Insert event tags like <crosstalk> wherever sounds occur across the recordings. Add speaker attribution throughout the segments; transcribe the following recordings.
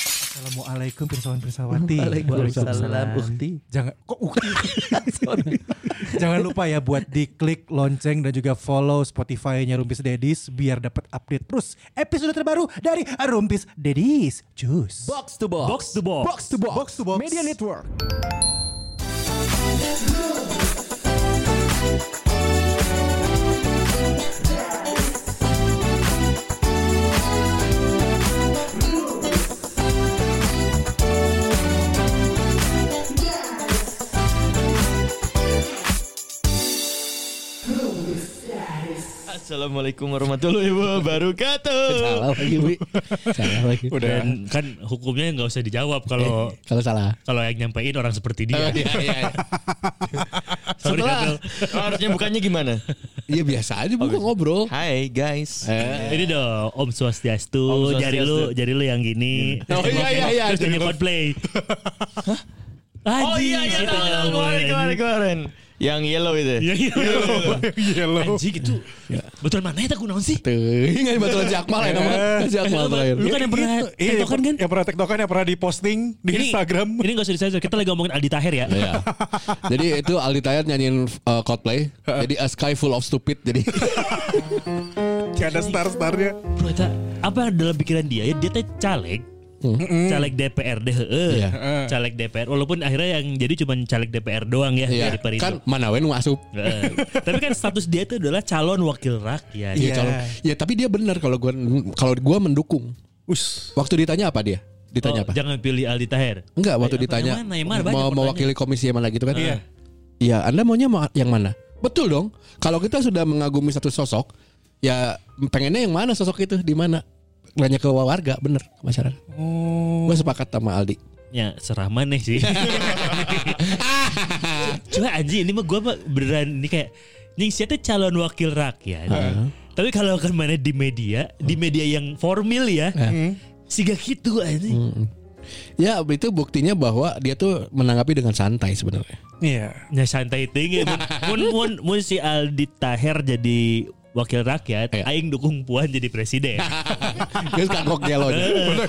Speaker 1: Assalamualaikum pirsawan pirsawati.
Speaker 2: Waalaikumsalam Ukti.
Speaker 1: Jangan kok ukti. Jangan lupa ya buat diklik lonceng dan juga follow Spotify-nya Rumpis Dedis biar dapat update terus episode terbaru dari Rumpis Dedis. Cus.
Speaker 2: <laughs> Box to box.
Speaker 3: Box to box.
Speaker 1: Box to box. Box to box.
Speaker 3: Media Network.
Speaker 2: Assalamualaikum warahmatullahi wabarakatuh.
Speaker 3: <laughs>
Speaker 4: salah lagi Wi. salah lagi
Speaker 3: Dan
Speaker 2: Udah.
Speaker 3: kan hukumnya nggak usah dijawab kalau
Speaker 4: kalau salah Oh, iya,
Speaker 3: kalau yang nyampein orang seperti dia. Sorry,
Speaker 4: Setelah-
Speaker 3: Gatel.
Speaker 2: Oh, Harusnya bukannya gimana?
Speaker 4: iya biasa
Speaker 3: Oh,
Speaker 4: aja
Speaker 3: gitu.
Speaker 4: bukan ngobrol
Speaker 2: Hai guys.
Speaker 3: Eh, Ini dong Om Swastiastu,
Speaker 2: Om Swastiastu.
Speaker 3: jari lu, jari lu yang gini.
Speaker 4: Oh, iya, iya, iya.
Speaker 3: Terus nyanyi Coldplay. Hah?
Speaker 2: Oh iya iya tahu, tahu, kemarin kemarin kemarin. Yang yellow itu.
Speaker 3: Iya iya.
Speaker 1: Yellow.
Speaker 3: Anjing itu. Betul mana ya tak gunaon sih?
Speaker 4: tuh ingat batu Jakmal ya nama
Speaker 3: Eh.
Speaker 4: Jakmal terakhir
Speaker 3: Lu kan yang pernah
Speaker 1: Iya,
Speaker 3: tektokan kan?
Speaker 1: yang pernah tektokan yang pernah diposting di Instagram.
Speaker 3: Ini gak usah disensor. Kita lagi ngomongin Aldi Tahir ya.
Speaker 4: Iya. Jadi itu Aldi Tayan nyanyiin uh, Coldplay. Jadi a sky full of stupid.
Speaker 3: <laughs>
Speaker 4: Jadi
Speaker 1: Gak ada star-starnya.
Speaker 3: Bro, eta, apa dalam pikiran dia ya dia teh caleg caleg DPRD heeh
Speaker 4: Iya.
Speaker 3: caleg DPR walaupun akhirnya yang jadi cuma caleg DPR doang ya
Speaker 4: Iya.
Speaker 3: dari Perindo
Speaker 4: kan mana we nu asup.
Speaker 3: Heeh. tapi kan status dia itu adalah calon wakil
Speaker 4: Iya
Speaker 3: rakyat
Speaker 1: Iya.
Speaker 4: calon. Ya tapi dia benar kalau gua kalau gua mendukung.
Speaker 1: Us.
Speaker 4: Waktu ditanya apa dia?
Speaker 3: Oh,
Speaker 4: Ditanya apa?
Speaker 3: jangan pilih Aldi Tahir
Speaker 4: Enggak, waktu
Speaker 3: Apa,
Speaker 4: ditanya
Speaker 3: yang mana, yang mana? Banyak
Speaker 4: mau
Speaker 3: pertanyaan.
Speaker 4: mewakili komisi yang mana gitu kan?
Speaker 1: Iya.
Speaker 4: Iya, Anda maunya mau yang mana? Betul dong. Kalau kita sudah mengagumi satu sosok, ya pengennya yang mana sosok itu di mana? Nanya ke warga, bener ke masyarakat.
Speaker 3: Oh.
Speaker 4: Gue sepakat sama Aldi.
Speaker 3: ya serah mana sih <laughs> cuma anjing ini mah gue mah beneran ini kayak nying siapa calon wakil rakyat tapi kalau kan mana di media di
Speaker 4: Hmm.
Speaker 3: media yang formal ya
Speaker 4: Eh.
Speaker 3: siga gitu anjing
Speaker 4: Hmm. Ya itu buktinya bahwa dia tuh menanggapi dengan santai
Speaker 3: <laughs>
Speaker 4: sebenarnya.
Speaker 1: Iya.
Speaker 3: Ya santai tinggi mun, mun, mun, mun si Aldi Taher jadi wakil rakyat
Speaker 4: Iya.
Speaker 3: Aing dukung Puan jadi presiden
Speaker 4: <laughs> Dia kagok gelonya.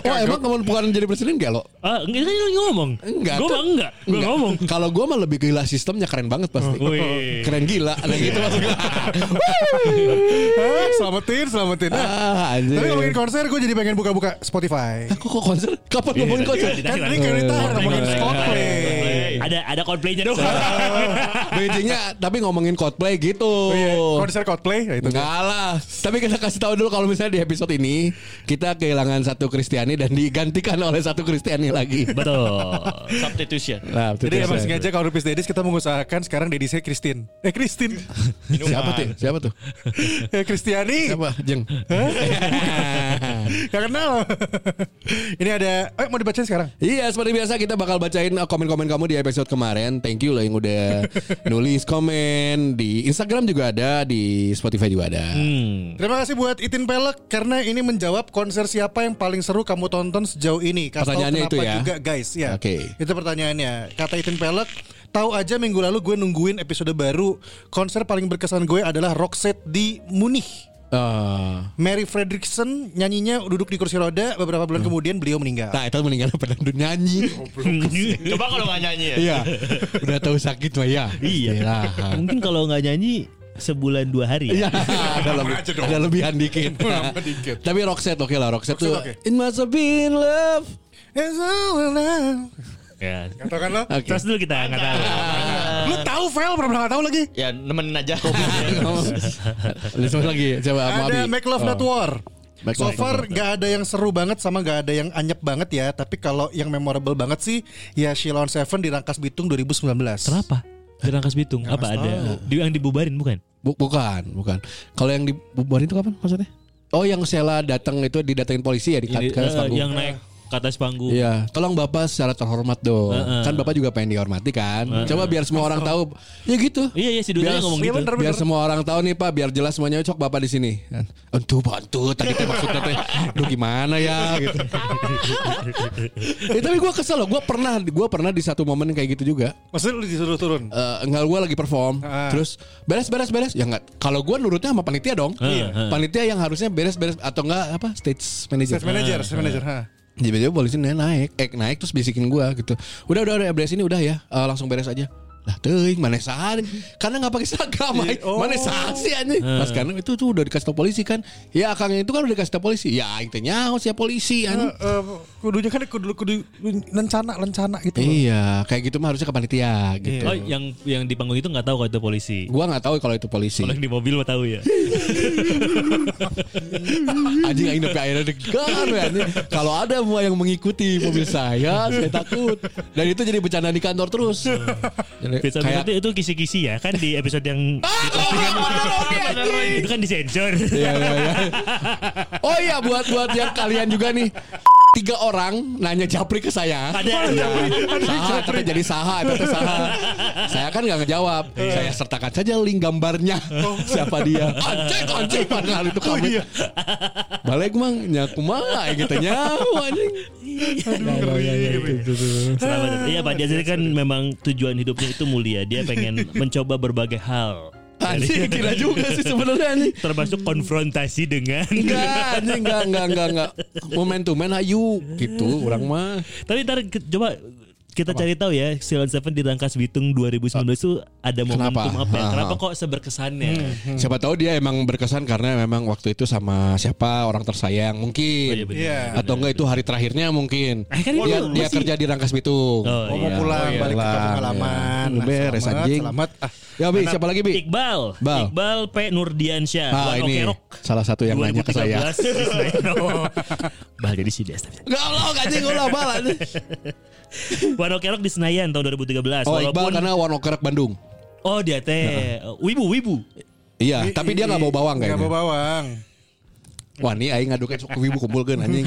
Speaker 3: Eh.
Speaker 4: Oh emang kemampuan jadi presiden gelo?
Speaker 3: Ah, Enggak kan lu ngomong
Speaker 4: Enggak,
Speaker 3: Gue
Speaker 4: tuh.
Speaker 3: mah enggak Gue
Speaker 4: Enggak.
Speaker 3: ngomong
Speaker 4: Kalau gue mah lebih gila sistemnya keren banget pasti.
Speaker 1: Oh,
Speaker 3: Wih.
Speaker 4: Keren gila, ada gitu maksud gua.
Speaker 1: Ah, Selamatin, selamatin. Ah,
Speaker 4: Ah, anjir.
Speaker 1: Tapi ngomongin konser gue jadi pengen buka-buka Spotify. <laughs>
Speaker 4: Kok kok konser? Kapan ngomongin konser?
Speaker 3: tadi-
Speaker 1: Kan
Speaker 3: Kan
Speaker 1: tadi kita
Speaker 4: Coldplay,
Speaker 1: ngomongin
Speaker 4: Coldplay.
Speaker 1: Coldplay.
Speaker 2: Coldplay.
Speaker 3: Ada ada coldplaynya dong
Speaker 4: Bridgingnya tapi ngomongin cosplay gitu.
Speaker 1: Oh iya, konser Coldplay ya itu.
Speaker 4: Enggak lah. Tapi kita kasih tahu dulu kalau misalnya di episode ini kita kehilangan satu Kristiani dan digantikan oleh satu Kristiani lagi.
Speaker 3: Betul
Speaker 2: Substitution.
Speaker 4: Nah, itu
Speaker 1: Nah, Jadi
Speaker 4: dia
Speaker 1: emang
Speaker 4: saya.
Speaker 1: sengaja kalau Rupis Dedis kita mengusahakan sekarang Dedisnya Christine. Eh <laughs> Christine.
Speaker 4: Siapa tuh? Siapa
Speaker 1: <laughs>
Speaker 4: tuh?
Speaker 1: eh Kristiani.
Speaker 4: Siapa? Jeng. <laughs>
Speaker 1: Gak kenal. <laughs> Ini ada, eh mau dibacain sekarang?
Speaker 4: Iya seperti biasa kita bakal bacain uh, komen-komen kamu di episode kemarin Thank you loh yang
Speaker 1: <laughs>
Speaker 4: udah nulis komen Di Instagram juga ada Di Spotify juga ada
Speaker 1: Hmm. Terima kasih buat Itin Pelek karena ini menjawab konser siapa yang paling seru kamu tonton sejauh ini. Kasih tahu
Speaker 4: Pertanyaannya
Speaker 1: kenapa
Speaker 4: itu ya?
Speaker 1: juga guys ya.
Speaker 4: Oke.
Speaker 1: Itu pertanyaannya. Kata Itin Pelek, tahu aja minggu lalu gue nungguin episode baru. Konser paling berkesan gue adalah Roxette di Munich.
Speaker 4: Eh,
Speaker 1: Mary Fredrickson nyanyinya duduk di kursi roda beberapa bulan kemudian beliau meninggal.
Speaker 4: Hmm. Nah itu mendingan pada nyanyi
Speaker 2: Coba kalau nggak nyanyi ya.
Speaker 4: Iya Udah tahu sakit mah ya
Speaker 3: Iya.
Speaker 4: Istirahat.
Speaker 3: Mungkin kalau nggak nyanyi Sebulan dua hari
Speaker 4: Iya,
Speaker 3: ya
Speaker 4: ada, lebih, ada lebihan dikit. Tapi Roxette oke lah, Roxette, tuh.
Speaker 1: oke.
Speaker 4: It must have been
Speaker 1: <laughs>
Speaker 4: love.
Speaker 1: It's all alone.
Speaker 3: Ya.
Speaker 1: Tahu kan lo?
Speaker 4: Oke.
Speaker 3: Terus dulu kita nggak tahu
Speaker 1: Lu tahu Vel pernah nggak tahu lagi?
Speaker 2: Ya nemenin aja. <laughs>
Speaker 4: Terus lagi, coba sama
Speaker 1: ada
Speaker 4: Abi.
Speaker 1: Make Love
Speaker 4: Oh.
Speaker 1: Not War.
Speaker 4: Make
Speaker 1: so
Speaker 4: Love Not
Speaker 1: far
Speaker 4: War. ya.
Speaker 1: gak ada yang seru banget sama gak ada yang anyep banget ya Tapi kalau yang memorable banget sih Ya Sheila on Seven di Rangkas Bitung 2019
Speaker 3: Kenapa? Di Rangkas Bitung Apa ada Di- Yang dibubarin bukan?
Speaker 4: Bu- bukan, bukan. Kalau yang dibubarin itu kapan maksudnya? Oh, yang Sheila datang itu didatengin polisi ya di
Speaker 3: Jadi,
Speaker 4: ke atas
Speaker 3: eh,
Speaker 4: panggung.
Speaker 3: Yang naik ke atas panggung
Speaker 4: Iya, tolong Bapak secara terhormat dong. Kan Bapak juga pengen dihormati kan. Coba biar semua orang tahu. Ya gitu.
Speaker 3: Iya iya si Dunia
Speaker 4: Biar-
Speaker 3: ngomong
Speaker 1: Iya,
Speaker 3: gitu
Speaker 1: bener.
Speaker 4: Biar semua orang tahu nih Pak, biar jelas semuanya cocok Bapak di sini. Entuh, Pak, entuh. Tadi teh maksudnya teh, aduh gimana ya
Speaker 3: <laughs>
Speaker 4: gitu. Eh, tapi gue kesel loh, gue pernah gua pernah di satu momen kayak gitu juga.
Speaker 1: Maksudnya lu disuruh turun?
Speaker 4: Eh, enggak gue lagi perform,
Speaker 1: Ah.
Speaker 4: terus beres beres beres. Ya enggak, kalau gue nurutnya sama panitia dong.
Speaker 3: Iya.
Speaker 4: Panitia yang harusnya beres beres atau enggak apa stage manager.
Speaker 5: Eh,
Speaker 1: Stage manager, stage manager ha.
Speaker 4: tiba-tiba polisi naik eh naik terus bisikin gua gitu udah udah udah beres ini udah ya Eh, langsung beres aja lah teuing mana sahan karena nggak pakai seragam ay. mana sahan sih anjing pas karena itu tuh udah dikasih tau polisi kan ya akangnya itu kan udah dikasih tau polisi ya aing teh nyaho sia polisi anjing
Speaker 5: Eh, kudunya kan kudu kudu lencana lencana gitu loh.
Speaker 4: iya kayak gitu mah harusnya ke panitia gitu
Speaker 3: Oh, yang yang di panggung itu nggak tahu kalau itu polisi.
Speaker 4: gua nggak tahu kalau itu polisi
Speaker 3: Kalau yang di mobil mah tahu ya.
Speaker 4: anjing aing nepi airnya degan we, ya, anjing. kalau ada mua yang mengikuti mobil saya saya takut dan itu jadi bercanda di kantor terus
Speaker 3: Episode
Speaker 4: kayak
Speaker 3: itu, itu kisi-kisi ya kan di episode yang itu kan disensor.
Speaker 4: Iya, iya, iya. Oh iya buat buat yang kalian juga nih tiga orang nanya japri ke saya.
Speaker 3: Ada, ada.
Speaker 4: Saha, tapi jadi saha, tapi saha. Saya kan nggak ngejawab.
Speaker 3: Iya.
Speaker 4: Saya sertakan saja link gambarnya
Speaker 3: Oh.
Speaker 4: siapa dia. Anjing, anjing padahal itu kami.
Speaker 3: iya.
Speaker 4: Balik mang, nyaku mah, gitu nyawa anjing. Iya,
Speaker 3: iya, Selamat datang. Iya Pak Dias ini kan memang tujuan hidupnya itu mulia. Dia pengen <laughs> mencoba berbagai hal.
Speaker 4: Anjing, gila
Speaker 3: gitu.
Speaker 4: juga sih sebenarnya anjing.
Speaker 3: Termasuk konfrontasi dengan.
Speaker 4: Enggak, anjing, enggak, enggak, enggak, enggak. Momentumen ayu, gitu, orang mah.
Speaker 3: Tapi ntar ke- coba kita cari tahu ya Silent Seven di Rangkas Bitung 2019 itu ada momentum
Speaker 4: Kenapa? Hmm.
Speaker 3: apa ya?
Speaker 4: Ah.
Speaker 3: Kenapa kok seberkesannya?
Speaker 4: Siapa tahu dia emang berkesan karena memang waktu itu sama siapa orang tersayang
Speaker 3: Oh, iya,
Speaker 4: mungkin.
Speaker 3: benar.
Speaker 5: Iya.
Speaker 4: Atau enggak itu hari terakhirnya mungkin.
Speaker 3: Eh, kan itu
Speaker 4: dia dia
Speaker 3: masih-
Speaker 4: kerja di Rangkas Bitung.
Speaker 3: Oh,
Speaker 5: Oh, mau
Speaker 3: iya.
Speaker 5: pulang
Speaker 4: Oh, iya,
Speaker 5: balik ke kampung
Speaker 4: pulang,
Speaker 5: halaman.
Speaker 1: Nah,
Speaker 4: iya. Beres,
Speaker 5: selamat,
Speaker 4: anjing.
Speaker 5: Selamat. Ah,
Speaker 4: Ya Bi, siapa lagi Bi?
Speaker 3: Iqbal,
Speaker 4: Bal.
Speaker 3: Iqbal P Nurdiansyah,
Speaker 4: Nah,
Speaker 3: Buat
Speaker 4: ini
Speaker 3: Okerok.
Speaker 4: salah satu yang nanya ke saya. <laughs>
Speaker 3: 2013 Ismail. Bal jadi si Desta.
Speaker 4: Enggak lo anjing ulah balan.
Speaker 3: Wano Kerok di Senayan tahun 2013.
Speaker 4: Oh, Iqbal
Speaker 3: Walaupun
Speaker 4: karena Wano Kerak Bandung.
Speaker 3: oh dia teh
Speaker 5: Nah.
Speaker 3: eh, wibu wibu. <laughs>
Speaker 4: Iya,
Speaker 5: i-
Speaker 4: tapi
Speaker 5: i-
Speaker 4: dia nggak bawa bawang
Speaker 5: Nggak
Speaker 4: kayaknya.
Speaker 5: bawa bawang.
Speaker 4: Wah, ini aing ngadukeun sok wibu kumpulkeun anjing.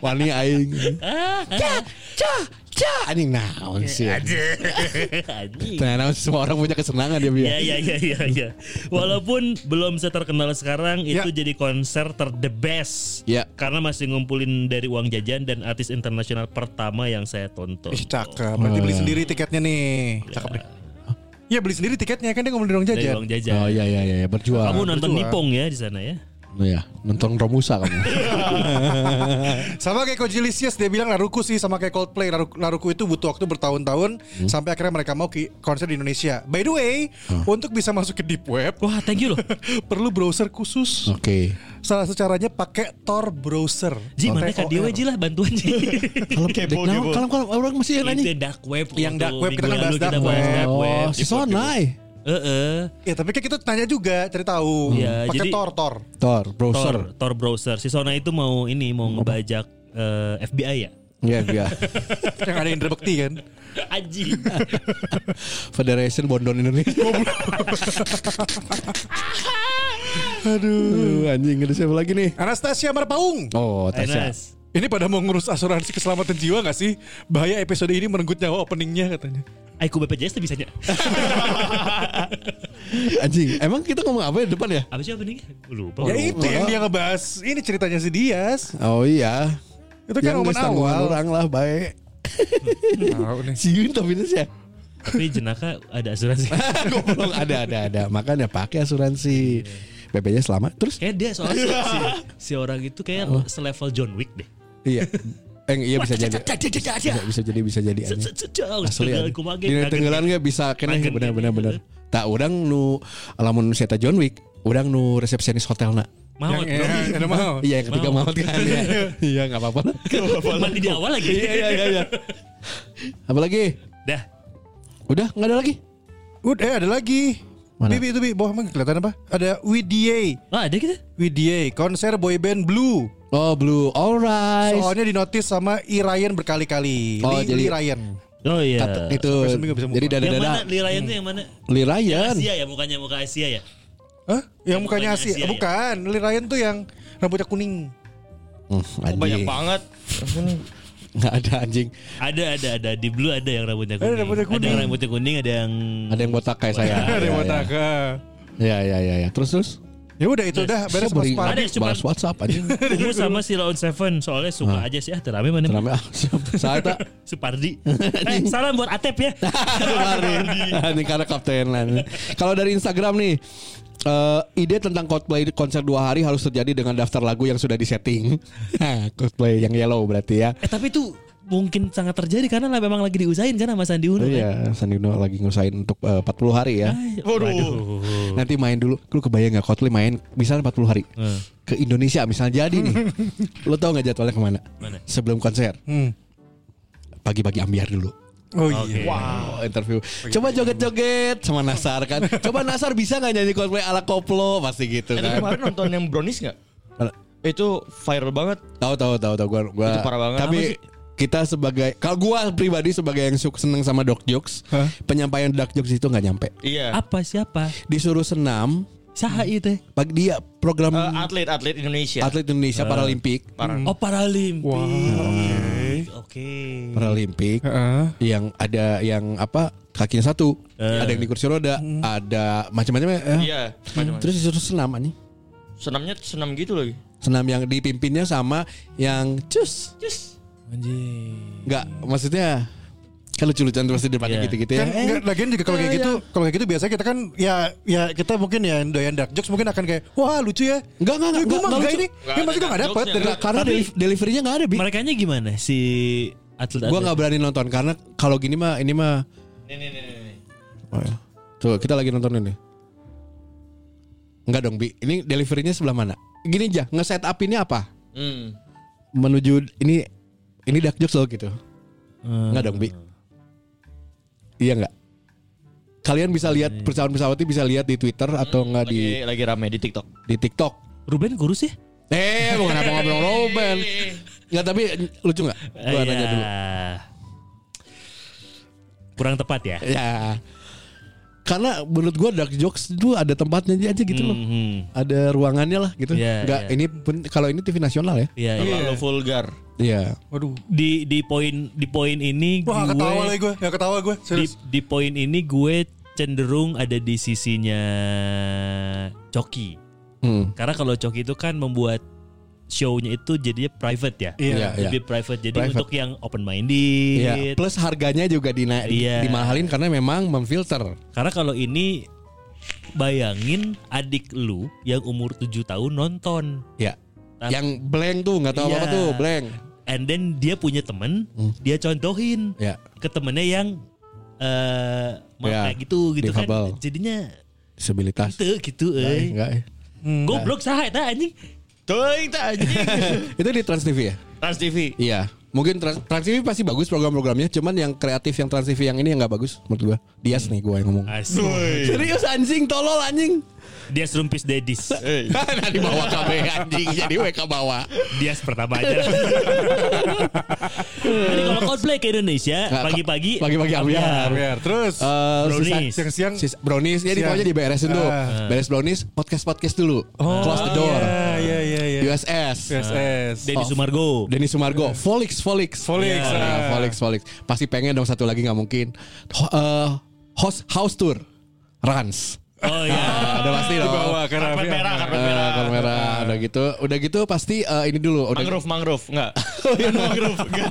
Speaker 4: Wah, ini aing. Cah, cah, cah. Anjing naon sih.
Speaker 3: Anjing.
Speaker 4: Ternyata semua orang punya kesenangan dia Bi.
Speaker 3: Ya ya ya ya ya. Walaupun belum seterkenal sekarang
Speaker 5: Ya.
Speaker 3: itu jadi konser ter the best.
Speaker 4: Ya.
Speaker 3: Karena masih ngumpulin dari uang jajan dan artis internasional pertama yang saya tonton.
Speaker 5: Ih, cakep. Berarti
Speaker 4: Oh.
Speaker 5: beli sendiri tiketnya nih. Cakep deh. Iya beli sendiri tiketnya kan dia ngomong di ruang
Speaker 3: Dari
Speaker 5: jajan.
Speaker 3: uang jajan.
Speaker 4: Oh iya iya iya iya, berjuang.
Speaker 3: Kamu nonton
Speaker 5: Berdua.
Speaker 3: Nipong ya di sana ya?
Speaker 4: Oh ya, nonton Romusa kamu.
Speaker 5: Sama kayak Kojilisius dia bilang Laruku sih sama kayak Coldplay. Laruku, Laruku itu butuh waktu bertahun-tahun
Speaker 4: Hmm.
Speaker 5: sampai akhirnya mereka mau ki- konser di Indonesia. By the way, untuk bisa masuk ke deep web <laughs>
Speaker 3: Wah, thank you loh.
Speaker 5: perlu browser khusus.
Speaker 4: Oke.
Speaker 5: Salah satu caranya pakai Tor browser.
Speaker 3: Ji, mana
Speaker 5: T O R.
Speaker 3: kak dia Ji lah bantuan
Speaker 5: <laughs>
Speaker 3: Ji.
Speaker 4: Kalau kalau kalau kalau orang masih yang
Speaker 3: Itu
Speaker 4: nanya.
Speaker 3: yang dark web.
Speaker 5: Kan Yang
Speaker 3: waktu
Speaker 5: dark web, kita
Speaker 3: minggu
Speaker 5: kan bahas
Speaker 3: lalu kita bahas
Speaker 5: dark web.
Speaker 3: dark web. Iya.
Speaker 4: Oh, si Sonai.
Speaker 3: Heeh.
Speaker 5: Ya tapi kan kita tanya juga cari tahu.
Speaker 3: Iya,
Speaker 5: pakai
Speaker 3: jadi-
Speaker 5: Tor Tor.
Speaker 4: Tor,
Speaker 3: Tor,
Speaker 4: browser.
Speaker 3: Tor browser. Si Sona itu mau ini mau ngebajak eh, FBI ya?
Speaker 4: Iya, iya.
Speaker 5: Yang ada Indra Bekti
Speaker 3: <laughs>
Speaker 5: kan.
Speaker 3: Aji.
Speaker 4: <laughs> Federation Bondon Indonesia. Aduh, anjing ada siapa lagi nih?
Speaker 5: Anastasia Marpaung.
Speaker 4: Oh, Tasya.
Speaker 3: Enas.
Speaker 5: Ini pada mau ngurus asuransi keselamatan jiwa gak sih? Bahaya episode ini merenggut nyawa openingnya katanya.
Speaker 3: Aiku BPJS tuh bisanya. <laughs>
Speaker 4: Anjing, emang kita ngomong apa ya depan ya?
Speaker 3: Apa sih openingnya? Lupa.
Speaker 4: iya.
Speaker 5: Ya itu yang dia ngebahas. Ini ceritanya si Dias.
Speaker 4: Oh iya.
Speaker 5: Itu kan momen awal.
Speaker 4: orang lah baik.
Speaker 5: Tahu nih.
Speaker 4: Siun tapi itu sih.
Speaker 3: Tapi jenaka ada asuransi.
Speaker 4: <laughs> Goblok ada ada ada. Makanya pakai asuransi. BPJS selama terus
Speaker 3: Kayak dia soalnya si,
Speaker 4: <laughs>
Speaker 3: si orang itu kayak selevel John Wick deh.
Speaker 4: Oh. Iya. Eh, iya bisa jadi. Bisa, bisa jadi bisa jadi.
Speaker 3: Cet,
Speaker 4: anjing.
Speaker 3: cet, cet, jauh.
Speaker 4: Asli
Speaker 3: Tenggelam
Speaker 4: anjing.
Speaker 3: kumage,
Speaker 4: Dina
Speaker 3: kaget.
Speaker 4: tenggelan ge bisa kena
Speaker 3: Kaget.
Speaker 5: gitu
Speaker 4: benar
Speaker 5: ya.
Speaker 4: benar benar. Tak urang nu lamun seta John Wick, urang nu resepsionis hotelna.
Speaker 3: Mau
Speaker 5: Yang
Speaker 3: dong.
Speaker 5: ya, ada mau.
Speaker 4: Iya yang ketiga maut kan.
Speaker 5: <laughs>
Speaker 4: Iya. Iya enggak apa-apa lah.
Speaker 3: Mandi di awal lagi.
Speaker 4: <laughs> Iya iya iya iya. Apalagi?
Speaker 3: Dah.
Speaker 4: Udah enggak ada lagi?
Speaker 5: Udah eh, ada lagi.
Speaker 4: Mana?
Speaker 5: Bibi itu Bi, bawah emang kelihatan apa? Ada WDA.
Speaker 3: Ah, ada kita.
Speaker 5: WDA konser boyband Blue.
Speaker 4: Oh, Blue Alright.
Speaker 5: Soalnya dinotis sama I Ryan berkali-kali.
Speaker 4: Oh,
Speaker 5: Lee,
Speaker 4: jadi-
Speaker 5: Lee Ryan.
Speaker 3: Oh iya.
Speaker 4: itu
Speaker 5: Sampai seminggu bisa move
Speaker 4: jadi
Speaker 5: on.
Speaker 3: yang mana
Speaker 4: dada-dada
Speaker 3: Lirayan tuh yang mana?
Speaker 4: Lee Ryan
Speaker 3: Asia ya, mukanya muka Asia ya.
Speaker 5: Hah? Yang mukanya
Speaker 3: mukanya
Speaker 5: Asia.
Speaker 3: Asia, ya?
Speaker 5: Bukan, Lee Ryan tuh yang rambutnya kuning.
Speaker 4: Hmm,
Speaker 5: Oh,
Speaker 2: Banyak
Speaker 4: anjing
Speaker 2: banget.
Speaker 4: <laughs> nggak ada anjing
Speaker 3: Ada ada ada di blue ada yang rambutnya kuning.
Speaker 5: Ada rambutnya kuning.
Speaker 3: Ada yang rambutnya kuning, ada yang
Speaker 4: ada yang botak kayak saya
Speaker 5: <laughs> Ada yang
Speaker 4: Ya,
Speaker 5: botak.
Speaker 4: ya ya ya ya terus terus
Speaker 5: Ya udah itu udah beres
Speaker 4: Saya
Speaker 5: Mas
Speaker 4: beri-
Speaker 5: Pak.
Speaker 3: Ada, cuman-
Speaker 4: bahas WhatsApp
Speaker 5: <laughs>
Speaker 4: anjing
Speaker 3: ungu sama si Laon Seven soalnya suka aja sih ah terame mana
Speaker 4: Kenapa? Ah, saya tak
Speaker 3: <laughs>
Speaker 4: <laughs>
Speaker 3: Supardi eh, salam buat Atep ya
Speaker 4: Kemarin. Ini karena kapten lain. Kalau dari Instagram nih eh, ide tentang cosplay konser dua hari harus terjadi dengan daftar lagu yang sudah disetting. <laughs> Hah, cosplay yang yellow berarti ya.
Speaker 3: Eh tapi itu mungkin sangat terjadi karena lah memang lagi diusahain kan sama Sandi Uno. kan?
Speaker 4: Iya, Sandino lagi ngusahain untuk eh, 40 hari ya.
Speaker 3: Ay,
Speaker 2: Waduh.
Speaker 4: Nanti main dulu, lu kebayang nggak Kotli main misalnya 40 hari
Speaker 3: Hmm.
Speaker 4: ke Indonesia misalnya jadi
Speaker 3: <laughs>
Speaker 4: nih. lu tau nggak jadwalnya kemana?
Speaker 3: Mana?
Speaker 4: Sebelum konser
Speaker 5: Hmm.
Speaker 4: pagi-pagi ambiar dulu.
Speaker 5: Oh
Speaker 3: Oke.
Speaker 5: iya.
Speaker 4: Wow, interview.
Speaker 2: oh, iya,
Speaker 4: Coba joget-joget sama Nasar
Speaker 2: <laughs>
Speaker 4: kan. Coba Nasar bisa nggak nyanyi cosplay ala koplo pasti gitu
Speaker 2: Eh, lu
Speaker 4: kan.
Speaker 2: kemarin nonton yang brownies nggak? Itu viral banget.
Speaker 4: Tahu tahu tahu tahu gua gua.
Speaker 2: Itu parah banget.
Speaker 4: Tapi
Speaker 2: Apa sih?
Speaker 4: kita sebagai kalau gua pribadi sebagai yang suka seneng sama dog jokes,
Speaker 5: Hah?
Speaker 4: penyampaian dog jokes itu nggak nyampe.
Speaker 2: Iya.
Speaker 3: Apa siapa?
Speaker 4: Disuruh senam
Speaker 3: Saha itu?
Speaker 4: pagi dia program
Speaker 2: Eh, iya. atlet atlet Indonesia.
Speaker 4: atlet Indonesia Paralimpik,
Speaker 2: Parah.
Speaker 3: Oh Paralimpik. Oke.
Speaker 2: Hmm.
Speaker 4: Paralimpik
Speaker 5: Heeh.
Speaker 4: yang ada yang apa kakinya satu, ada yang di kursi roda, ada macam-macam ya.
Speaker 2: Eh. Hmm. Iya. Macam-macam.
Speaker 4: Terus disuruh senam anjing.
Speaker 2: Senamnya senam gitu lagi.
Speaker 4: Senam yang dipimpinnya sama yang cus
Speaker 2: Yes.
Speaker 3: Anjing.
Speaker 4: Enggak, maksudnya kan lucu-lucuan terus di depannya
Speaker 3: Iya.
Speaker 4: gitu-gitu ya.
Speaker 5: Kan enggak, lagian juga kalau kayak gitu, kalau kayak gitu biasanya kita kan ya ya kita mungkin ya yang doyan dark jokes mungkin akan kayak wah lucu ya.
Speaker 4: Enggak, enggak, enggak,
Speaker 5: Gue
Speaker 4: enggak
Speaker 5: mah enggak
Speaker 4: lucu.
Speaker 5: ini.
Speaker 2: Enggak ada
Speaker 5: Ya masih gue enggak
Speaker 2: dark
Speaker 5: dapat.
Speaker 2: jokes-nya.
Speaker 5: dari-
Speaker 4: Enggak, karena
Speaker 3: Tapi-
Speaker 4: deli- deliverynya enggak ada, Bi.
Speaker 3: Mereka gimana si atlet?
Speaker 4: Gua enggak berani nonton karena kalau gini mah ini mah
Speaker 2: Nih nih nih nih. nih.
Speaker 4: oh ya. Tuh, kita lagi nonton ini. Enggak dong, Bi. Ini deliverynya sebelah mana? Gini aja, nge-set up ini apa?
Speaker 2: Hmm.
Speaker 4: Menuju ini ini dark jokes loh gitu.
Speaker 3: Hmm.
Speaker 4: Enggak dong, Bi. Iya enggak? Kalian bisa
Speaker 3: Iya.
Speaker 4: lihat pesawat-pesawat ini bisa lihat di Twitter atau enggak
Speaker 2: Lagi
Speaker 4: di
Speaker 2: lagi rame di TikTok.
Speaker 4: di TikTok.
Speaker 3: Ruben kurus ya?
Speaker 4: Eh, bukan apa ngobrol Ruben. Enggak tapi lucu enggak? Gua
Speaker 3: Iya.
Speaker 4: nanya dulu.
Speaker 3: Kurang tepat ya.
Speaker 4: Ya. Karena menurut gua dark jokes itu ada tempatnya aja gitu loh.
Speaker 3: Mhm.
Speaker 4: Ada ruangannya lah gitu.
Speaker 3: Iya,
Speaker 4: Enggak
Speaker 3: iya.
Speaker 4: ini pun- kalau ini TV nasional ya.
Speaker 3: Iya. iya.
Speaker 2: Terlalu vulgar.
Speaker 4: Iya.
Speaker 5: Waduh.
Speaker 3: Di di poin di poin ini
Speaker 5: Wah
Speaker 3: gue
Speaker 5: ketawa lagi gue, ya ketawa gue.
Speaker 3: di,
Speaker 5: Serius.
Speaker 3: di poin ini gue cenderung ada di sisinya Coki.
Speaker 4: Hmm.
Speaker 3: Karena kalau Coki itu kan membuat show-nya itu jadinya private ya.
Speaker 4: Iya, iya.
Speaker 3: Lebih private. Jadi
Speaker 4: Private.
Speaker 3: untuk yang open
Speaker 4: Iya.
Speaker 3: minded.
Speaker 4: Plus harganya juga dina- di-
Speaker 3: Iya.
Speaker 4: dimahalin karena memang memfilter.
Speaker 3: Karena kalau ini bayangin adik lu yang umur 7 tahun nonton.
Speaker 4: Ya.
Speaker 3: Nah.
Speaker 4: Yang blank tuh nggak tahu
Speaker 3: Iya.
Speaker 4: apa tuh blank.
Speaker 3: And then dia punya temen,
Speaker 4: Hmm.
Speaker 3: dia contohin
Speaker 4: Ya.
Speaker 3: ke temennya yang eh mau
Speaker 4: Iya,
Speaker 3: kayak gitu gitu
Speaker 4: difabel.
Speaker 3: kan. Jadinya
Speaker 4: Disabilitas.
Speaker 3: itu gitu
Speaker 4: Eh,
Speaker 3: eh.
Speaker 4: Enggak. eh.
Speaker 3: Goblok sah eta anjing.
Speaker 2: Tuh itu anjing.
Speaker 4: Itu di Trans TV ya?
Speaker 2: <laughs> Trans TV.
Speaker 4: Iya. Mungkin Trans, Trans TV pasti bagus program-programnya, cuman yang kreatif yang Trans TV yang ini yang nggak bagus menurut gua. Dias nih gua yang ngomong.
Speaker 3: Asli.
Speaker 4: Serius anjing tolol anjing.
Speaker 3: Dia serumpis dedis.
Speaker 2: Eh.
Speaker 4: <laughs> nah di bawah KB anjing jadi WK bawah.
Speaker 3: Dia pertama
Speaker 4: <laughs>
Speaker 3: aja. Jadi kalau cosplay ke Indonesia
Speaker 4: Nggak,
Speaker 3: pagi-pagi
Speaker 4: pagi-pagi ya. ambiar.
Speaker 5: Biar terus.
Speaker 4: Eh, sisa-
Speaker 3: brownies.
Speaker 5: Siang-siang.
Speaker 4: sis- brownies ya di
Speaker 5: Siang.
Speaker 4: pokoknya diberesin dulu.
Speaker 5: Ah.
Speaker 4: Beres brownies, podcast podcast dulu. Close the door.
Speaker 5: Iya iya iya. iya.
Speaker 4: USS.
Speaker 5: USS.
Speaker 4: Oh.
Speaker 3: Denny Sumargo.
Speaker 4: Denny Sumargo, Volix, Volix,
Speaker 5: Volix,
Speaker 4: Iya,
Speaker 5: ah.
Speaker 4: Volix, Volix. Pasti pengen dong satu lagi nggak mungkin. Ho- eh, host house tour, Rans.
Speaker 3: Oh iya.
Speaker 5: Ah,
Speaker 4: ada pasti dong.
Speaker 5: Dibawa ke
Speaker 2: Karpet
Speaker 5: Raffi.
Speaker 2: merah, karpet
Speaker 4: Eh,
Speaker 2: merah.
Speaker 4: kalau merah udah gitu udah gitu pasti eh, ini dulu udah
Speaker 2: Mangrove, mangrove, enggak. <laughs> Oh, iya, mangrove, enggak.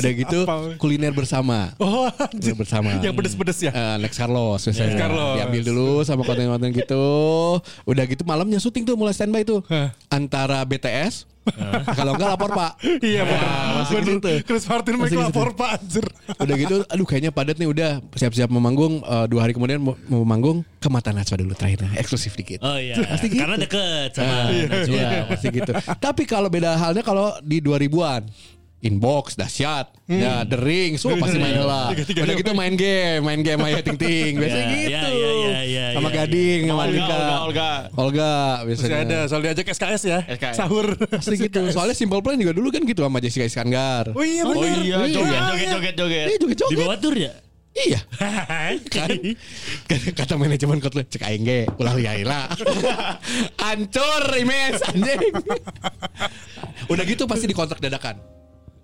Speaker 4: udah gitu
Speaker 5: Apa?
Speaker 4: kuliner bersama
Speaker 5: Oh,
Speaker 4: kuliner
Speaker 5: anjing.
Speaker 4: bersama
Speaker 5: yang pedes-pedes ya.
Speaker 4: Eh, Next Carlos misalnya
Speaker 5: Next Carlos.
Speaker 4: diambil dulu sama konten-konten gitu udah gitu malamnya syuting tuh mulai standby tuh
Speaker 5: Hah.
Speaker 4: antara BTS kalau enggak lapor pak
Speaker 5: Iya benar.
Speaker 4: masih
Speaker 5: Benar.
Speaker 4: gitu.
Speaker 5: Chris Martin make
Speaker 4: Masih
Speaker 5: lapor Pak anjir.
Speaker 4: udah gitu aduh kayaknya padat nih udah siap-siap memanggung Eh, dua hari kemudian mau mau manggung ke Mata Najwa dulu terakhir nah, eksklusif dikit
Speaker 3: Oh iya.
Speaker 4: Pasti gitu.
Speaker 3: Karena deket sama Najwa.
Speaker 4: Iya pasti gitu. Tapi kalau beda halnya kalau di 2000-an inbox dahsyat
Speaker 5: Hmm.
Speaker 4: ya the ring so pasti
Speaker 3: Iya.
Speaker 4: main lah udah gitu main game main game main ting
Speaker 3: <laughs>
Speaker 4: ting biasanya
Speaker 3: Ya,
Speaker 4: gitu
Speaker 3: ya, ya, ya, ya,
Speaker 4: sama
Speaker 3: ya,
Speaker 4: gading sama
Speaker 2: Olga,
Speaker 4: Andika
Speaker 2: Olga, Olga.
Speaker 4: Olga
Speaker 5: Masih
Speaker 4: biasanya
Speaker 5: ada soal diajak SKS ya.
Speaker 2: SKS.
Speaker 5: Sahur.
Speaker 4: pasti gitu soalnya simple plan juga dulu kan gitu sama Jessica Iskandar
Speaker 5: Oh iya benar.
Speaker 2: Oh iya, joget, joget, joget, joget.
Speaker 4: Iya juga
Speaker 3: Di
Speaker 4: joget
Speaker 3: bawah tur ya?
Speaker 4: Iya
Speaker 3: <laughs>
Speaker 4: kan Kata- <laughs> Kata manajemen kotlet Cek aing ge Ulah liaila <laughs> Hancur image Anjing <laughs> Udah gitu pasti dikontrak dadakan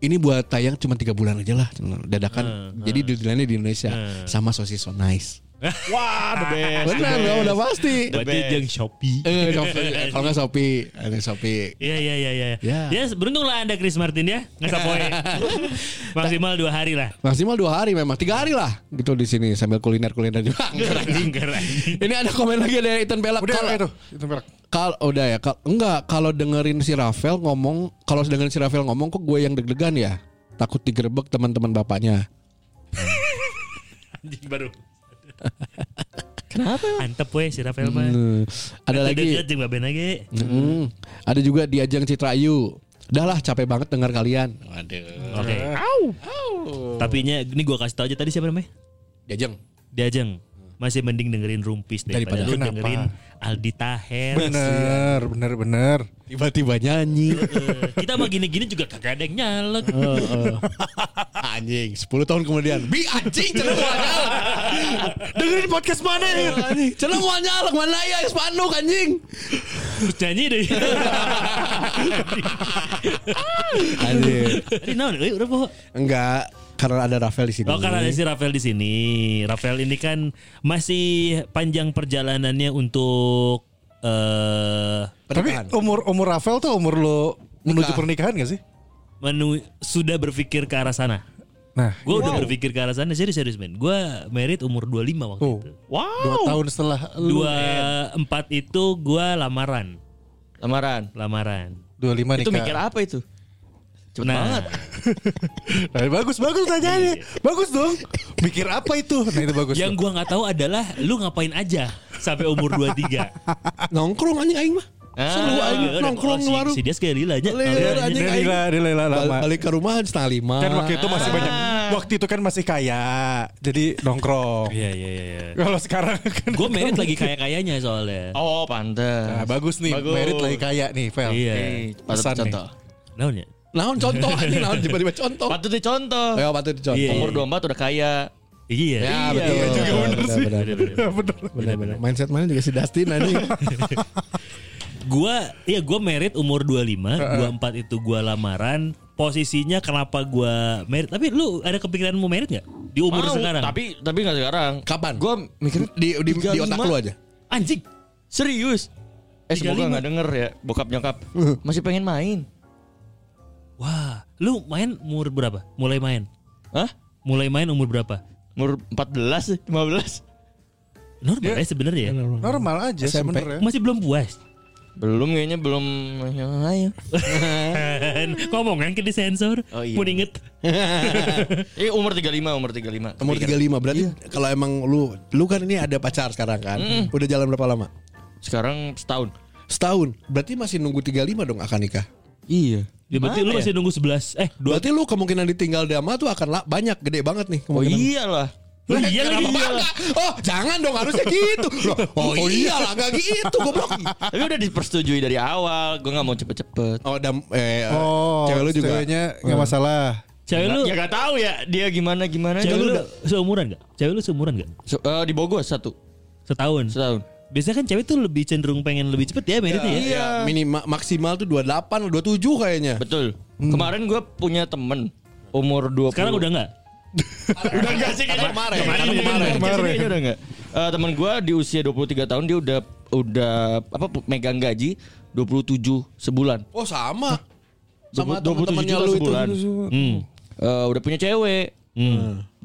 Speaker 4: ini buat tayang cuma tiga bulan aja lah dadakan jadi deadline di Indonesia sama sosis so nice
Speaker 2: Wah, the best. the
Speaker 4: Benar,
Speaker 2: best.
Speaker 4: udah pasti.
Speaker 2: The
Speaker 3: Berarti
Speaker 2: best.
Speaker 3: yang Shopee.
Speaker 4: Eh, Shopee. kalau nggak Shopee, ada Shopee.
Speaker 3: Iya iya iya iya.
Speaker 4: Ya.
Speaker 3: Ya beruntunglah Anda Chris Martin ya. Nggak
Speaker 4: <laughs>
Speaker 3: poin. Maksimal dua hari lah.
Speaker 4: Maksimal dua hari memang, tiga hari lah gitu di sini sambil kuliner kuliner juga. <laughs> Ini ada komen lagi dari Ethan Pelak.
Speaker 5: Udah
Speaker 4: Kalau-
Speaker 5: itu, itu merek.
Speaker 4: Kalau eh, udah ya, kal enggak kalau dengerin si Rafael ngomong, kalau dengerin si Rafael ngomong kok gue yang deg-degan ya. Takut digerebek teman-teman bapaknya.
Speaker 3: Anjing baru.
Speaker 2: Kenapa?
Speaker 3: Antep weh si Rafael mah.
Speaker 4: Hmm. Ada lagi,
Speaker 3: Jeng Baben lagi.
Speaker 4: Hmm. ada juga di ajang Citra Ayu. Udah lah capek banget dengar kalian. Hmm.
Speaker 3: Oke. Tapi nya ini gua kasih tau aja tadi siapa namanya?
Speaker 4: Di ajang.
Speaker 3: Diajeng. Masih mending dengerin Rumpis
Speaker 4: Daripada
Speaker 3: daripada, lu
Speaker 5: lu.
Speaker 3: dengerin Aldi Taher.
Speaker 5: Bener, bener, bener.
Speaker 4: Tiba-tiba nyanyi.
Speaker 3: Eh, Kita mah gini-gini juga kagak ada yang nyalek.
Speaker 4: Oh. anjing, 10 tahun kemudian. Bi anjing cenah mau nyalek. Dengerin podcast mana ya? Anjing, cenah mau nyalek mana ya Spanduk anjing.
Speaker 3: Terus nyanyi deh.
Speaker 4: Iya. Anjing.
Speaker 3: Ini naon Eh, euy urang poho.
Speaker 4: Enggak, karena ada Rafael di sini.
Speaker 3: Oh karena ada si Rafael di sini. Rafael ini kan masih panjang perjalanannya untuk eh
Speaker 5: Tapi
Speaker 4: Pernikahan.
Speaker 5: umur umur Rafael tuh umur lo menuju
Speaker 4: Nikah.
Speaker 5: pernikahan gak sih?
Speaker 3: menu sudah berpikir ke arah sana.
Speaker 5: Nah,
Speaker 3: Gue udah berpikir ke arah sana serius serius men. Gue merit umur 25 waktu
Speaker 5: Oh.
Speaker 3: itu.
Speaker 5: dua tahun setelah lu
Speaker 3: 24 itu gue lamaran,
Speaker 2: Lamaran.
Speaker 3: lamaran. Nah,
Speaker 5: 25 nikah.
Speaker 2: Itu mikir apa itu? Cepet banget.
Speaker 5: Nah, bagus bagus tanyaannya.
Speaker 2: Iya,
Speaker 5: bagus dong. Mikir apa itu? Nah, itu bagus.
Speaker 3: Yang gue nggak tahu adalah lu ngapain aja sampai umur 23.
Speaker 4: nongkrong anjing aing mah.
Speaker 2: Ah,
Speaker 4: Seru aing
Speaker 3: Udah,
Speaker 4: nongkrong
Speaker 3: oh,
Speaker 4: di
Speaker 3: si-
Speaker 4: warung.
Speaker 3: Si dia sekali lila aja. Iya,
Speaker 4: Lila,
Speaker 3: Lila aja.
Speaker 4: anjing.
Speaker 5: dia lila, dia lila
Speaker 4: Bal-
Speaker 5: lama.
Speaker 4: Balik ke rumah setengah lima.
Speaker 5: Kan waktu itu masih banyak.
Speaker 2: Ah.
Speaker 5: Waktu itu kan masih kaya. Jadi nongkrong.
Speaker 3: Iya iya iya.
Speaker 5: Kalau sekarang kan
Speaker 3: Gue merit lagi kaya kayanya soalnya.
Speaker 2: Oh, pantes.
Speaker 5: Nah, bagus nih,
Speaker 2: Bagus.
Speaker 5: merit lagi kaya nih, Vel.
Speaker 3: Iya.
Speaker 2: Nih, patut
Speaker 5: Pesan
Speaker 2: dicontoh.
Speaker 3: Naon ya?
Speaker 4: Naon contoh anjing, naon tiba-tiba contoh.
Speaker 2: Patut dicontoh.
Speaker 4: Ya patut
Speaker 3: Iya.
Speaker 4: dicontoh.
Speaker 2: Umur 24 udah kaya.
Speaker 3: Iya.
Speaker 4: Ya
Speaker 2: Iya,
Speaker 4: betul.
Speaker 2: iya juga,
Speaker 4: Benar,
Speaker 5: bener
Speaker 4: benar,
Speaker 5: sih.
Speaker 4: benar, benar.
Speaker 5: Bener.
Speaker 4: Benar, benar. Mindset mana juga si Dustin anjing.
Speaker 3: Gue ya gue merit umur 25, 24 itu gue lamaran. Posisinya kenapa gue merit? Tapi lu ada kepikiran mau merit nggak di umur
Speaker 2: Mau,
Speaker 3: sekarang?
Speaker 2: Tapi tapi nggak sekarang.
Speaker 4: Kapan?
Speaker 2: Gue mikir
Speaker 4: di di, di otak lu aja.
Speaker 3: anjing.
Speaker 2: serius. Eh semoga
Speaker 3: 35.
Speaker 2: nggak denger ya bokap nyokap <laughs> masih pengen main.
Speaker 3: Wah, lu main umur berapa? Mulai main.
Speaker 2: Hah?
Speaker 3: Mulai main umur berapa?
Speaker 2: Umur 14, 15?
Speaker 3: Normal ya sebenarnya ya.
Speaker 5: Normal aja
Speaker 4: SMP.
Speaker 5: sebenarnya.
Speaker 3: Masih belum puas.
Speaker 2: Belum kayaknya belum yang <laughs> lain.
Speaker 3: Ngomong kan ke disensor.
Speaker 2: Oh, iya.
Speaker 3: Mau diinget.
Speaker 2: Eh umur 35, umur 35.
Speaker 4: Umur 35 berarti kalau emang lu lu kan ini ada pacar sekarang kan. Udah jalan berapa lama?
Speaker 2: Sekarang setahun.
Speaker 4: Setahun. Berarti masih nunggu 35 dong akan nikah.
Speaker 2: Iya.
Speaker 3: Ya, berarti lu masih nunggu 11 eh dua
Speaker 4: Berarti lu kemungkinan ditinggal dama tuh akan la- banyak gede banget nih
Speaker 2: Oh
Speaker 4: kemungkinan.
Speaker 2: iyalah.
Speaker 3: Oh, iya lagi
Speaker 4: ya? Kenapa
Speaker 3: iya.
Speaker 4: enggak? Oh jangan dong harusnya gitu <laughs> Loh, Oh, iya lah gak gitu goblok
Speaker 2: Tapi udah dipersetujui dari awal. Gue nggak mau cepet-cepet.
Speaker 4: Oh dam eh,
Speaker 5: Oh,
Speaker 4: Cewek lu juga
Speaker 5: Ceweknya nggak masalah.
Speaker 3: Cewek lu
Speaker 2: ya gak tahu ya dia gimana gimana.
Speaker 3: cewek lu seumuran gak? Cewek lu seumuran gak?
Speaker 2: Se- eh, di Bogor satu
Speaker 3: Setahun.
Speaker 2: setahun.
Speaker 3: Biasanya kan cewek tuh lebih cenderung pengen lebih cepet ya meritnya ya.
Speaker 4: Iya Minimal maksimal tuh 28 27 kayaknya
Speaker 2: Betul. Kemarin gue punya temen umur 20
Speaker 3: Sekarang udah enggak?
Speaker 4: Udah enggak sih kemarin Kemarin kemarin.
Speaker 2: Kemarin udah enggak. Eh, temen gue di usia 23 tahun dia udah udah apa megang gaji 27 sebulan.
Speaker 4: Oh sama
Speaker 2: 27
Speaker 4: Sama temen-temennya
Speaker 2: juta
Speaker 4: lu itu
Speaker 2: sebulan.
Speaker 3: Hmm.
Speaker 2: Eh, udah punya cewek.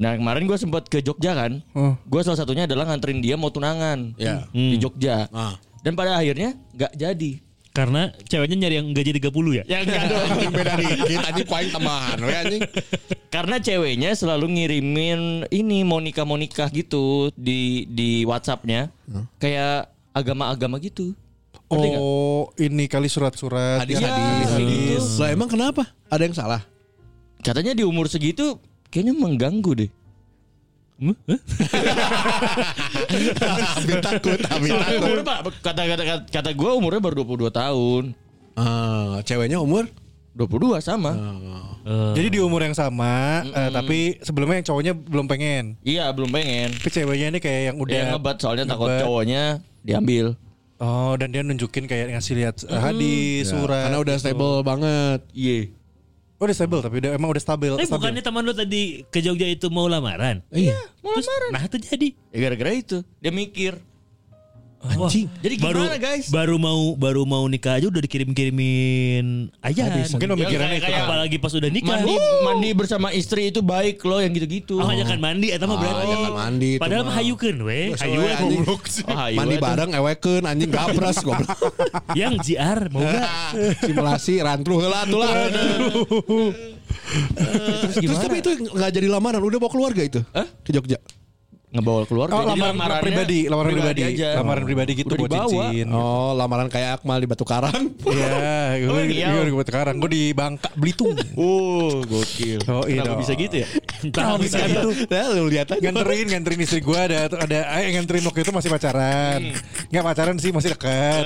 Speaker 2: Nah kemarin gue sempat ke Jogja kan. Gue salah satunya adalah nganterin dia mau tunangan
Speaker 4: Oh. Ya.
Speaker 2: di Jogja.
Speaker 4: Ah.
Speaker 2: Dan pada akhirnya nggak jadi.
Speaker 3: Karena ceweknya nyari yang gaji 30 ya.
Speaker 2: Ya nggak dong.
Speaker 4: Anjing beda dikit Anjing paling tambahan we anjing
Speaker 2: <laughs> Karena ceweknya selalu ngirimin ini mau nikah mau nikah gitu di di WhatsAppnya.
Speaker 4: Hmm.
Speaker 2: Kayak agama-agama gitu. Ngerti nggak? Iya, gitu.
Speaker 5: Oh, ini kali surat-surat. ya,
Speaker 4: Iya, Hadis-hadis
Speaker 2: hadis.
Speaker 4: Lah emang kenapa? Ada yang salah?
Speaker 2: Katanya di umur segitu kayaknya mengganggu deh.
Speaker 3: Hmm? Hah?
Speaker 4: Tapi takut Tapi
Speaker 2: Soalnya
Speaker 4: takut
Speaker 2: umurnya, Pak, kata kata kata, kata gue umurnya baru 22 tahun.
Speaker 4: Ah, Ceweknya umur
Speaker 2: 22 sama.
Speaker 5: Jadi di umur yang sama, eh, tapi sebelumnya yang cowoknya belum pengen.
Speaker 2: Iya, belum pengen.
Speaker 5: Tapi ceweknya ini kayak yang udah
Speaker 2: Dia ngebat soalnya takut
Speaker 5: Iya. ngebat.
Speaker 2: cowoknya diambil. Mm-hmm.
Speaker 5: Oh, dan dia nunjukin kayak ngasih lihat eh, hadis, surat.
Speaker 4: Karena udah stable banget
Speaker 2: Iya.
Speaker 5: udah stabil tapi udah emang udah stabil.
Speaker 3: Tapi
Speaker 5: stabil.
Speaker 3: bukannya teman lu tadi ke Jogja itu mau lamaran?
Speaker 4: Iya.
Speaker 2: Mau lamaran.
Speaker 3: Nah itu jadi.
Speaker 2: Ya gara-gara itu dia mikir.
Speaker 3: Anjing.
Speaker 2: Jadi
Speaker 3: baru,
Speaker 2: gimana guys?
Speaker 3: Baru mau baru mau nikah aja udah dikirim-kirimin ayah.
Speaker 5: Hadis, mungkin
Speaker 2: Ya,
Speaker 5: pemikirannya itu.
Speaker 2: kayak- kayak-
Speaker 3: apalagi pas udah nikah.
Speaker 2: Mandi, mandi bersama istri itu baik loh yang gitu-gitu.
Speaker 3: Oh, ajakan mandi eta
Speaker 4: Ah,
Speaker 3: mah berarti.
Speaker 4: ajakan mandi itu
Speaker 3: Padahal
Speaker 4: mah.
Speaker 3: mah hayukeun we,
Speaker 4: Wes,
Speaker 3: hayu
Speaker 4: we,
Speaker 3: we.
Speaker 4: eh, anjing. eh,
Speaker 5: Goblok
Speaker 4: <laughs>
Speaker 5: sih.
Speaker 2: Ah, iya,
Speaker 4: Mandi
Speaker 2: tuh.
Speaker 4: bareng ewekeun anjing gapres <laughs> goblok.
Speaker 3: yang JR mau enggak?
Speaker 4: Simulasi rantruh heula tuh lah. <laughs> Terus,
Speaker 2: gimana?
Speaker 4: tapi itu nggak jadi lamaran, udah bawa keluarga itu ke Jogja.
Speaker 2: ngebawa keluarga.
Speaker 5: Oh,
Speaker 2: Jadi
Speaker 5: lamaran
Speaker 2: lamarannya
Speaker 5: pribadi, lamaran pribadi,
Speaker 2: aja.
Speaker 5: lamaran pribadi gitu
Speaker 2: Udah
Speaker 5: buat
Speaker 2: dibawa.
Speaker 5: cincin.
Speaker 4: Oh, lamaran kayak Akmal di Batu <laughs> Karang.
Speaker 5: <laughs> Iya,
Speaker 2: <laughs> Oh,
Speaker 5: gue
Speaker 2: iya.
Speaker 5: gue gue sekarang gue di Bangka Belitung.
Speaker 2: Oh, gokil.
Speaker 5: Oh,
Speaker 2: <laughs>
Speaker 5: iya
Speaker 2: Kenapa
Speaker 5: dong.
Speaker 2: bisa gitu ya?
Speaker 3: Entah bisa gitu.
Speaker 4: Nah, lu lihat aja.
Speaker 5: nganterin nganterin istri gue ada ada eh, nganterin waktu itu masih pacaran
Speaker 2: Hmm.
Speaker 5: nggak pacaran sih masih
Speaker 2: Eh.
Speaker 5: dekat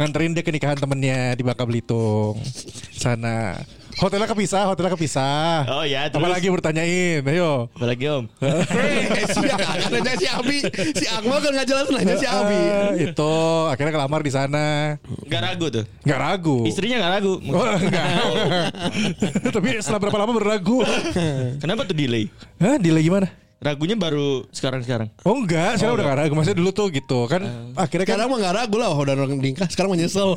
Speaker 5: nganterin dia ke nikahan temennya di Bangka Belitung sana hotelnya kepisah hotelnya kepisah
Speaker 2: Oh, ya, terus?
Speaker 5: apalagi bertanyain ayo
Speaker 2: Apalagi Om.
Speaker 4: Eh, si nanya si Abi, si Akmal kan nggak jelas nanya si Abi.
Speaker 5: Eh, itu akhirnya kelamar di sana
Speaker 2: Gak ragu tuh.
Speaker 5: nggak ragu
Speaker 2: Istrinya gak ragu.
Speaker 5: <laughs> Oh, enggak. <laughs> Tapi setelah berapa lama berlagu?
Speaker 2: Kenapa tuh delay?
Speaker 5: Hah, delay gimana?
Speaker 2: Ragunya baru sekarang-sekarang.
Speaker 5: Oh enggak, sekarang udah enggak ragu. Maksudnya dulu tuh gitu kan akhirnya kan
Speaker 4: <laughs> Sekarang mah nggak ragu lah, udah orang nikah. Sekarang <laughs> menyesal.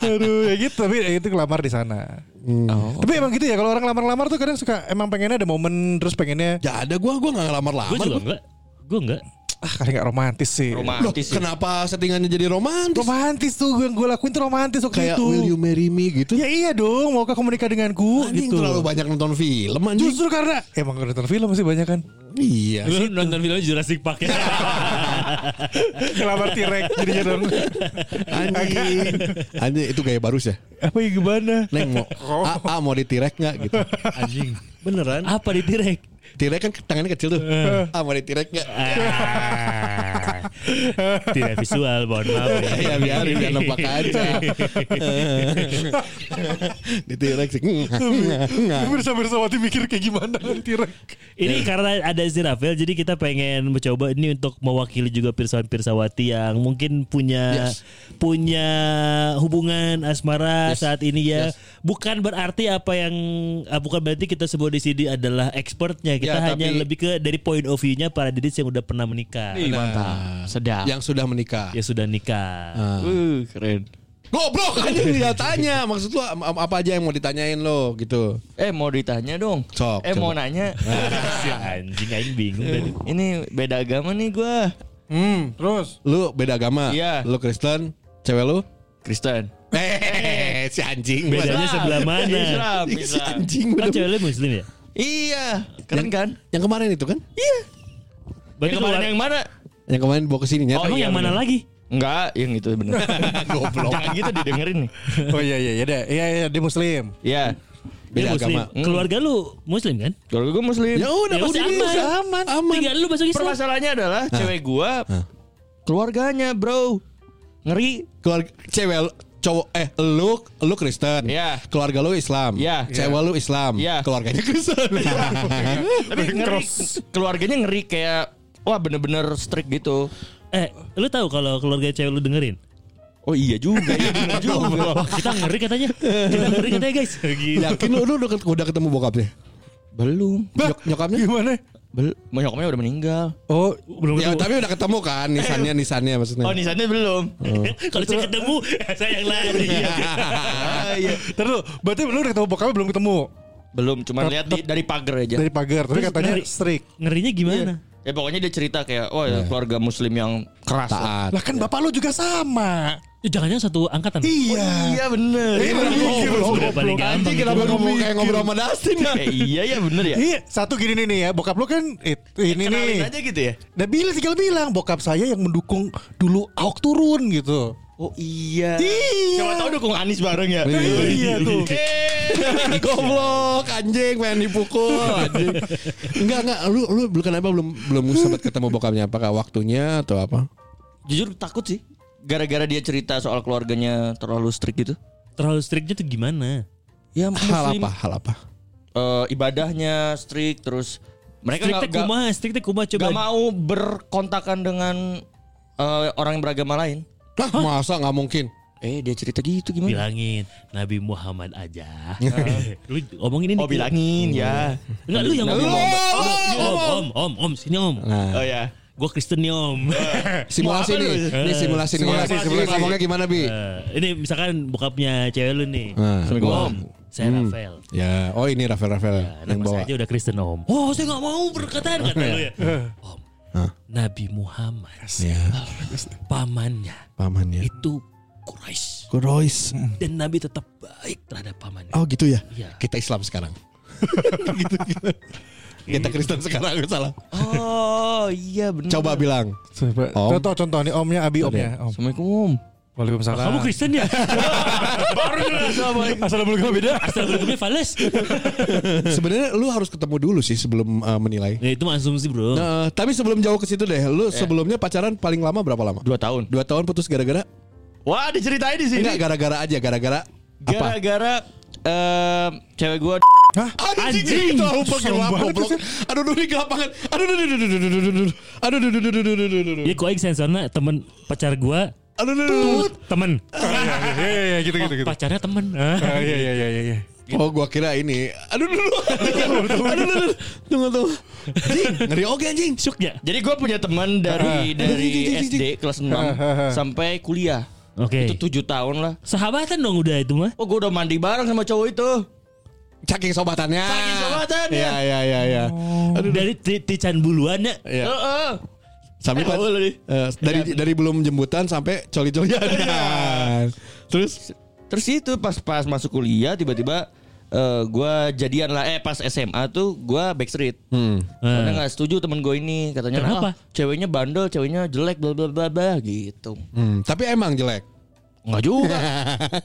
Speaker 5: Aduh, ya gitu tapi ya itu kelamar di sana.
Speaker 4: Hmm. Oh,
Speaker 5: Tapi emang gitu ya kalau orang lamar-lamar tuh kadang suka emang pengennya ada momen terus pengennya
Speaker 4: ya ada gua, gua nggak ngelamar-lamar.
Speaker 3: Gue juga enggak. Gue enggak.
Speaker 5: ah kali nggak romantis sih.
Speaker 4: Loh,
Speaker 2: Romantis. sih.
Speaker 4: kenapa settingannya jadi romantis?
Speaker 5: Romantis tuh gue gue lakuin tuh romantis waktu
Speaker 4: Kayak
Speaker 5: itu.
Speaker 4: Will You Marry Me gitu.
Speaker 5: Ya iya dong, mau kamu menikah denganku
Speaker 4: Anjing
Speaker 5: gitu.
Speaker 4: terlalu banyak nonton film anjing.
Speaker 5: Justru karena emang nonton film sih banyak kan.
Speaker 4: Iya.
Speaker 3: Lu nonton film Jurassic <laughs> Park ya?
Speaker 5: Kelamar T-Rex jadinya dong.
Speaker 4: <laughs> Anjing. Anjing itu gaya baru ya.
Speaker 5: Apa ya gimana?
Speaker 4: Neng mau A, A mau ditirek nggak gitu. Oh. Anjing. Beneran?
Speaker 3: Apa ditirek?
Speaker 4: Tirek kan tangannya kecil tuh. A mau ditirek nggak?
Speaker 3: Ah. Tidak visual, mohon maaf.
Speaker 4: Ya biarin biar nampak aja. <laughs> ditirek sih.
Speaker 5: Bersama-sama mikir kayak gimana T-Rex.
Speaker 3: <laughs> Ini karena ada Zirafel jadi kita pengen mencoba ini untuk mewakili juga pirsawan-pirsawati yang mungkin punya
Speaker 4: Yes.
Speaker 3: punya hubungan asmara
Speaker 4: Yes.
Speaker 3: saat ini ya.
Speaker 4: Yes.
Speaker 3: Bukan berarti apa yang ah, bukan berarti kita semua di sini adalah expertnya. Kita
Speaker 4: Ya,
Speaker 3: hanya
Speaker 4: tapi-
Speaker 3: lebih ke dari point of view-nya para didis yang udah pernah menikah.
Speaker 2: Ih, mantap. Sedap.
Speaker 4: Yang sudah menikah. Ah.
Speaker 3: Ya sudah
Speaker 4: <laughs>
Speaker 3: nikah.
Speaker 2: Iya. Uh, keren.
Speaker 4: Goblok anjing dia tanya. Maksud lu am- am- apa aja yang mau ditanyain lo gitu.
Speaker 2: Eh mau ditanya dong.
Speaker 4: Sok,
Speaker 2: eh mau
Speaker 4: coba. <laughs>
Speaker 2: nanya.
Speaker 3: Si anjing aing bingung tadi.
Speaker 2: Ini beda agama nih gua.
Speaker 5: Hmm, terus
Speaker 4: Lu beda agama.
Speaker 2: Iya.
Speaker 4: Lu Kristen, cewek lu
Speaker 2: Kristen.
Speaker 4: Eh, si anjing.
Speaker 2: <laughs>
Speaker 3: Bedanya sebelah
Speaker 4: <laughs>
Speaker 3: mana?
Speaker 2: Islam,
Speaker 4: si
Speaker 2: Islam.
Speaker 4: anjing.
Speaker 3: Kan
Speaker 4: bener.
Speaker 3: cewek lu muslim ya?
Speaker 2: Iya, keren kan?
Speaker 4: Yang kemarin itu kan?
Speaker 3: Berarti
Speaker 2: Yang kemarin
Speaker 3: keluar-
Speaker 2: yang mana?
Speaker 4: Yang kemarin bawa ke sini
Speaker 2: Oh,
Speaker 4: nyata. kan?
Speaker 3: Emang
Speaker 2: iya,
Speaker 3: yang mana
Speaker 2: bener.
Speaker 3: lagi?
Speaker 2: Enggak, yang itu
Speaker 4: <laughs>
Speaker 2: bener. Goblok. Jangan gitu didengerin nih.
Speaker 5: Oh iya iya iya deh. Iya iya dia muslim.
Speaker 2: Iya.
Speaker 4: Beda
Speaker 3: Dia muslim.
Speaker 4: agama.
Speaker 2: Hmm.
Speaker 3: Keluarga lu muslim kan?
Speaker 2: Kalau gue muslim.
Speaker 4: Ya udah
Speaker 3: Ya
Speaker 4: pasti
Speaker 3: udah
Speaker 4: bisa.
Speaker 3: aman.
Speaker 4: Aman.
Speaker 3: Tinggal lu masuk Islam.
Speaker 2: Permasalahannya adalah cewek gua
Speaker 4: Hah.
Speaker 2: keluarganya, Bro. Ngeri.
Speaker 4: Keluarga cewek lu- cowok eh lu lu Kristen.
Speaker 2: Iya.
Speaker 4: Keluarga lu Islam.
Speaker 2: Iya.
Speaker 4: Cewek lu Islam.
Speaker 2: Iya.
Speaker 4: Hmm. Keluarganya
Speaker 2: <laughs>
Speaker 4: Kristen.
Speaker 2: Tapi ngeri. Keluarganya ngeri kayak wah bener-bener strict gitu.
Speaker 3: Eh, lu tahu kalau keluarga cewek lu dengerin?
Speaker 2: Oh iya juga, iya bener juga.
Speaker 3: Wah, kita ngeri katanya. Kita ngeri katanya,
Speaker 2: <laughs>
Speaker 3: guys. Gila.
Speaker 4: Yakin lu lu udah ket- udah ketemu bokapnya?
Speaker 2: Belum.
Speaker 4: Nyok- nyokapnya?
Speaker 5: Gimana?
Speaker 2: Bel nyokapnya udah meninggal.
Speaker 5: Oh,
Speaker 3: Belum
Speaker 4: Ya,
Speaker 3: ketemu.
Speaker 4: tapi udah ketemu kan nisannya nisannya maksudnya.
Speaker 2: Oh, nisannya belum.
Speaker 3: <laughs> kalau saya ketemu, saya yang
Speaker 2: <laughs>
Speaker 3: lari.
Speaker 2: Iya. Ah, iya.
Speaker 5: Terus berarti lu udah ketemu bokapnya belum ketemu
Speaker 2: Belum, cuma lihat di- dari pagar aja.
Speaker 5: dari pagar, tapi
Speaker 3: Terus
Speaker 5: katanya
Speaker 3: ngeri.
Speaker 5: strict.
Speaker 3: Ngerinya gimana?
Speaker 2: Ya pokoknya dia cerita kayak, oh ya, keluarga muslim yang keras. lah.
Speaker 4: Taat.
Speaker 5: Lah kan bapak lu juga sama.
Speaker 3: Eh, Jangan-jangan satu angkatan.
Speaker 5: Iya.
Speaker 2: Iya bener.
Speaker 5: Iya,
Speaker 2: Iya,
Speaker 5: mikir lu.
Speaker 3: Udah paling gampang.
Speaker 4: Anjing kenapa
Speaker 5: Baru
Speaker 4: ngomong kayak
Speaker 5: mikir.
Speaker 4: ngobrol sama Dustin ya?
Speaker 2: gitu? Eh, iya ya bener ya.
Speaker 5: Iya, satu gini nih nih ya, bokap lu kan it, ini
Speaker 2: Kenalin
Speaker 5: nih.
Speaker 2: aja gitu ya.
Speaker 5: Nah bila tinggal bilang bokap saya yang mendukung dulu Ahok turun gitu.
Speaker 2: Oh iya.
Speaker 5: Iya.
Speaker 2: Siapa tahu dukung Anies bareng ya.
Speaker 5: Iya <laughs> tuh.
Speaker 4: Goblok anjing pengen dipukul anjing. Enggak enggak lu lu belum kenapa belum belum sempat ketemu bokapnya apakah waktunya atau apa?
Speaker 2: Jujur takut sih. Gara-gara dia cerita soal keluarganya terlalu strict gitu.
Speaker 3: Terlalu striknya tuh gimana?
Speaker 2: Ya
Speaker 4: Hal
Speaker 2: muslim.
Speaker 4: apa? Hal apa?
Speaker 2: Eh, ibadahnya strict terus mereka
Speaker 3: Striknya
Speaker 2: nggak nggak-
Speaker 3: kumaha, striknya kumaha coba.
Speaker 2: nggak mau berkontakan dengan eh, orang yang beragama lain.
Speaker 4: Lah masa nggak mungkin?
Speaker 2: Eh dia cerita gitu gimana?
Speaker 3: bilangin Nabi Muhammad
Speaker 2: <laughs>
Speaker 3: aja. lu ngomongin ini.
Speaker 2: Oh bilangin ya.
Speaker 3: Enggak lu yang
Speaker 2: Nabi
Speaker 3: ngomong.
Speaker 2: Muhammad.
Speaker 3: Om, Om, om, om, om, sini om.
Speaker 4: Nah,
Speaker 2: Oh ya.
Speaker 3: Gue Kristen nih
Speaker 2: Oh.
Speaker 3: om. <laughs>
Speaker 4: simulasi
Speaker 2: Mau apa
Speaker 4: nih.
Speaker 2: lu?
Speaker 4: Ini simulasi nih.
Speaker 5: Simulasi, simulasi.
Speaker 4: Ngomongnya gimana, Bi?
Speaker 3: Eh, ini misalkan bokapnya cewek lu nih.
Speaker 4: Nah,
Speaker 2: Assalamualaikum.
Speaker 3: Om, saya
Speaker 4: Hmm.
Speaker 3: Rafael.
Speaker 4: Ya, oh ini Rafael Rafael
Speaker 3: Nah,
Speaker 4: yang
Speaker 3: nama
Speaker 4: bawa. Eh.
Speaker 3: saya aja udah Kristen om. Oh saya nggak mau berkataan kata lu ya. Om,
Speaker 4: Hah?
Speaker 3: Nabi Muhammad
Speaker 4: Ya,
Speaker 3: pamannya
Speaker 4: pamannya.
Speaker 3: itu Quraisy
Speaker 4: Kurois.
Speaker 3: dan Nabi tetap baik terhadap pamannya.
Speaker 4: Oh gitu ya.
Speaker 3: Iya.
Speaker 4: Kita Islam sekarang. <laughs> gitu, gitu. Kita Kristen sekarang salah.
Speaker 2: Oh iya benar.
Speaker 4: Coba bilang.
Speaker 5: Coba,
Speaker 4: Om.
Speaker 5: Contoh contoh nih omnya Abi omnya. Om.
Speaker 2: Assalamualaikum.
Speaker 5: Waalaikumsalam.
Speaker 3: Kamu Kristen
Speaker 4: <laughs>
Speaker 3: ya?
Speaker 5: Assalamualaikum beda.
Speaker 3: Assalamualaikum Fales.
Speaker 4: Sebenarnya lu harus ketemu dulu sih sebelum eh, menilai.
Speaker 3: Ya itu mah asumsi bro.
Speaker 4: Nah, tapi sebelum jauh ke situ deh, lu sebelumnya pacaran paling lama berapa lama?
Speaker 2: Dua tahun.
Speaker 4: Dua tahun putus gara-gara?
Speaker 2: Wah diceritain di sini.
Speaker 4: Enggak gara-gara aja, gara-gara apa?
Speaker 2: Gara-gara em, cewek gua
Speaker 5: Hah?
Speaker 4: Anjing, tahu
Speaker 5: Serem banget
Speaker 4: goblok.
Speaker 5: sih.
Speaker 4: Aduh, aduh, ini kelapangan. Aduh, aduh, aduh, aduh, aduh, aduh, aduh, aduh, aduh, aduh, aduh, aduh, aduh, aduh, aduh.
Speaker 3: Jadi kok aing sensornya temen pacar gua
Speaker 4: Aduh, aduh, aduh, aduh.
Speaker 3: temen
Speaker 5: Iya iya iya, gitu
Speaker 2: Oh.
Speaker 5: gitu gitu.
Speaker 3: pacarnya temen.
Speaker 4: Nah.
Speaker 5: Ah, Iya iya iya iya, iya.
Speaker 4: Oh, gua kira ini. Aduh, aduh, aduh. aduh, aduh, aduh, tunggu, tunggu. Anjing, ngeri oke anjing.
Speaker 3: Syuk ya.
Speaker 2: Jadi gue punya teman dari dari SD kelas 6 sampai kuliah.
Speaker 3: Oke.
Speaker 2: Itu tujuh tahun lah.
Speaker 3: Sahabatan dong udah itu mah.
Speaker 2: Oh gue udah mandi bareng sama cowok itu.
Speaker 4: Saking sobatannya.
Speaker 2: Saking sobatannya.
Speaker 4: Iya, iya, iya, iya. Aduh,
Speaker 3: Dari ti- Tican buluan ya.
Speaker 4: iya.
Speaker 2: Heeh.
Speaker 4: Sampai
Speaker 2: tahu lu nih.
Speaker 4: eh, dari dari belum jembutan sampai coli-colian. <laughs> Terus
Speaker 2: Terus itu pas pas masuk kuliah tiba-tiba eh gue jadian lah. Eh pas SMA tuh gue backstreet.
Speaker 4: Hmm, Eh.
Speaker 2: Karena nggak setuju temen gue ini katanya.
Speaker 3: Kenapa?
Speaker 2: "Ah, ceweknya bandel, ceweknya jelek, bla bla bla bla gitu.
Speaker 4: Hmm, tapi emang jelek.
Speaker 2: Nggak juga.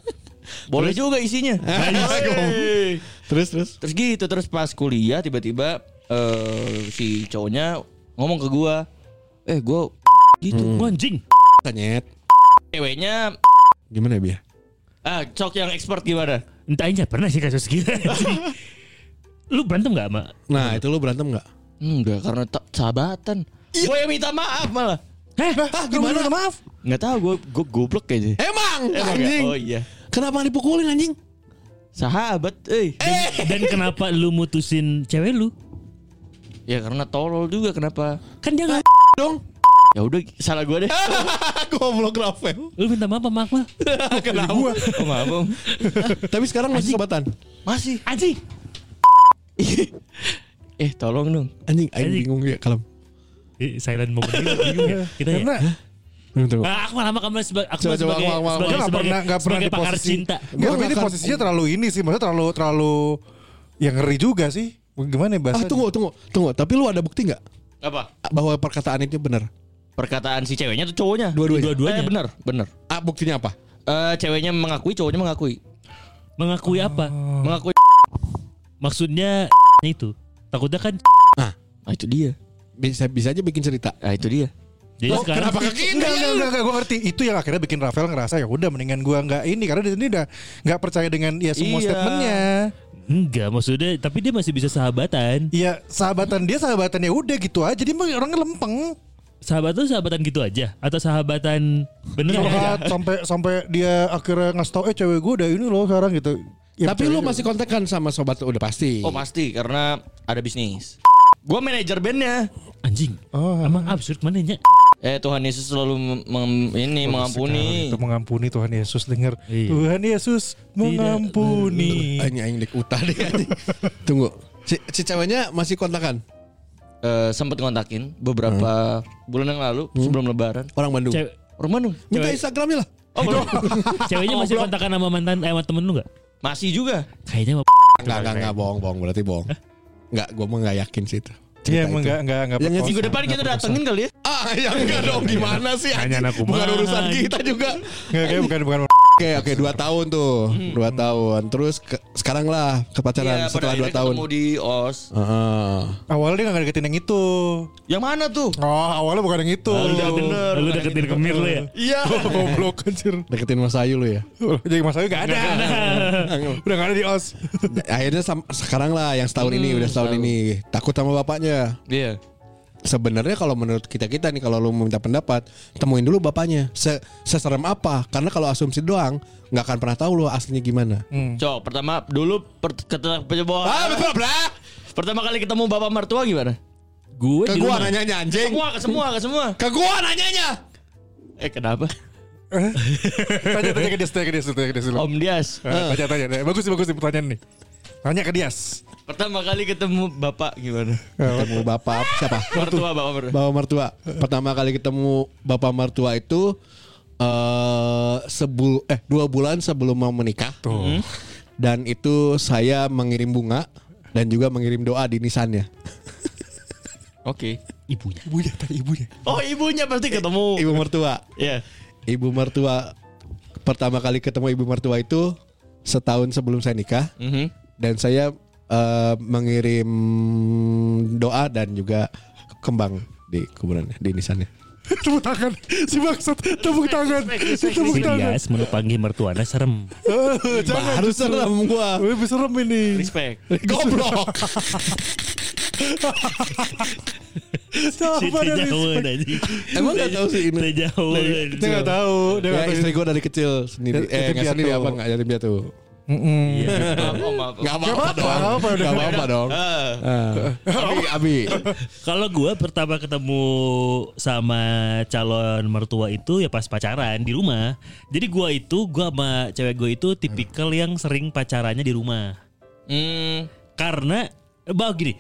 Speaker 2: <laughs> Boleh juga isinya. <laughs> Hey.
Speaker 4: Terus terus.
Speaker 2: Terus gitu terus pas kuliah tiba-tiba eh si cowoknya ngomong ke gua, "Eh, gua <laughs> gitu."
Speaker 3: Anjing.
Speaker 4: Tanyet.
Speaker 2: Ceweknya
Speaker 4: Gimana ya, Bia?
Speaker 2: ah cok yang expert gimana?
Speaker 3: Entah aja pernah sih kasus
Speaker 4: <laughs>
Speaker 3: gitu. Lu berantem gak sama?
Speaker 4: Nah, itu lu berantem nggak?
Speaker 2: Enggak, karena tak sahabatan. Gue yang minta maaf malah.
Speaker 3: Heh,
Speaker 4: Hah, gimana? Maaf.
Speaker 2: Nggak tahu gua gua goblok kayaknya.
Speaker 4: Emang,
Speaker 2: Emang ya?
Speaker 4: anjing.
Speaker 2: Oh iya.
Speaker 4: Kenapa dipukulin anjing?
Speaker 2: Sahabat, eh.
Speaker 3: dan kenapa lu mutusin cewek lu?
Speaker 2: Ya karena tolol juga kenapa?
Speaker 3: Kan dia gak
Speaker 4: Dong.
Speaker 2: Ya udah salah gua <laughs> deh.
Speaker 4: Goblok Rafael.
Speaker 3: Lu minta maaf sama Akmal
Speaker 4: Kenapa?
Speaker 2: Oh, maaf, Om.
Speaker 4: Tapi sekarang masih sobatan.
Speaker 2: Masih.
Speaker 3: Anjing
Speaker 2: eh, tolong dong.
Speaker 4: Anjing, aing
Speaker 3: Anjing.
Speaker 4: bingung ya kalem.
Speaker 3: Ih, Silent moment ini bingung
Speaker 4: <laughs>
Speaker 3: ya Kita ya
Speaker 5: Karena
Speaker 4: Hmm, Tunggu, tunggu.
Speaker 3: Ah, Akmal sama kamu sebagai Akmal
Speaker 4: Coba, coba,
Speaker 3: sebagai
Speaker 4: Akmal, Akmal.
Speaker 5: Gue
Speaker 3: sebagai
Speaker 5: nggak
Speaker 3: sebagai,
Speaker 5: pernah nggak pernah
Speaker 3: sebagai
Speaker 5: di
Speaker 3: pakar
Speaker 5: posisi.
Speaker 3: cinta.
Speaker 5: Nggak, tapi ini
Speaker 4: Gua
Speaker 5: posisinya terlalu ini sih. Maksudnya terlalu terlalu yang ngeri juga sih. Gimana ya
Speaker 4: Ah,
Speaker 5: bahasa?
Speaker 4: tunggu, tunggu, tunggu. Tapi lu ada bukti nggak
Speaker 2: Apa?
Speaker 4: bahwa perkataan itu benar?
Speaker 2: Perkataan si ceweknya tuh cowoknya.
Speaker 4: Dua-duanya.
Speaker 2: Dua-duanya.
Speaker 3: Dua-duanya.
Speaker 2: Eh, bener, bener.
Speaker 4: Ah, buktinya apa?
Speaker 2: Eh, ceweknya mengakui, cowoknya mengakui.
Speaker 3: Mengakui apa?
Speaker 4: Oh.
Speaker 2: Mengakui.
Speaker 3: Maksudnya <laughs> itu. Takutnya kan <laughs>
Speaker 2: Ah, itu dia.
Speaker 4: Bisa bisa aja bikin cerita.
Speaker 2: Ah, itu dia.
Speaker 3: jadi
Speaker 4: Oh,
Speaker 3: sekarang
Speaker 4: kenapa ke kita?
Speaker 5: Enggak, enggak, enggak, enggak, gue ngerti. Itu yang akhirnya bikin Rafael ngerasa ya udah mendingan gue enggak ini karena di sini udah enggak percaya dengan ya semua
Speaker 2: Iya.
Speaker 5: statementnya.
Speaker 3: enggak maksudnya tapi dia masih bisa sahabatan.
Speaker 5: Iya sahabatan dia sahabatan ya udah gitu aja. Dia mah orangnya lempeng.
Speaker 3: Sahabatan sahabatan gitu aja atau sahabatan bener
Speaker 4: Iya.
Speaker 3: aja.
Speaker 5: Curhat sampai sampai dia akhirnya ngasih tau eh cewek gue udah ini loh sekarang gitu. Ya,
Speaker 4: Tapi lu
Speaker 5: cewek-
Speaker 4: masih kontekan sama sobat lu udah pasti.
Speaker 2: Oh, pasti karena ada bisnis. Gua manajer bandnya.
Speaker 3: Anjing.
Speaker 5: Oh,
Speaker 3: Emang absurd mana
Speaker 5: <laughs>
Speaker 3: nya?
Speaker 2: Eh, Tuhan Yesus selalu mem- mem- ini mengampuni.
Speaker 5: Itu mengampuni Tuhan Yesus dengar.
Speaker 3: Iya.
Speaker 5: Tuhan Yesus mengampuni.
Speaker 4: Anjing aing dek utah deh. anjing. Tunggu. Si, si ceweknya masih kontakan
Speaker 2: Eh, sempat ngontakin beberapa bulan yang lalu sebelum lebaran.
Speaker 4: orang Bandung.
Speaker 3: Cewek
Speaker 2: Orang Bandung.
Speaker 4: Minta
Speaker 3: cewek-
Speaker 4: Instagramnya lah.
Speaker 2: Oh, belum.
Speaker 3: ceweknya masih kontakan sama mantan eh, sama temen lu enggak?
Speaker 2: Masih juga.
Speaker 3: Kayaknya sama <laughs>
Speaker 4: Enggak, enggak, enggak bohong, bohong berarti bohong. Enggak, gua mah enggak yakin sih itu.
Speaker 5: Iya
Speaker 4: Cerita
Speaker 5: emang
Speaker 4: itu.
Speaker 5: enggak enggak
Speaker 4: Yang
Speaker 5: enggak. perkosa.
Speaker 2: Minggu depan kita datengin kali ya.
Speaker 4: Ah, ya enggak dong gimana sih?
Speaker 3: Tanya
Speaker 4: anjing?
Speaker 3: anak kumaha.
Speaker 4: Bukan urusan kita juga.
Speaker 5: Enggak kayak bukan bukan.
Speaker 4: Oke, oke, dua tahun tuh, dua tahun. Terus ke- sekarang lah ke
Speaker 2: Hmm. Iya,
Speaker 4: pacaran
Speaker 2: pada
Speaker 4: setelah dua
Speaker 2: akhirnya
Speaker 4: tahun.
Speaker 2: ketemu di OS.
Speaker 4: Heeh.
Speaker 5: Awalnya dia enggak deketin yang itu.
Speaker 2: Yang mana tuh?
Speaker 5: Oh, awalnya bukan yang itu.
Speaker 2: Udah bener.
Speaker 3: lu deketin kemir lu ya.
Speaker 2: Iya.
Speaker 5: <laughs> Goblok anjir.
Speaker 4: Deketin Mas Ayu lu ya. <laughs>
Speaker 5: Jadi Mas Ayu enggak ada. Udah enggak ada di OS.
Speaker 2: Hmm,
Speaker 4: Akhirnya sam- sekarang lah yang setahun ini udah setahun ini takut sama bapaknya.
Speaker 2: Iya.
Speaker 4: sebenarnya kalau menurut kita kita nih kalau lu minta pendapat temuin dulu bapaknya Se seserem apa karena kalau asumsi doang nggak akan pernah tahu lu aslinya gimana
Speaker 2: Cok, pertama dulu per, ketemu
Speaker 4: Hmm. ah betul bla
Speaker 2: pertama kali ketemu bapak mertua gimana?
Speaker 3: Gue
Speaker 4: ke
Speaker 3: di
Speaker 4: gua
Speaker 3: rumah.
Speaker 4: nanyanya anjing
Speaker 2: Semua, ke semua, ke semua.
Speaker 4: ke gua nanyanya
Speaker 2: Eh kenapa?
Speaker 5: Tanya tanya ke Dias, tanya ke Dias, tanya ke Dias dulu.
Speaker 2: Om Dias,
Speaker 5: Eh, Tanya tanya, tanya. bagus sih bagus sih pertanyaan nih. Tanya ke Dias. <laughs>
Speaker 2: pertama kali ketemu bapak gimana?
Speaker 4: ketemu bapak siapa
Speaker 2: Mertua bapak mertua.
Speaker 4: bapak mertua pertama kali ketemu bapak mertua itu eh sebul eh dua bulan sebelum mau menikah Hmm.
Speaker 5: Tuh.
Speaker 4: dan itu saya mengirim bunga dan juga mengirim doa di nisannya
Speaker 2: Oke.
Speaker 3: ibunya.
Speaker 5: Ibunya tanya ibunya.
Speaker 2: Oh ibunya pasti ketemu.
Speaker 4: ibu mertua
Speaker 2: Iya.
Speaker 4: ibu mertua pertama kali ketemu ibu mertua itu setahun sebelum saya nikah
Speaker 2: Mhm.
Speaker 4: dan saya eh, mengirim doa dan juga kembang di kuburannya di nisannya.
Speaker 5: Tepuk tangan. Si maksud tepuk tangan. Si tepuk
Speaker 3: Si
Speaker 5: tangan.
Speaker 3: Dias menupangi mertuana serem.
Speaker 5: Eh, Jangan.
Speaker 4: Baru serem gua.
Speaker 5: Lebih serem ini.
Speaker 2: Respect.
Speaker 4: <laughs> Iya. Goblok.
Speaker 5: Siapa dari
Speaker 3: Jauh anjing.
Speaker 4: Emang nggak tahu sih ini.
Speaker 3: Jauh.
Speaker 5: Dia nggak tahu. Dia
Speaker 4: Ya
Speaker 5: nggak tahu.
Speaker 4: istri gua dari kecil sendiri.
Speaker 5: Yatim
Speaker 4: Eh nggak
Speaker 5: piatu.
Speaker 4: sendiri apa nggak yatim piatu.
Speaker 3: Iya.
Speaker 2: Maaf, om, maaf. om.
Speaker 4: Nggak apa-apa
Speaker 5: Nggak
Speaker 4: dong.
Speaker 5: apa-apa,
Speaker 4: <laughs>
Speaker 5: udah.
Speaker 4: Nggak apa-apa dong.
Speaker 2: Eh,
Speaker 4: Ah. Abi, Abi.
Speaker 3: Kalau gue pertama ketemu sama calon mertua itu ya pas pacaran di rumah. Jadi gue itu gue sama cewek gue itu tipikal yang sering pacarannya di rumah.
Speaker 2: hmm,
Speaker 3: Karena bah gini,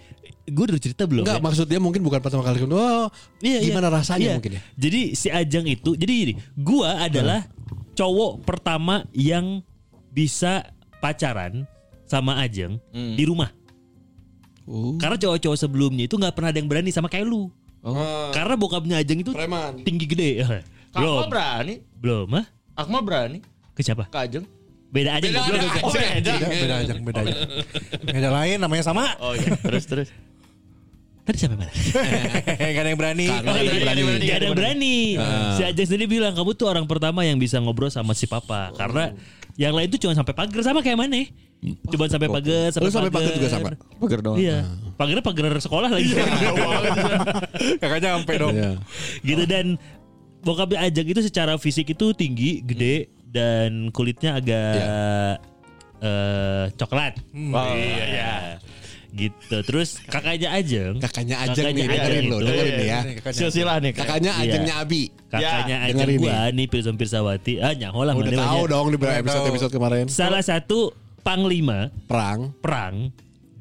Speaker 3: gue udah cerita belum?
Speaker 4: Enggak
Speaker 3: ya?
Speaker 4: maksud dia mungkin bukan pertama kali ketemu. Oh,
Speaker 3: Iya, iya.
Speaker 4: gimana rasanya
Speaker 3: Iya.
Speaker 4: mungkin ya?
Speaker 3: Jadi si Ajang itu, jadi gini, gua adalah
Speaker 4: Hmm.
Speaker 3: cowok pertama yang bisa pacaran sama Ajeng
Speaker 2: Hmm.
Speaker 3: di rumah.
Speaker 2: Oh.
Speaker 3: Karena cowok-cowok sebelumnya itu nggak pernah ada yang berani sama kayak lu. Karena bokapnya Ajeng itu
Speaker 4: Preman.
Speaker 3: tinggi gede.
Speaker 2: Akmal
Speaker 3: <laughs> belum,
Speaker 2: berani.
Speaker 3: belum, ah?
Speaker 2: Akmal berani.
Speaker 3: Ke siapa?
Speaker 2: Kajeng.
Speaker 3: Beda Ajeng.
Speaker 2: Beda
Speaker 3: goblok.
Speaker 2: Ajeng.
Speaker 3: Oh, beda Ajeng.
Speaker 2: iya.
Speaker 5: Beda, beda aja, beda aja. Beda lain namanya <laughs> sama.
Speaker 2: Oh iya. Terus terus.
Speaker 3: Tadi sampai mana?
Speaker 5: Gak ada yang berani.
Speaker 4: Karena
Speaker 2: ada yang berani.
Speaker 4: Iya,
Speaker 3: Gak ada yang berani.
Speaker 4: Ah.
Speaker 3: Si Ajeng sendiri bilang kamu tuh orang pertama yang bisa ngobrol sama si papa. Karena yang lain tuh cuma sampai pagar sama kayak mana? Cuma sampai pagar,
Speaker 4: Lu sampai pagar juga sama? Oh, nah.
Speaker 2: Pagar doang.
Speaker 3: Iya. Pagarnya pagar sekolah lagi.
Speaker 5: Kakaknya sampai dong.
Speaker 4: Iya.
Speaker 3: <laughs> gitu dan bokapnya Ajeng itu secara fisik itu tinggi, gede dan kulitnya agak
Speaker 4: Iya.
Speaker 3: eh, coklat.
Speaker 4: Hmm.
Speaker 2: Wah,
Speaker 3: Iya, iya. Gitu. Terus kakaknya Ajeng,
Speaker 4: Kakaknya Ajeng
Speaker 3: Kakaknya
Speaker 4: nih, dengerin
Speaker 3: Ajeng
Speaker 4: lo,
Speaker 3: itu.
Speaker 4: dengerin nih ya.
Speaker 2: Silsilah nih. Kak.
Speaker 4: Kakaknya
Speaker 3: Iya.
Speaker 4: Ajengnya Abi.
Speaker 3: kakaknya
Speaker 4: Ya,
Speaker 3: Ajeng
Speaker 4: dengerin
Speaker 3: gua nih Pirsan Pirsawati. Ah, nyaho lah
Speaker 4: Udah
Speaker 3: mana
Speaker 4: tahu
Speaker 3: banyak.
Speaker 4: dong di episode-episode kemarin.
Speaker 3: Salah satu panglima
Speaker 4: Perang.
Speaker 3: perang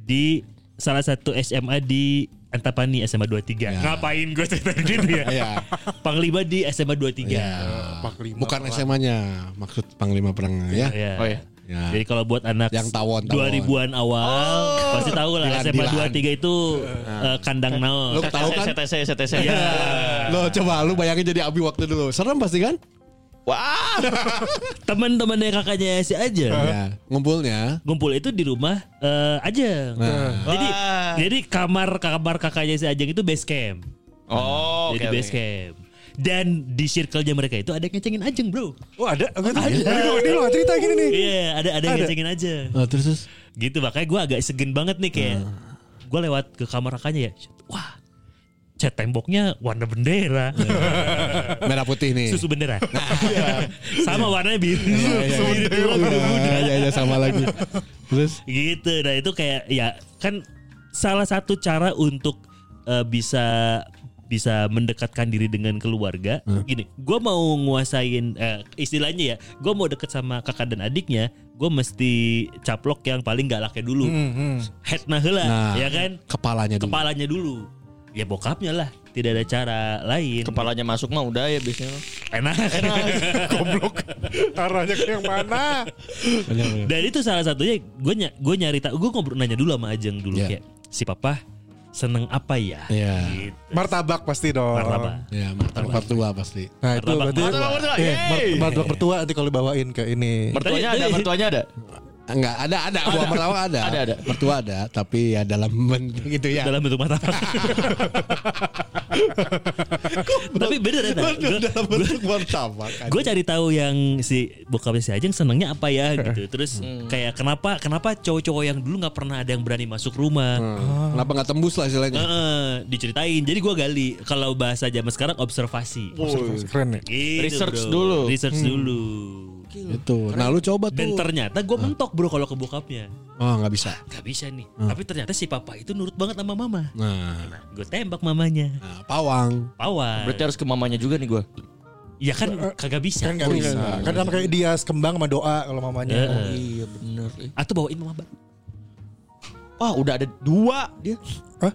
Speaker 3: di salah satu SMA di Antapani SMA 23.
Speaker 4: Ya.
Speaker 3: Ngapain gue cerita gitu ya?
Speaker 4: Iya.
Speaker 3: Panglima di SMA 23.
Speaker 4: Iya. Bukan SMA-nya, maksud panglima perangnya ya.
Speaker 3: Ya.
Speaker 2: Oh iya.
Speaker 4: Ya.
Speaker 3: Jadi kalau buat anak
Speaker 4: Yang Oh. tawon, tawon.
Speaker 3: 2000-an awal pasti tahu lah
Speaker 4: Dilan,
Speaker 3: SMA
Speaker 4: dilan.
Speaker 3: 23 itu eh, kandang naon. Iya.
Speaker 4: Lu tahu kan?
Speaker 2: CTC CTC.
Speaker 4: Lo coba lu bayangin jadi Abi waktu dulu. Serem pasti kan?
Speaker 2: Wah.
Speaker 3: Teman-temannya kakaknya si Ajeng
Speaker 4: Iya. Ngumpulnya
Speaker 3: Ngumpul itu di rumah eh, Ajeng.
Speaker 5: Nah.
Speaker 3: Jadi
Speaker 2: Wah.
Speaker 3: jadi kamar kamar kakaknya si Ajeng itu base camp.
Speaker 2: Oh.
Speaker 3: jadi
Speaker 2: oke,
Speaker 3: base
Speaker 2: oke.
Speaker 3: camp. Dan di circle-nya mereka itu ada yang ngecengin Ajeng, Bro.
Speaker 5: Oh ada. Ada. Ini lo cerita <laughs> gini nih.
Speaker 3: Iya, ada ada yang ngecengin Ajeng.
Speaker 4: Eh, terus terus
Speaker 3: gitu makanya gue agak segen banget nih kayak
Speaker 5: Nah.
Speaker 3: gue lewat ke kamar kakaknya ya wah cat temboknya warna bendera
Speaker 5: Nah,
Speaker 4: merah putih nih.
Speaker 3: <laughs> susu bendera sama warnanya biru
Speaker 5: Nah.
Speaker 4: Iya,
Speaker 3: biru
Speaker 4: iya,
Speaker 3: tua, biru muda.
Speaker 4: Iya, iya, sama
Speaker 3: <laughs>
Speaker 4: lagi. Terus
Speaker 3: gitu nah itu kayak ya kan salah satu cara untuk eh, bisa bisa mendekatkan diri dengan keluarga gini gue mau nguasain eh, istilahnya ya gue mau deket sama kakak dan adiknya gue mesti caplok yang paling galaknya dulu head nah heula,
Speaker 4: Hmm, Nah.
Speaker 3: ya kan
Speaker 4: kepalanya dulu.
Speaker 3: kepalanya dulu ya bokapnya lah tidak ada cara lain
Speaker 2: Kepalanya masuk mah udah ya biasanya.
Speaker 3: enak
Speaker 5: Goblok. Arahnya ke yang mana?
Speaker 3: <laughs> dan itu salah satunya gue ny gue nyari tahu gue ngobrol nanya dulu sama Ajeng dulu
Speaker 4: Iya.
Speaker 3: kayak si papa seneng apa ya
Speaker 4: Iya.
Speaker 3: gitu
Speaker 5: Martabak pasti dong.
Speaker 3: martabak
Speaker 4: Ya, martabak tua pasti.
Speaker 5: Nah itu
Speaker 3: Martabak
Speaker 5: berarti.
Speaker 3: mertua.
Speaker 2: Mertua,
Speaker 5: Iya,
Speaker 2: yeay.
Speaker 5: mart- Martabak bertua nanti kalau dibawain ke ini.
Speaker 2: Mertuanya ada,
Speaker 3: Tapi-
Speaker 2: mertuanya ada.
Speaker 4: Enggak, ada ada. Gua pertama ada.
Speaker 2: Ada, ada.
Speaker 4: Mertua ada, tapi ya dalam bentuk gitu ya.
Speaker 3: dalam bentuk martabak Tapi bener ya.
Speaker 6: Dalam bentuk martabak.
Speaker 3: Gue cari tahu yang si bokapnya si Ajeng senengnya apa <laughs> ya gitu. Terus kayak kenapa kenapa cowok-cowok yang dulu nggak pernah ada yang berani masuk rumah.
Speaker 4: Kenapa nggak tembus lah
Speaker 3: Heeh,
Speaker 4: istilahnya?
Speaker 3: diceritain. Jadi gua gali kalau bahasa zaman sekarang observasi.
Speaker 5: Keren ya.
Speaker 3: Gitu,
Speaker 2: Research
Speaker 3: bro.
Speaker 2: dulu.
Speaker 3: Research dulu.
Speaker 4: Itu. Nah lu coba
Speaker 3: Dan
Speaker 4: tuh.
Speaker 3: ternyata gue mentok bro kalau ke bokapnya
Speaker 4: Oh nggak bisa.
Speaker 3: Gak bisa nih Tapi ternyata si papa itu nurut banget sama mama
Speaker 4: Nah,
Speaker 3: Gue tembak mamanya
Speaker 4: nah,
Speaker 3: <laughs>
Speaker 4: pawang.
Speaker 3: Pawan
Speaker 2: Berarti harus ke mamanya juga nih gue.
Speaker 3: Ya kan kagak bisa
Speaker 5: Kan nggak bisa. Kan sama kayak dia kembang sama doa kalau mamanya. Oh,
Speaker 3: Heeh.
Speaker 2: Iya bener. eh.
Speaker 3: Atau bawain mama baru
Speaker 2: Wah udah ada dua dia.
Speaker 5: Hah?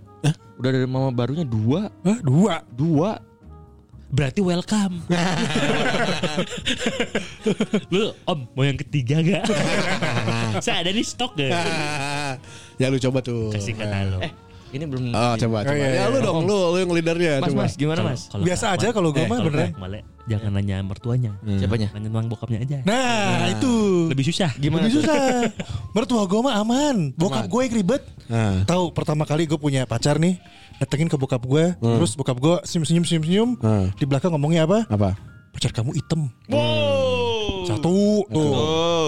Speaker 2: Udah ada mama barunya dua.
Speaker 5: Hah, dua.
Speaker 2: Dua.
Speaker 3: Berarti
Speaker 5: <laughs>
Speaker 3: welcome Lu om mau yang ketiga
Speaker 5: <laughs>
Speaker 3: gak? Saya ada nih stok gak?
Speaker 4: ya lu coba tuh.
Speaker 3: Kasih
Speaker 5: Nah.
Speaker 3: kata lu
Speaker 2: Eh ini belum.
Speaker 4: Ah, coba coba.
Speaker 5: Oh, iya,
Speaker 4: Ya
Speaker 5: iya.
Speaker 4: lu dong lu lu yang leadernya
Speaker 2: mas
Speaker 4: coba.
Speaker 2: mas gimana mas?
Speaker 3: Kalau- kalau
Speaker 5: Biasa
Speaker 3: Kak
Speaker 5: aja
Speaker 3: Akmal-
Speaker 5: kalau gue
Speaker 3: eh,
Speaker 5: mah
Speaker 3: kalau
Speaker 5: beneran. Hmm.
Speaker 3: Kak Akmal ya, Jangan nanya mertuanya
Speaker 2: Siapanya?
Speaker 3: Nanya nuang bokapnya aja
Speaker 5: Nah, itu.
Speaker 3: Lebih susah
Speaker 2: Gimana? tuh?
Speaker 5: Lebih susah. Mertua gue mah aman. Bokap gue yang ribet.
Speaker 4: Nah.
Speaker 5: Tahu pertama kali gue punya pacar nih, datengin ke bokap gue, terus bokap gue senyum-senyum senyum-senyum,
Speaker 4: Hmm.
Speaker 5: di belakang ngomongnya apa?
Speaker 4: Apa?
Speaker 5: Pacar kamu item. Satu tuh.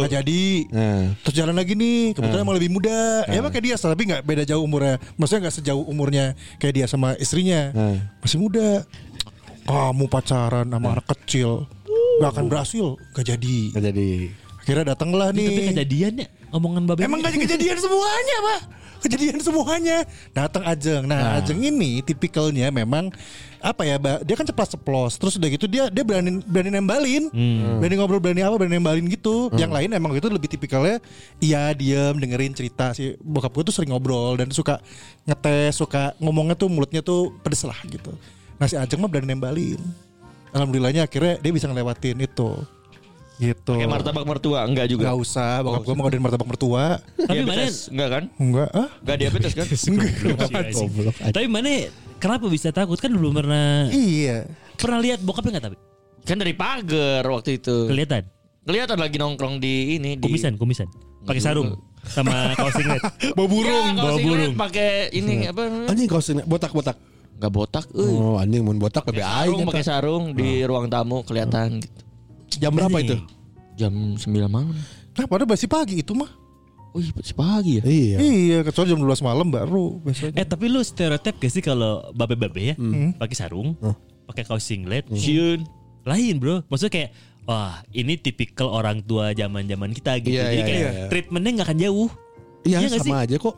Speaker 5: Nggak jadi.
Speaker 4: Nah.
Speaker 5: Terus jalan lagi nih, kebetulan emang lebih muda. Ya emang kayak dia, tapi nggak beda jauh umurnya. Maksudnya nggak sejauh umurnya kayak dia sama istrinya.
Speaker 4: Hmm.
Speaker 5: Masih muda. Kamu pacaran sama anak kecil. Gak akan berhasil, gak jadi.
Speaker 4: Nggak jadi.
Speaker 5: Akhirnya datanglah
Speaker 3: Tapi
Speaker 5: nih.
Speaker 3: kejadiannya Omongan ya, babe
Speaker 5: Emang gak kejadian semuanya pak Kejadian semuanya Datang Ajeng Nah, Ajeng ini tipikalnya memang Apa ya Mbak, Dia kan ceplas ceplos Terus udah gitu dia dia berani, berani nembalin Berani ngobrol berani apa berani nembalin gitu Yang lain emang itu lebih tipikalnya Iya diem dengerin cerita si Bokap gue tuh sering ngobrol Dan suka ngetes Suka ngomongnya tuh mulutnya tuh pedes lah gitu Nah si Ajeng mah berani nembalin Alhamdulillahnya akhirnya dia bisa ngelewatin itu Gitu
Speaker 2: Kayak martabak mertua enggak juga.
Speaker 5: Gak usah Bokap gue mau ngadain martabak mertua
Speaker 3: Tapi mana Iya,
Speaker 2: Diabetes enggak kan?
Speaker 5: Enggak ah
Speaker 2: Enggak diabetes
Speaker 5: <laughs>
Speaker 2: kan?
Speaker 4: Goblok.
Speaker 3: Tapi mana Kenapa bisa takut Kan belum pernah
Speaker 5: Iya
Speaker 3: Pernah lihat bokapnya gak tapi?
Speaker 2: kan dari pagar waktu itu.
Speaker 3: Kelihatan
Speaker 2: Kelihatan lagi nongkrong di ini di
Speaker 5: ya?
Speaker 3: Kumisan kumisan Pakai sarung
Speaker 4: Gitu.
Speaker 3: Sama kaos
Speaker 4: <laughs>
Speaker 3: singlet
Speaker 4: Bau
Speaker 2: burung,
Speaker 4: burung.
Speaker 2: bau
Speaker 4: Bau burung.
Speaker 2: Ya, pakai ini apa namanya?
Speaker 4: Anjing kau sini botak-botak.
Speaker 2: Enggak botak euy.
Speaker 4: Oh anjing mun botak bebe aing.
Speaker 2: Sarung
Speaker 4: eta.
Speaker 2: pakai sarung di ruang tamu kelihatan gitu.
Speaker 4: Jam berapa
Speaker 3: Anjing.
Speaker 4: itu?
Speaker 2: Jam 9 malam.
Speaker 5: Nah pada masih pagi itu mah
Speaker 2: Wih, pagi ya.
Speaker 4: Iya.
Speaker 5: Iya kecuali jam 12 malam baru biasanya
Speaker 3: Eh tapi lu stereotip gak sih kalau babe-babe
Speaker 4: Hmm.
Speaker 3: ya
Speaker 5: Hmm.
Speaker 3: pakai sarung, pakai kaos singlet, siun, lain bro. Maksudnya kayak wah ini tipikal orang tua zaman-zaman kita gitu.
Speaker 4: Iya,
Speaker 3: Jadi
Speaker 4: iya,
Speaker 3: kayak
Speaker 4: iya, iya.
Speaker 3: treatmentnya nggak akan jauh.
Speaker 4: Iya
Speaker 3: Iya nggak
Speaker 4: sama aja kok.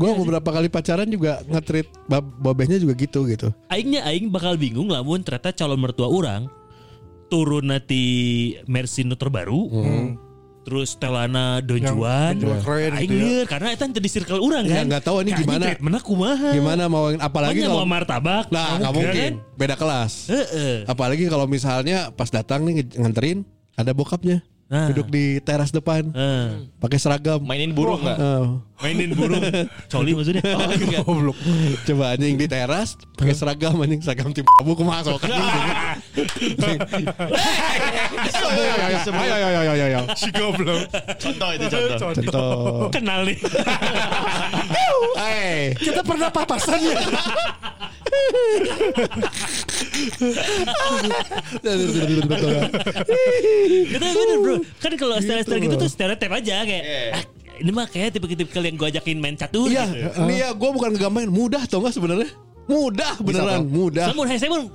Speaker 4: Gue beberapa kali pacaran juga ngetrit bab babehnya juga gitu gitu.
Speaker 3: Aingnya aing bakal bingung lamun ternyata calon mertua orang turun nanti Mersino terbaru.
Speaker 4: Hmm.
Speaker 3: Terus telana donjuan,
Speaker 5: Don Juan keren
Speaker 3: aing
Speaker 5: gitu ya.
Speaker 3: lieur, karena itu jadi circle orang
Speaker 4: Iya,
Speaker 3: kan.
Speaker 4: nggak tahu ini
Speaker 3: Kayaknya
Speaker 4: gimana.
Speaker 3: Treatmentnya kumaha.
Speaker 4: Gimana mau
Speaker 3: Apalagi
Speaker 4: apalagi
Speaker 3: mau
Speaker 4: kalau
Speaker 3: martabak.
Speaker 4: nah nggak mungkin
Speaker 3: Kan?
Speaker 4: beda kelas.
Speaker 3: Heeh.
Speaker 4: Apalagi kalau misalnya pas datang nih nge- nganterin ada bokapnya
Speaker 3: Ah.
Speaker 4: duduk di teras depan
Speaker 3: Heeh.
Speaker 4: pakai seragam.
Speaker 2: Mainin burung enggak?
Speaker 4: Eh,
Speaker 3: Mainin
Speaker 4: <laughs>
Speaker 3: burung. Coli maksudnya.
Speaker 4: Oh,
Speaker 3: <laughs>
Speaker 5: Goblok
Speaker 4: coba anjing di teras pakai seragam anjing seragam tim abu <laughs> kemasok. Ayo ayo ayo ayo ayo.
Speaker 2: Contoh itu contoh.
Speaker 4: Contoh.
Speaker 3: Kenal
Speaker 4: <laughs>
Speaker 3: nih.
Speaker 4: Eh,
Speaker 5: Kita pernah papasan ya
Speaker 3: Kita bener bro. Kan kalau style-style gitu tuh stereotip aja kayak. "Ah, Ini mah kayak tipe-tipe yang gue ajakin main catur.
Speaker 4: Iya,
Speaker 3: gitu.
Speaker 4: nih ya gue bukan ngegambarin mudah tau gak sebenarnya? Mudah beneran, mudah.
Speaker 3: Namun hey, saya pun,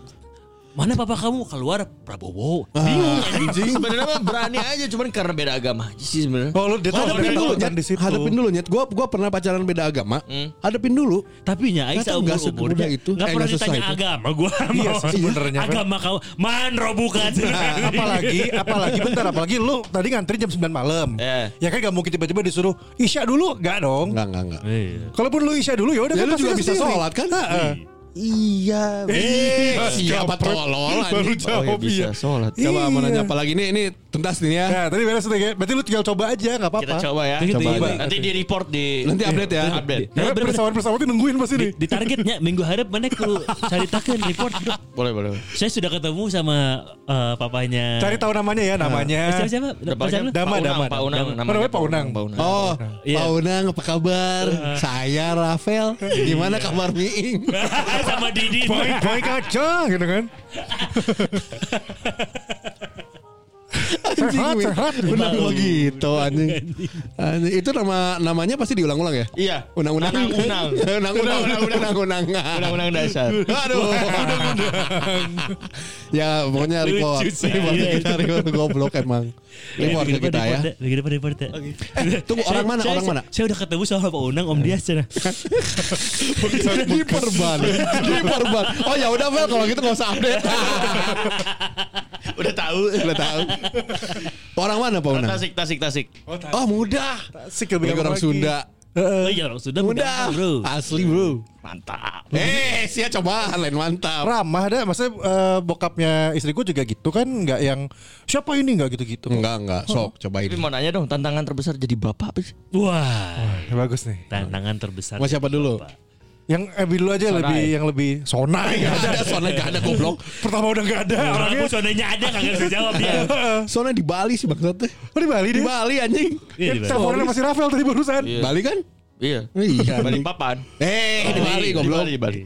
Speaker 3: mana papa kamu keluar Prabowo? Bingung.
Speaker 4: <laughs> Anjing.
Speaker 2: Sebenarnya mah berani aja cuman karena beda agama aja sih sebenarnya.
Speaker 5: Oh lu dia tuh
Speaker 4: Hadapin dulu,
Speaker 5: ketakutan
Speaker 4: Nyet.
Speaker 5: di situ
Speaker 4: Hadapin dulu, Nyet. Gua gua pernah pacaran beda agama. Hadapin dulu.
Speaker 3: Tapi nya Aing
Speaker 4: Nggak tahu, nggak
Speaker 3: seumur-umurnya
Speaker 4: semudah itu.
Speaker 3: nggak
Speaker 4: Eh,
Speaker 3: pernah
Speaker 4: nggak susah
Speaker 3: ditanya
Speaker 4: itu.
Speaker 3: agama gue
Speaker 5: Iya sih sebenarnya kan.
Speaker 3: Agama kau Manro bukan
Speaker 5: Nah, apalagi apalagi bentar apalagi lu tadi ngantri jam 9 malam.
Speaker 2: Eh.
Speaker 5: Ya kan gak mungkin tiba-tiba disuruh Isya dulu, gak dong.
Speaker 4: Enggak, enggak, enggak.
Speaker 3: Iya.
Speaker 5: Kalaupun lu Isya dulu yaudah
Speaker 4: Ya
Speaker 5: kan
Speaker 4: lu
Speaker 5: pasti
Speaker 4: juga
Speaker 5: lu
Speaker 4: bisa
Speaker 5: sendiri.
Speaker 4: sholat kan?
Speaker 5: Heeh. Iya.
Speaker 4: Eh, siapa tolol anjing.
Speaker 2: bisa sholat.
Speaker 4: Coba mau
Speaker 5: Iya.
Speaker 4: nanya apalagi nih ini tuntas nih ya.
Speaker 5: Nah, tadi beres tuh ya. Berarti lu tinggal coba aja, nggak
Speaker 2: Kita
Speaker 5: apa-apa.
Speaker 2: coba ya.
Speaker 4: Nanti
Speaker 2: Coba.
Speaker 4: di-
Speaker 2: Nanti di report di
Speaker 4: Nanti update ya.
Speaker 2: Update.
Speaker 5: Karena
Speaker 3: bener-bener. Iya.
Speaker 5: pesawat-pesawat itu nungguin pasti nih.
Speaker 3: Di, di targetnya minggu harap mana ku ceritakan report dok.
Speaker 2: Boleh, boleh. boleh.
Speaker 3: Saya sudah ketemu sama eh, papanya.
Speaker 5: Cari tahu namanya ya, namanya.
Speaker 3: Eh, siapa siapa? Pacar lu?
Speaker 2: Pak Unang,
Speaker 5: Dama, Dama.
Speaker 2: Pak Unang,
Speaker 5: Dama.
Speaker 2: namanya
Speaker 5: Namanya Pak Unang.
Speaker 2: Pak Unang.
Speaker 4: Oh,
Speaker 3: Iya.
Speaker 4: Pak Unang apa kabar? Saya Rafael. Gimana kabar <laughs> Miing?
Speaker 3: <laughs> sama Didi.
Speaker 5: Boy, boy kaca gitu kan.
Speaker 4: Anjing,
Speaker 5: Sehat,
Speaker 4: Miing.
Speaker 5: sehat.
Speaker 4: Unang begitu anjing. Anjing, Itu nama namanya pasti diulang-ulang ya?
Speaker 2: Iya.
Speaker 4: <laughs> Unang-unang.
Speaker 2: Unang-unang.
Speaker 4: Unang-unang. Unang-unang.
Speaker 2: Undang-undang dasar.
Speaker 4: Aduh. <laughs> Ya, pokoknya report.
Speaker 3: Lucu sih.
Speaker 4: Report ke kita, report goblok emang. Report ke kita ya.
Speaker 3: Lagi depan report. ya.
Speaker 4: Eh, tunggu, orang
Speaker 3: Saya-
Speaker 4: mana,
Speaker 3: saya-
Speaker 4: orang mana?
Speaker 3: Saya udah ketemu sama Pak Unang, Om Dias. ya. sana.
Speaker 4: Diperban. Diperban. Oh ya udah Vel kalau gitu nggak usah update.
Speaker 2: Udah tahu.
Speaker 4: Udah tahu. Orang mana Pak Unang?
Speaker 2: Tasik, Tasik, Tasik.
Speaker 4: Oh muda.
Speaker 5: Asik
Speaker 4: Bagi orang Sunda.
Speaker 3: Oh iya, orang Sunda
Speaker 4: Muda.
Speaker 3: muda, Bro.
Speaker 4: Asli bro.
Speaker 2: Mantap.
Speaker 4: Eh, sia coba lain mantap.
Speaker 5: Ramah dah, maksudnya eh, bokapnya istriku juga gitu kan, nggak yang siapa ini nggak gitu-gitu.
Speaker 4: Enggak, enggak. Sok cobain.
Speaker 2: Tapi mau nanya dong, tantangan terbesar jadi bapak apa sih?
Speaker 3: Wah,
Speaker 5: Ya, bagus nih.
Speaker 3: tantangan terbesar.
Speaker 4: Mas siapa dulu?
Speaker 5: Yang Ebi dulu aja lebih yang lebih sonai.
Speaker 4: Gak ada, soalnya gak ada goblok.
Speaker 5: <laughs> Pertama udah nggak ada
Speaker 3: Orangnya
Speaker 5: orangnya.
Speaker 3: sonanya ada nggak bisa jawab dia.
Speaker 4: Soalnya di Bali sih bangsat.
Speaker 5: Oh, di Bali
Speaker 4: Di
Speaker 5: dia.
Speaker 4: Bali anjing.
Speaker 3: Iya,
Speaker 5: Kan
Speaker 3: di Bali.
Speaker 5: teleponnya masih Rafael tadi barusan.
Speaker 2: Iya.
Speaker 4: Bali kan?
Speaker 2: Iya.
Speaker 4: Iya.
Speaker 2: Balik papan.
Speaker 4: Eh,
Speaker 3: Iya,
Speaker 4: di Bali goblok.
Speaker 2: Di Bali.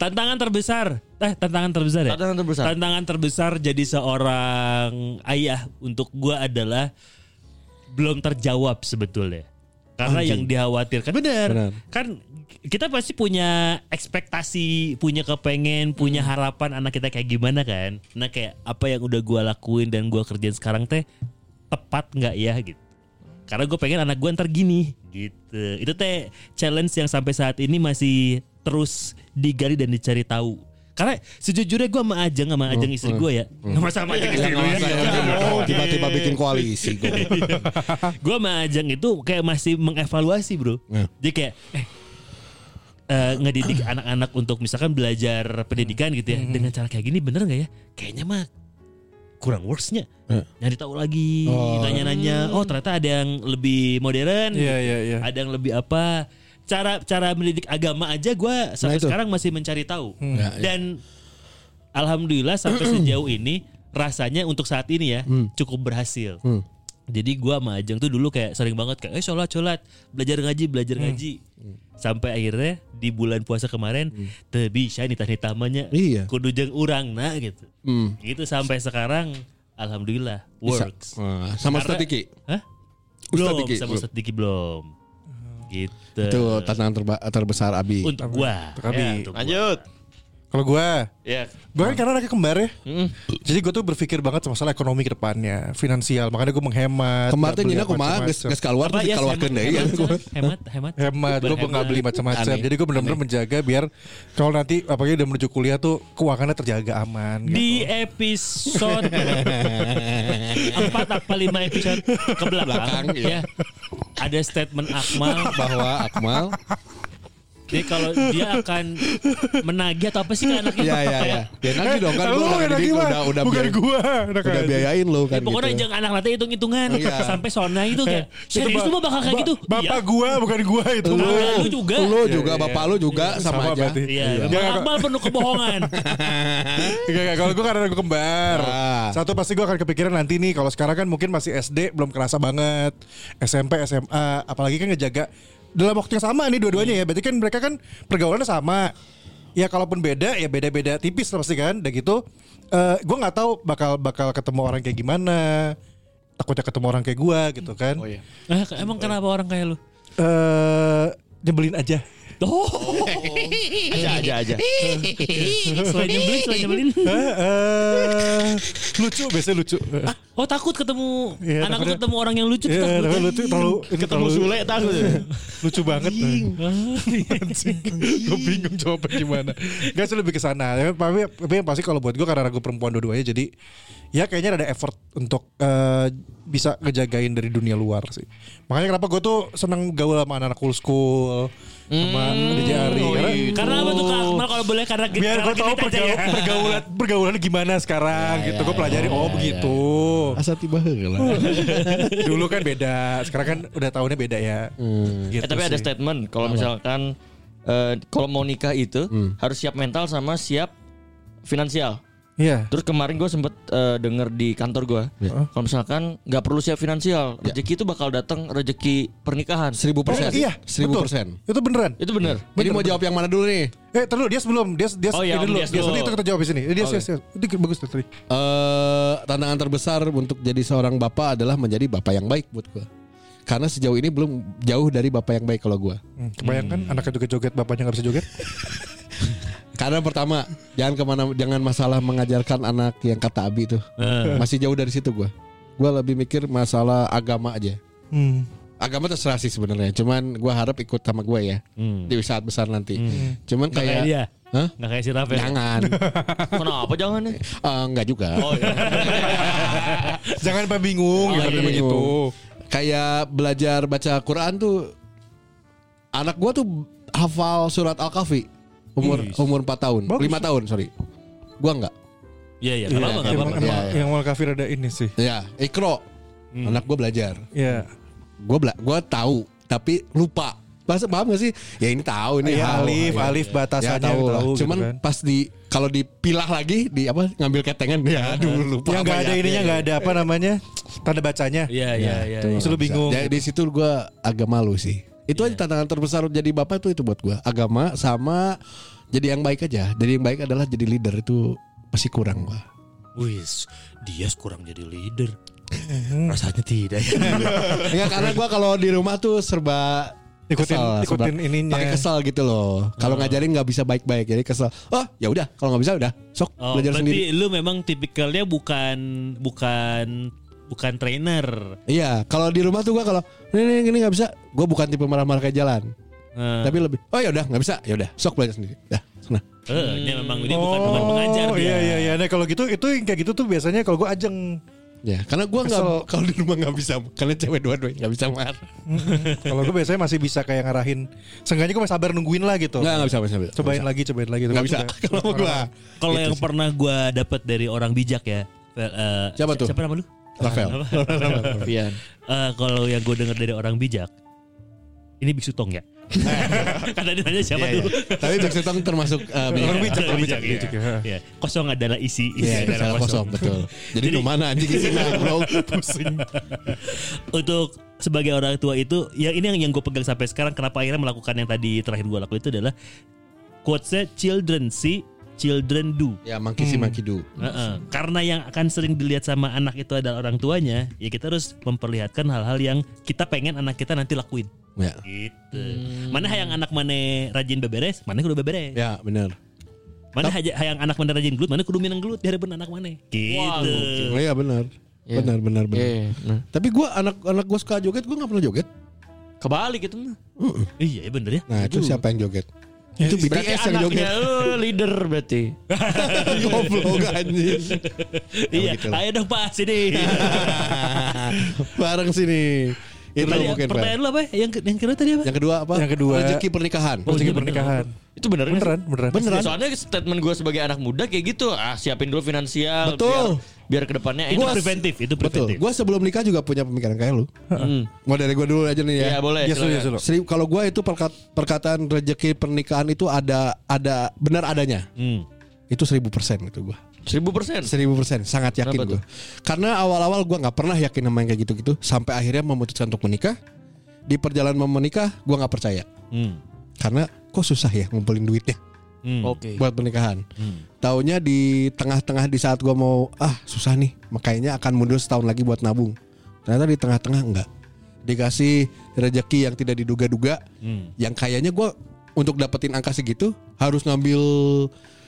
Speaker 3: Tantangan terbesar. Eh, tantangan terbesar ya?
Speaker 2: Tantangan terbesar.
Speaker 3: Tantangan terbesar jadi seorang ayah untuk gua adalah belum terjawab sebetulnya. Karena yang dikhawatirkan benar.
Speaker 4: Benar.
Speaker 3: Kan kita pasti punya ekspektasi, punya kepengen, punya
Speaker 2: Hmm.
Speaker 3: harapan anak kita kayak gimana kan? Nah, kayak apa yang udah gua lakuin dan gua kerjain sekarang teh tepat nggak ya gitu. Karena gue pengen anak gue ntar gini gitu. Itu teh challenge yang sampai saat ini masih terus digali dan dicari tahu. Karena sejujurnya gue sama Ajeng sama Ajeng istri gue ya. Sama sama Ajeng istri gue ya.
Speaker 4: Oh,
Speaker 3: Iya.
Speaker 4: tiba-tiba bikin koalisi goblok.
Speaker 3: Gue sama Ajeng itu kayak masih mengevaluasi bro.
Speaker 4: Ya.
Speaker 3: Jadi kayak eh eh, ngedidik <clears throat> anak-anak untuk misalkan belajar pendidikan gitu ya
Speaker 5: Hmm.
Speaker 3: dengan cara kayak gini bener nggak ya? Kayaknya mah kurang worksnya.
Speaker 4: Ya.
Speaker 3: Nyari tahu lagi, tanya-nanya. Oh ternyata ada yang lebih modern.
Speaker 5: Iya,
Speaker 3: gitu.
Speaker 5: iya, iya.
Speaker 3: Ada yang lebih apa? Cara cara mendidik agama aja gue sampai
Speaker 4: itu.
Speaker 3: sekarang masih mencari tahu.
Speaker 5: Hmm.
Speaker 4: Ya, ya.
Speaker 3: Dan alhamdulillah
Speaker 4: <clears throat>
Speaker 3: sampai sejauh ini rasanya untuk saat ini ya
Speaker 4: Hmm.
Speaker 3: cukup berhasil. Jadi gua sama Ajeng tuh dulu kayak sering banget kayak eh sholat sholat belajar ngaji belajar
Speaker 4: Hmm.
Speaker 3: ngaji sampai akhirnya di bulan puasa kemarin teu bisa nih tah tamanya
Speaker 4: Hmm. Iya.
Speaker 3: kudu jeung urang nah gitu.
Speaker 4: Hmm.
Speaker 3: Gitu sampai sekarang alhamdulillah
Speaker 4: Bisa.
Speaker 3: works.
Speaker 4: Wah, Sama
Speaker 3: Karena-
Speaker 4: strategi.
Speaker 3: Hah?
Speaker 4: Ustadz
Speaker 3: Belum
Speaker 4: Diki,
Speaker 3: sama
Speaker 4: belum.
Speaker 3: Ustadz Diki belum. Gitu.
Speaker 4: Itu tantangan terba- terbesar Abi.
Speaker 3: untuk gua. ya,
Speaker 5: Untuk kami.
Speaker 3: untuk gua.
Speaker 2: Lanjut.
Speaker 5: Kalau gua
Speaker 2: Ya.
Speaker 5: Gue kan karena anaknya kembar ya Jadi gue tuh berpikir banget sama masalah ekonomi ke depannya Finansial Makanya gue menghemat
Speaker 4: Kemarin
Speaker 5: nggak beli
Speaker 4: Nina kumaha geus
Speaker 5: macam-macam.
Speaker 4: geus keluar
Speaker 3: Apa
Speaker 4: terus
Speaker 3: ya
Speaker 4: dikeluarkeun deui ya.
Speaker 3: hemat, hemat, hemat,
Speaker 5: Hemat Gue nggak beli macam-macam
Speaker 4: Aneh.
Speaker 5: Jadi gue benar-benar menjaga biar Kalau nanti apalagi udah menuju kuliah tuh Keuangannya terjaga aman gitu.
Speaker 3: di episode 4 apa 5 episode ke belakang
Speaker 4: Belakang, iya.
Speaker 3: ya. Ada statement Akmal
Speaker 4: Bahwa Akmal
Speaker 3: Jadi kalau dia akan menagih atau apa sih ke anaknya
Speaker 4: Iya iya iya. Ya nanti dong kan
Speaker 5: Kalau
Speaker 4: gua
Speaker 5: Eh, lu
Speaker 4: udah
Speaker 5: enak
Speaker 4: didik,
Speaker 5: gimana?
Speaker 4: udah udah
Speaker 5: Bukan
Speaker 4: biaya-
Speaker 5: gue
Speaker 4: udah biayain lu kan
Speaker 3: Ya, pokoknya
Speaker 4: gitu.
Speaker 3: jangan anak nanti hitung-hitungan
Speaker 4: Iya.
Speaker 3: sampai sona itu kayak serius lu mah bakal kayak gitu
Speaker 5: Bapak
Speaker 3: Iya.
Speaker 5: gue bukan gue itu
Speaker 3: Lu.
Speaker 5: Gua.
Speaker 3: lu juga.
Speaker 4: Lu juga bapak lu juga sama, aja.
Speaker 5: berarti.
Speaker 3: Iya,
Speaker 5: Iya.
Speaker 3: Bapak Akmal penuh kebohongan. Iya.
Speaker 4: <laughs>
Speaker 5: Enggak, enggak. Iya, Kalau gue karena gue kembar.
Speaker 4: Ah.
Speaker 5: Satu pasti gue akan kepikiran nanti nih. Kalau sekarang kan mungkin masih SD belum kerasa banget. SMP, SMA. Apalagi kan ngejaga dalam waktu yang sama nih dua-duanya ya. Berarti kan mereka kan pergaulannya sama. Ya kalaupun beda ya beda-beda tipis lah pasti kan. Dan gitu. eh gue nggak tahu bakal bakal ketemu orang kayak gimana. Takutnya ketemu orang kayak gue gitu kan.
Speaker 4: Oh, iya.
Speaker 3: Ah,
Speaker 5: Eh
Speaker 3: emang kenapa orang kayak lu?
Speaker 5: nyebelin aja.
Speaker 3: Oh,
Speaker 2: Aja aja aja.
Speaker 3: selain nyebelin, selain nyebelin.
Speaker 5: Eh, eh, lucu biasanya lucu.
Speaker 3: Oh takut ketemu
Speaker 5: Iya,
Speaker 3: anak
Speaker 5: takutnya-
Speaker 3: ketemu orang yang lucu tuh
Speaker 5: Iya,
Speaker 3: takut.
Speaker 5: tapi lucu terlalu ini
Speaker 2: Ketemu
Speaker 5: terlalu-
Speaker 2: Sule takut.
Speaker 5: lucu banget gue bingung jawabnya gimana gak sih lebih ke sana Ya, tapi tapi yang pasti kalau buat gue karena gue perempuan dua-duanya jadi ya kayaknya ada effort untuk eh, bisa ngejagain dari dunia luar sih makanya kenapa gue tuh seneng gaul sama anak-anak cool school sama DJ Ari karena
Speaker 3: Iya, Karena apa tuh Kak Akmal kalau boleh karena
Speaker 5: gitu. biar
Speaker 3: Oh, karena
Speaker 5: gue tahu
Speaker 3: genit aja ya.
Speaker 5: pergaul- pergaulan pergaulan gimana sekarang gitu gue pelajari oh begitu dulu.
Speaker 4: Asa tiba heula.
Speaker 5: dulu kan beda. Sekarang kan udah tahunnya beda ya. Gitu
Speaker 2: Eh, tapi ada
Speaker 5: sih.
Speaker 2: statement kalau misalkan eh, kalau mau nikah itu
Speaker 5: Hmm.
Speaker 2: harus siap mental sama siap finansial.
Speaker 5: Iya.
Speaker 2: Terus kemarin gue sempet eh, denger di kantor gue,
Speaker 5: Ya.
Speaker 2: kalau misalkan nggak perlu siap finansial, rezeki itu bakal datang rezeki pernikahan.
Speaker 4: Seribu persen.
Speaker 5: iya,
Speaker 4: Seribu
Speaker 5: betul.
Speaker 4: persen.
Speaker 5: Itu beneran.
Speaker 2: Itu bener.
Speaker 4: Jadi mau jawab yang mana dulu nih?
Speaker 5: Eh, terus dia sebelum dia dia
Speaker 2: Oh, iya, Om
Speaker 5: ini dulu.
Speaker 2: Dias
Speaker 5: Dia
Speaker 2: dulu.
Speaker 5: nanti itu kita jawab di sini. Dia dia- dia- itu bagus tuh tadi.
Speaker 4: eh tantangan terbesar untuk jadi seorang bapak adalah menjadi bapak yang baik buat gua. Karena sejauh ini belum jauh dari bapak yang baik kalau gua.
Speaker 5: Hmm, Kebayangkan anaknya juga joget, bapaknya nggak bisa joget.
Speaker 4: Karena pertama, jangan kemana, jangan masalah mengajarkan anak yang kata Abi itu
Speaker 3: Eh.
Speaker 4: masih jauh dari situ gua. Gua lebih mikir masalah agama aja.
Speaker 5: Hmm.
Speaker 4: Agama terserah sih sebenarnya. Cuman gua harap ikut sama gua ya di saat besar nanti. Cuman
Speaker 3: Hmm. Nggak kayak
Speaker 5: Iya.
Speaker 4: kayak,
Speaker 3: dia.
Speaker 4: Hah?
Speaker 3: Nggak kayak si Rafael. Oh,
Speaker 4: jangan,
Speaker 3: <laughs>
Speaker 5: <laughs>
Speaker 2: Kenapa jangan ya?
Speaker 4: Eh, enggak juga.
Speaker 5: <laughs> Jangan Pak bingung
Speaker 4: Oh,
Speaker 5: ya,
Speaker 4: iya.
Speaker 5: begitu.
Speaker 4: kayak belajar baca Quran tuh anak gua tuh hafal surat Al-Kahfi umur umur 4 tahun,
Speaker 5: Bagus.
Speaker 4: 5 tahun, sorry. Gua enggak.
Speaker 3: Iya iya.
Speaker 5: Iya,
Speaker 3: Kenapa nggak
Speaker 5: emang,
Speaker 3: apa-apa?
Speaker 4: Iya,
Speaker 5: emang-
Speaker 4: iya.
Speaker 5: yang mal kafir ada ini sih.
Speaker 4: Ya, Ikro.
Speaker 5: Hmm.
Speaker 4: Anak gua belajar.
Speaker 5: Iya.
Speaker 4: Gua bela gua tahu tapi lupa. Bahasa paham gak sih? Ya ini tahu ini
Speaker 5: Iya,
Speaker 4: hafal.
Speaker 5: alif, alif
Speaker 4: Ya
Speaker 5: batasannya
Speaker 4: tahu
Speaker 5: gitu
Speaker 4: lah.
Speaker 5: gitu
Speaker 4: Cuman
Speaker 5: kan.
Speaker 4: pas di kalau dipilah lagi di apa ngambil ketengan ya dulu lupa.
Speaker 5: yang Iya. nggak
Speaker 4: apa
Speaker 5: ada
Speaker 4: ya.
Speaker 5: ininya nggak ada apa namanya tanda bacanya.
Speaker 3: Iya iya iya.
Speaker 5: Terus lu bingung.
Speaker 4: Ya, di situ gua agak malu sih. Itu
Speaker 3: Iya.
Speaker 4: aja tantangan terbesar jadi bapak tuh itu buat gua Agama sama jadi yang baik aja. Jadi yang baik adalah jadi leader itu pasti kurang gua
Speaker 3: Wis, dia kurang jadi
Speaker 4: <laughs>
Speaker 3: leader. Rasanya tidak ya.
Speaker 4: Enggak karena gua kalau di rumah tuh serba
Speaker 5: Ikutin-
Speaker 4: serba-
Speaker 5: ikutin ininya.
Speaker 4: Pakai kesal gitu loh.
Speaker 3: Oh.
Speaker 4: Kalau ngajarin nggak bisa baik-baik jadi kesel. Oh, ya udah kalau nggak bisa udah sok
Speaker 3: Oh,
Speaker 4: belajar sendiri.
Speaker 3: berarti lu memang tipikalnya bukan bukan bukan trainer.
Speaker 4: Iya, kalau di rumah tuh gua kalau ini ini nggak bisa, gua bukan tipe marah-marah kayak jalan.
Speaker 3: Eh,
Speaker 4: Tapi lebih, oh ya udah nggak bisa, ya udah sok belajar sendiri. Dah, sana.
Speaker 3: eh, dia memang dia bukan bukan pengajar dia.
Speaker 5: Hmm. iya iya iya. Nah kalau gitu itu yang kayak gitu tuh biasanya kalau gue ajeng
Speaker 4: Ya, karena gua nggak kalau di rumah nggak bisa, karena cewek dua-duanya nggak bisa marah.
Speaker 5: Kalau gue biasanya masih bisa kayak ngarahin. Seenggaknya gue masih sabar nungguin lah gitu.
Speaker 4: Nggak nggak bisa, nggak bisa.
Speaker 5: Cobain lagi, cobain lagi.
Speaker 4: Nggak
Speaker 5: Tapi
Speaker 4: bisa.
Speaker 5: juga-
Speaker 4: Kalau sama gua,
Speaker 3: Kalau
Speaker 5: Gitu
Speaker 3: yang pernah gua dapat dari orang bijak ya. Fel, eh,
Speaker 4: Siapa
Speaker 3: si-
Speaker 4: tuh?
Speaker 3: Siapa nama lu?
Speaker 4: <laughs> Rafael.
Speaker 3: Apa?
Speaker 2: Pian.
Speaker 3: Eh, kalau yang gue dengar dari orang bijak, ini biksu tong
Speaker 5: <laughs>
Speaker 3: ya. <laughs> Karena dia nanya
Speaker 5: Iya,
Speaker 3: siapa dulu.
Speaker 4: Iya, Tapi Jackson Tong termasuk eh, bijak.
Speaker 5: Orang bijak, orang bijak,
Speaker 3: Bijak,
Speaker 5: bijak,
Speaker 3: iya.
Speaker 5: ya.
Speaker 3: Iya. Kosong adalah isi, isi
Speaker 4: Iya,
Speaker 3: adalah
Speaker 4: salah kosong betul. Jadi di mana <laughs> anjing isinya bro? Pusing.
Speaker 3: untuk sebagai orang tua itu ya ini yang yang gue pegang sampai sekarang kenapa akhirnya melakukan yang tadi terakhir gue lakukan itu adalah quotesnya children see children do
Speaker 4: Ya monkey see monkey do.
Speaker 3: Heeh.
Speaker 4: Hmm.
Speaker 3: karena yang akan sering dilihat sama anak itu adalah orang tuanya ya kita harus memperlihatkan hal-hal yang kita pengen anak kita nanti lakuin
Speaker 4: Ya,
Speaker 3: gitu mana yang anak mana rajin beberes mana kudu beberes
Speaker 4: Hmm. ya benar.
Speaker 3: mana haja- yang anak mana rajin gelut mana kudu minang gelut dari anak mana gitu
Speaker 4: Iya benar. Benar benar benar.
Speaker 2: Iya,
Speaker 4: Tapi gua anak-anak gua suka joget, gua nggak pernah joget.
Speaker 2: Kebalik itu mah.
Speaker 3: iya bener ya
Speaker 4: Nah, itu siapa yang joget? Itu BTS yang joget.
Speaker 2: <laughs> Anaknya lu leader berarti.
Speaker 4: Goblok anjing.
Speaker 3: iya
Speaker 4: begitu.
Speaker 3: ayo dong pak
Speaker 4: Iya.
Speaker 3: sini
Speaker 4: Bareng sini. Itu
Speaker 3: Tadi
Speaker 4: mungkin Fel.
Speaker 3: pertanyaan lu apa? Yang ke- yang kedua tadi apa? Oh, iya,
Speaker 4: Yang kedua apa?
Speaker 5: Yang kedua.
Speaker 4: rezeki pernikahan.
Speaker 5: Rezeki pernikahan.
Speaker 2: Itu bener nggak sih?
Speaker 5: Beneran, beneran.
Speaker 4: Beneran.
Speaker 2: Ya, Soalnya statement gue sebagai anak muda kayak gitu, ah siapin dulu finansial,
Speaker 4: Betul.
Speaker 2: biar, biar kedepannya
Speaker 3: itu
Speaker 2: enak.
Speaker 3: preventif, itu
Speaker 4: Betul.
Speaker 3: preventif.
Speaker 4: Gua sebelum nikah juga punya pemikiran kayak lu.
Speaker 2: Hmm.
Speaker 4: Mau dari gua dulu aja nih ya.
Speaker 2: Iya boleh.
Speaker 5: Yes,
Speaker 2: silakan.
Speaker 5: yes, yes, yes.
Speaker 4: Seri- kalau gua itu perkat- perkataan rezeki pernikahan itu ada ada benar adanya.
Speaker 3: Hmm.
Speaker 4: Itu seribu persen gitu gua.
Speaker 2: Seribu persen.
Speaker 4: Seribu persen sangat yakin
Speaker 2: Kenapa
Speaker 4: gua. Karena awal-awal gua nggak pernah yakin sama yang kayak gitu-gitu sampai akhirnya memutuskan untuk menikah. Di perjalanan mau menikah gua nggak percaya.
Speaker 3: Hmm.
Speaker 4: Karena kok susah ya ngumpulin duitnya
Speaker 3: Hmm.
Speaker 2: Oke.
Speaker 4: buat pernikahan. Taunya di tengah-tengah di saat gua mau ah susah nih, makanya akan mundur setahun lagi buat nabung. Ternyata di tengah-tengah enggak. Dikasih rezeki yang tidak diduga-duga, yang kayaknya gua untuk dapetin angka segitu harus ngambil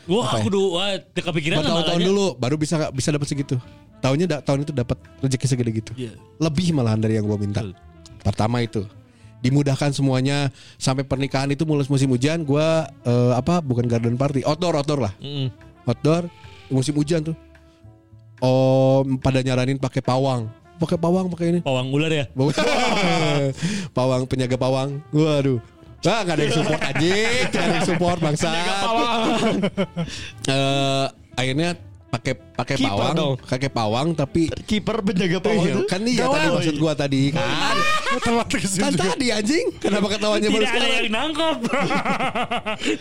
Speaker 3: Wah,
Speaker 4: Apa ya?
Speaker 3: aku dulu wah, teka kepikiran lah
Speaker 4: bertahun-tahun
Speaker 3: malahnya.
Speaker 4: dulu baru bisa bisa dapat segitu. Tahunnya da- tahun itu dapat rezeki segede gitu.
Speaker 3: Iya.
Speaker 4: Lebih malahan dari yang gua minta. Pertama itu dimudahkan semuanya sampai pernikahan itu mulai musim hujan gua eh, apa bukan garden party outdoor outdoor lah
Speaker 2: Mm-mm.
Speaker 4: outdoor musim hujan tuh om pada nyaranin pakai pawang pakai pawang pakai ini
Speaker 3: Pawang ular ya.
Speaker 4: <laughs> pawang penjaga pawang waduh Wah gak ada yang support <laughs> aja Gak ada yang support bangsa Eh, Akhirnya pakai pakai
Speaker 6: Kiper dong.
Speaker 4: pawang, pakai pawang tapi
Speaker 6: Kiper penjaga pawang itu.
Speaker 4: kan iya tadi maksud gua tadi kan.
Speaker 5: Telat ke situ
Speaker 4: Kan
Speaker 5: juga.
Speaker 4: tadi anjing, kenapa ketawanya baru
Speaker 3: Tidak ada
Speaker 4: sekarang?
Speaker 3: yang
Speaker 4: <laughs>
Speaker 3: nangkep.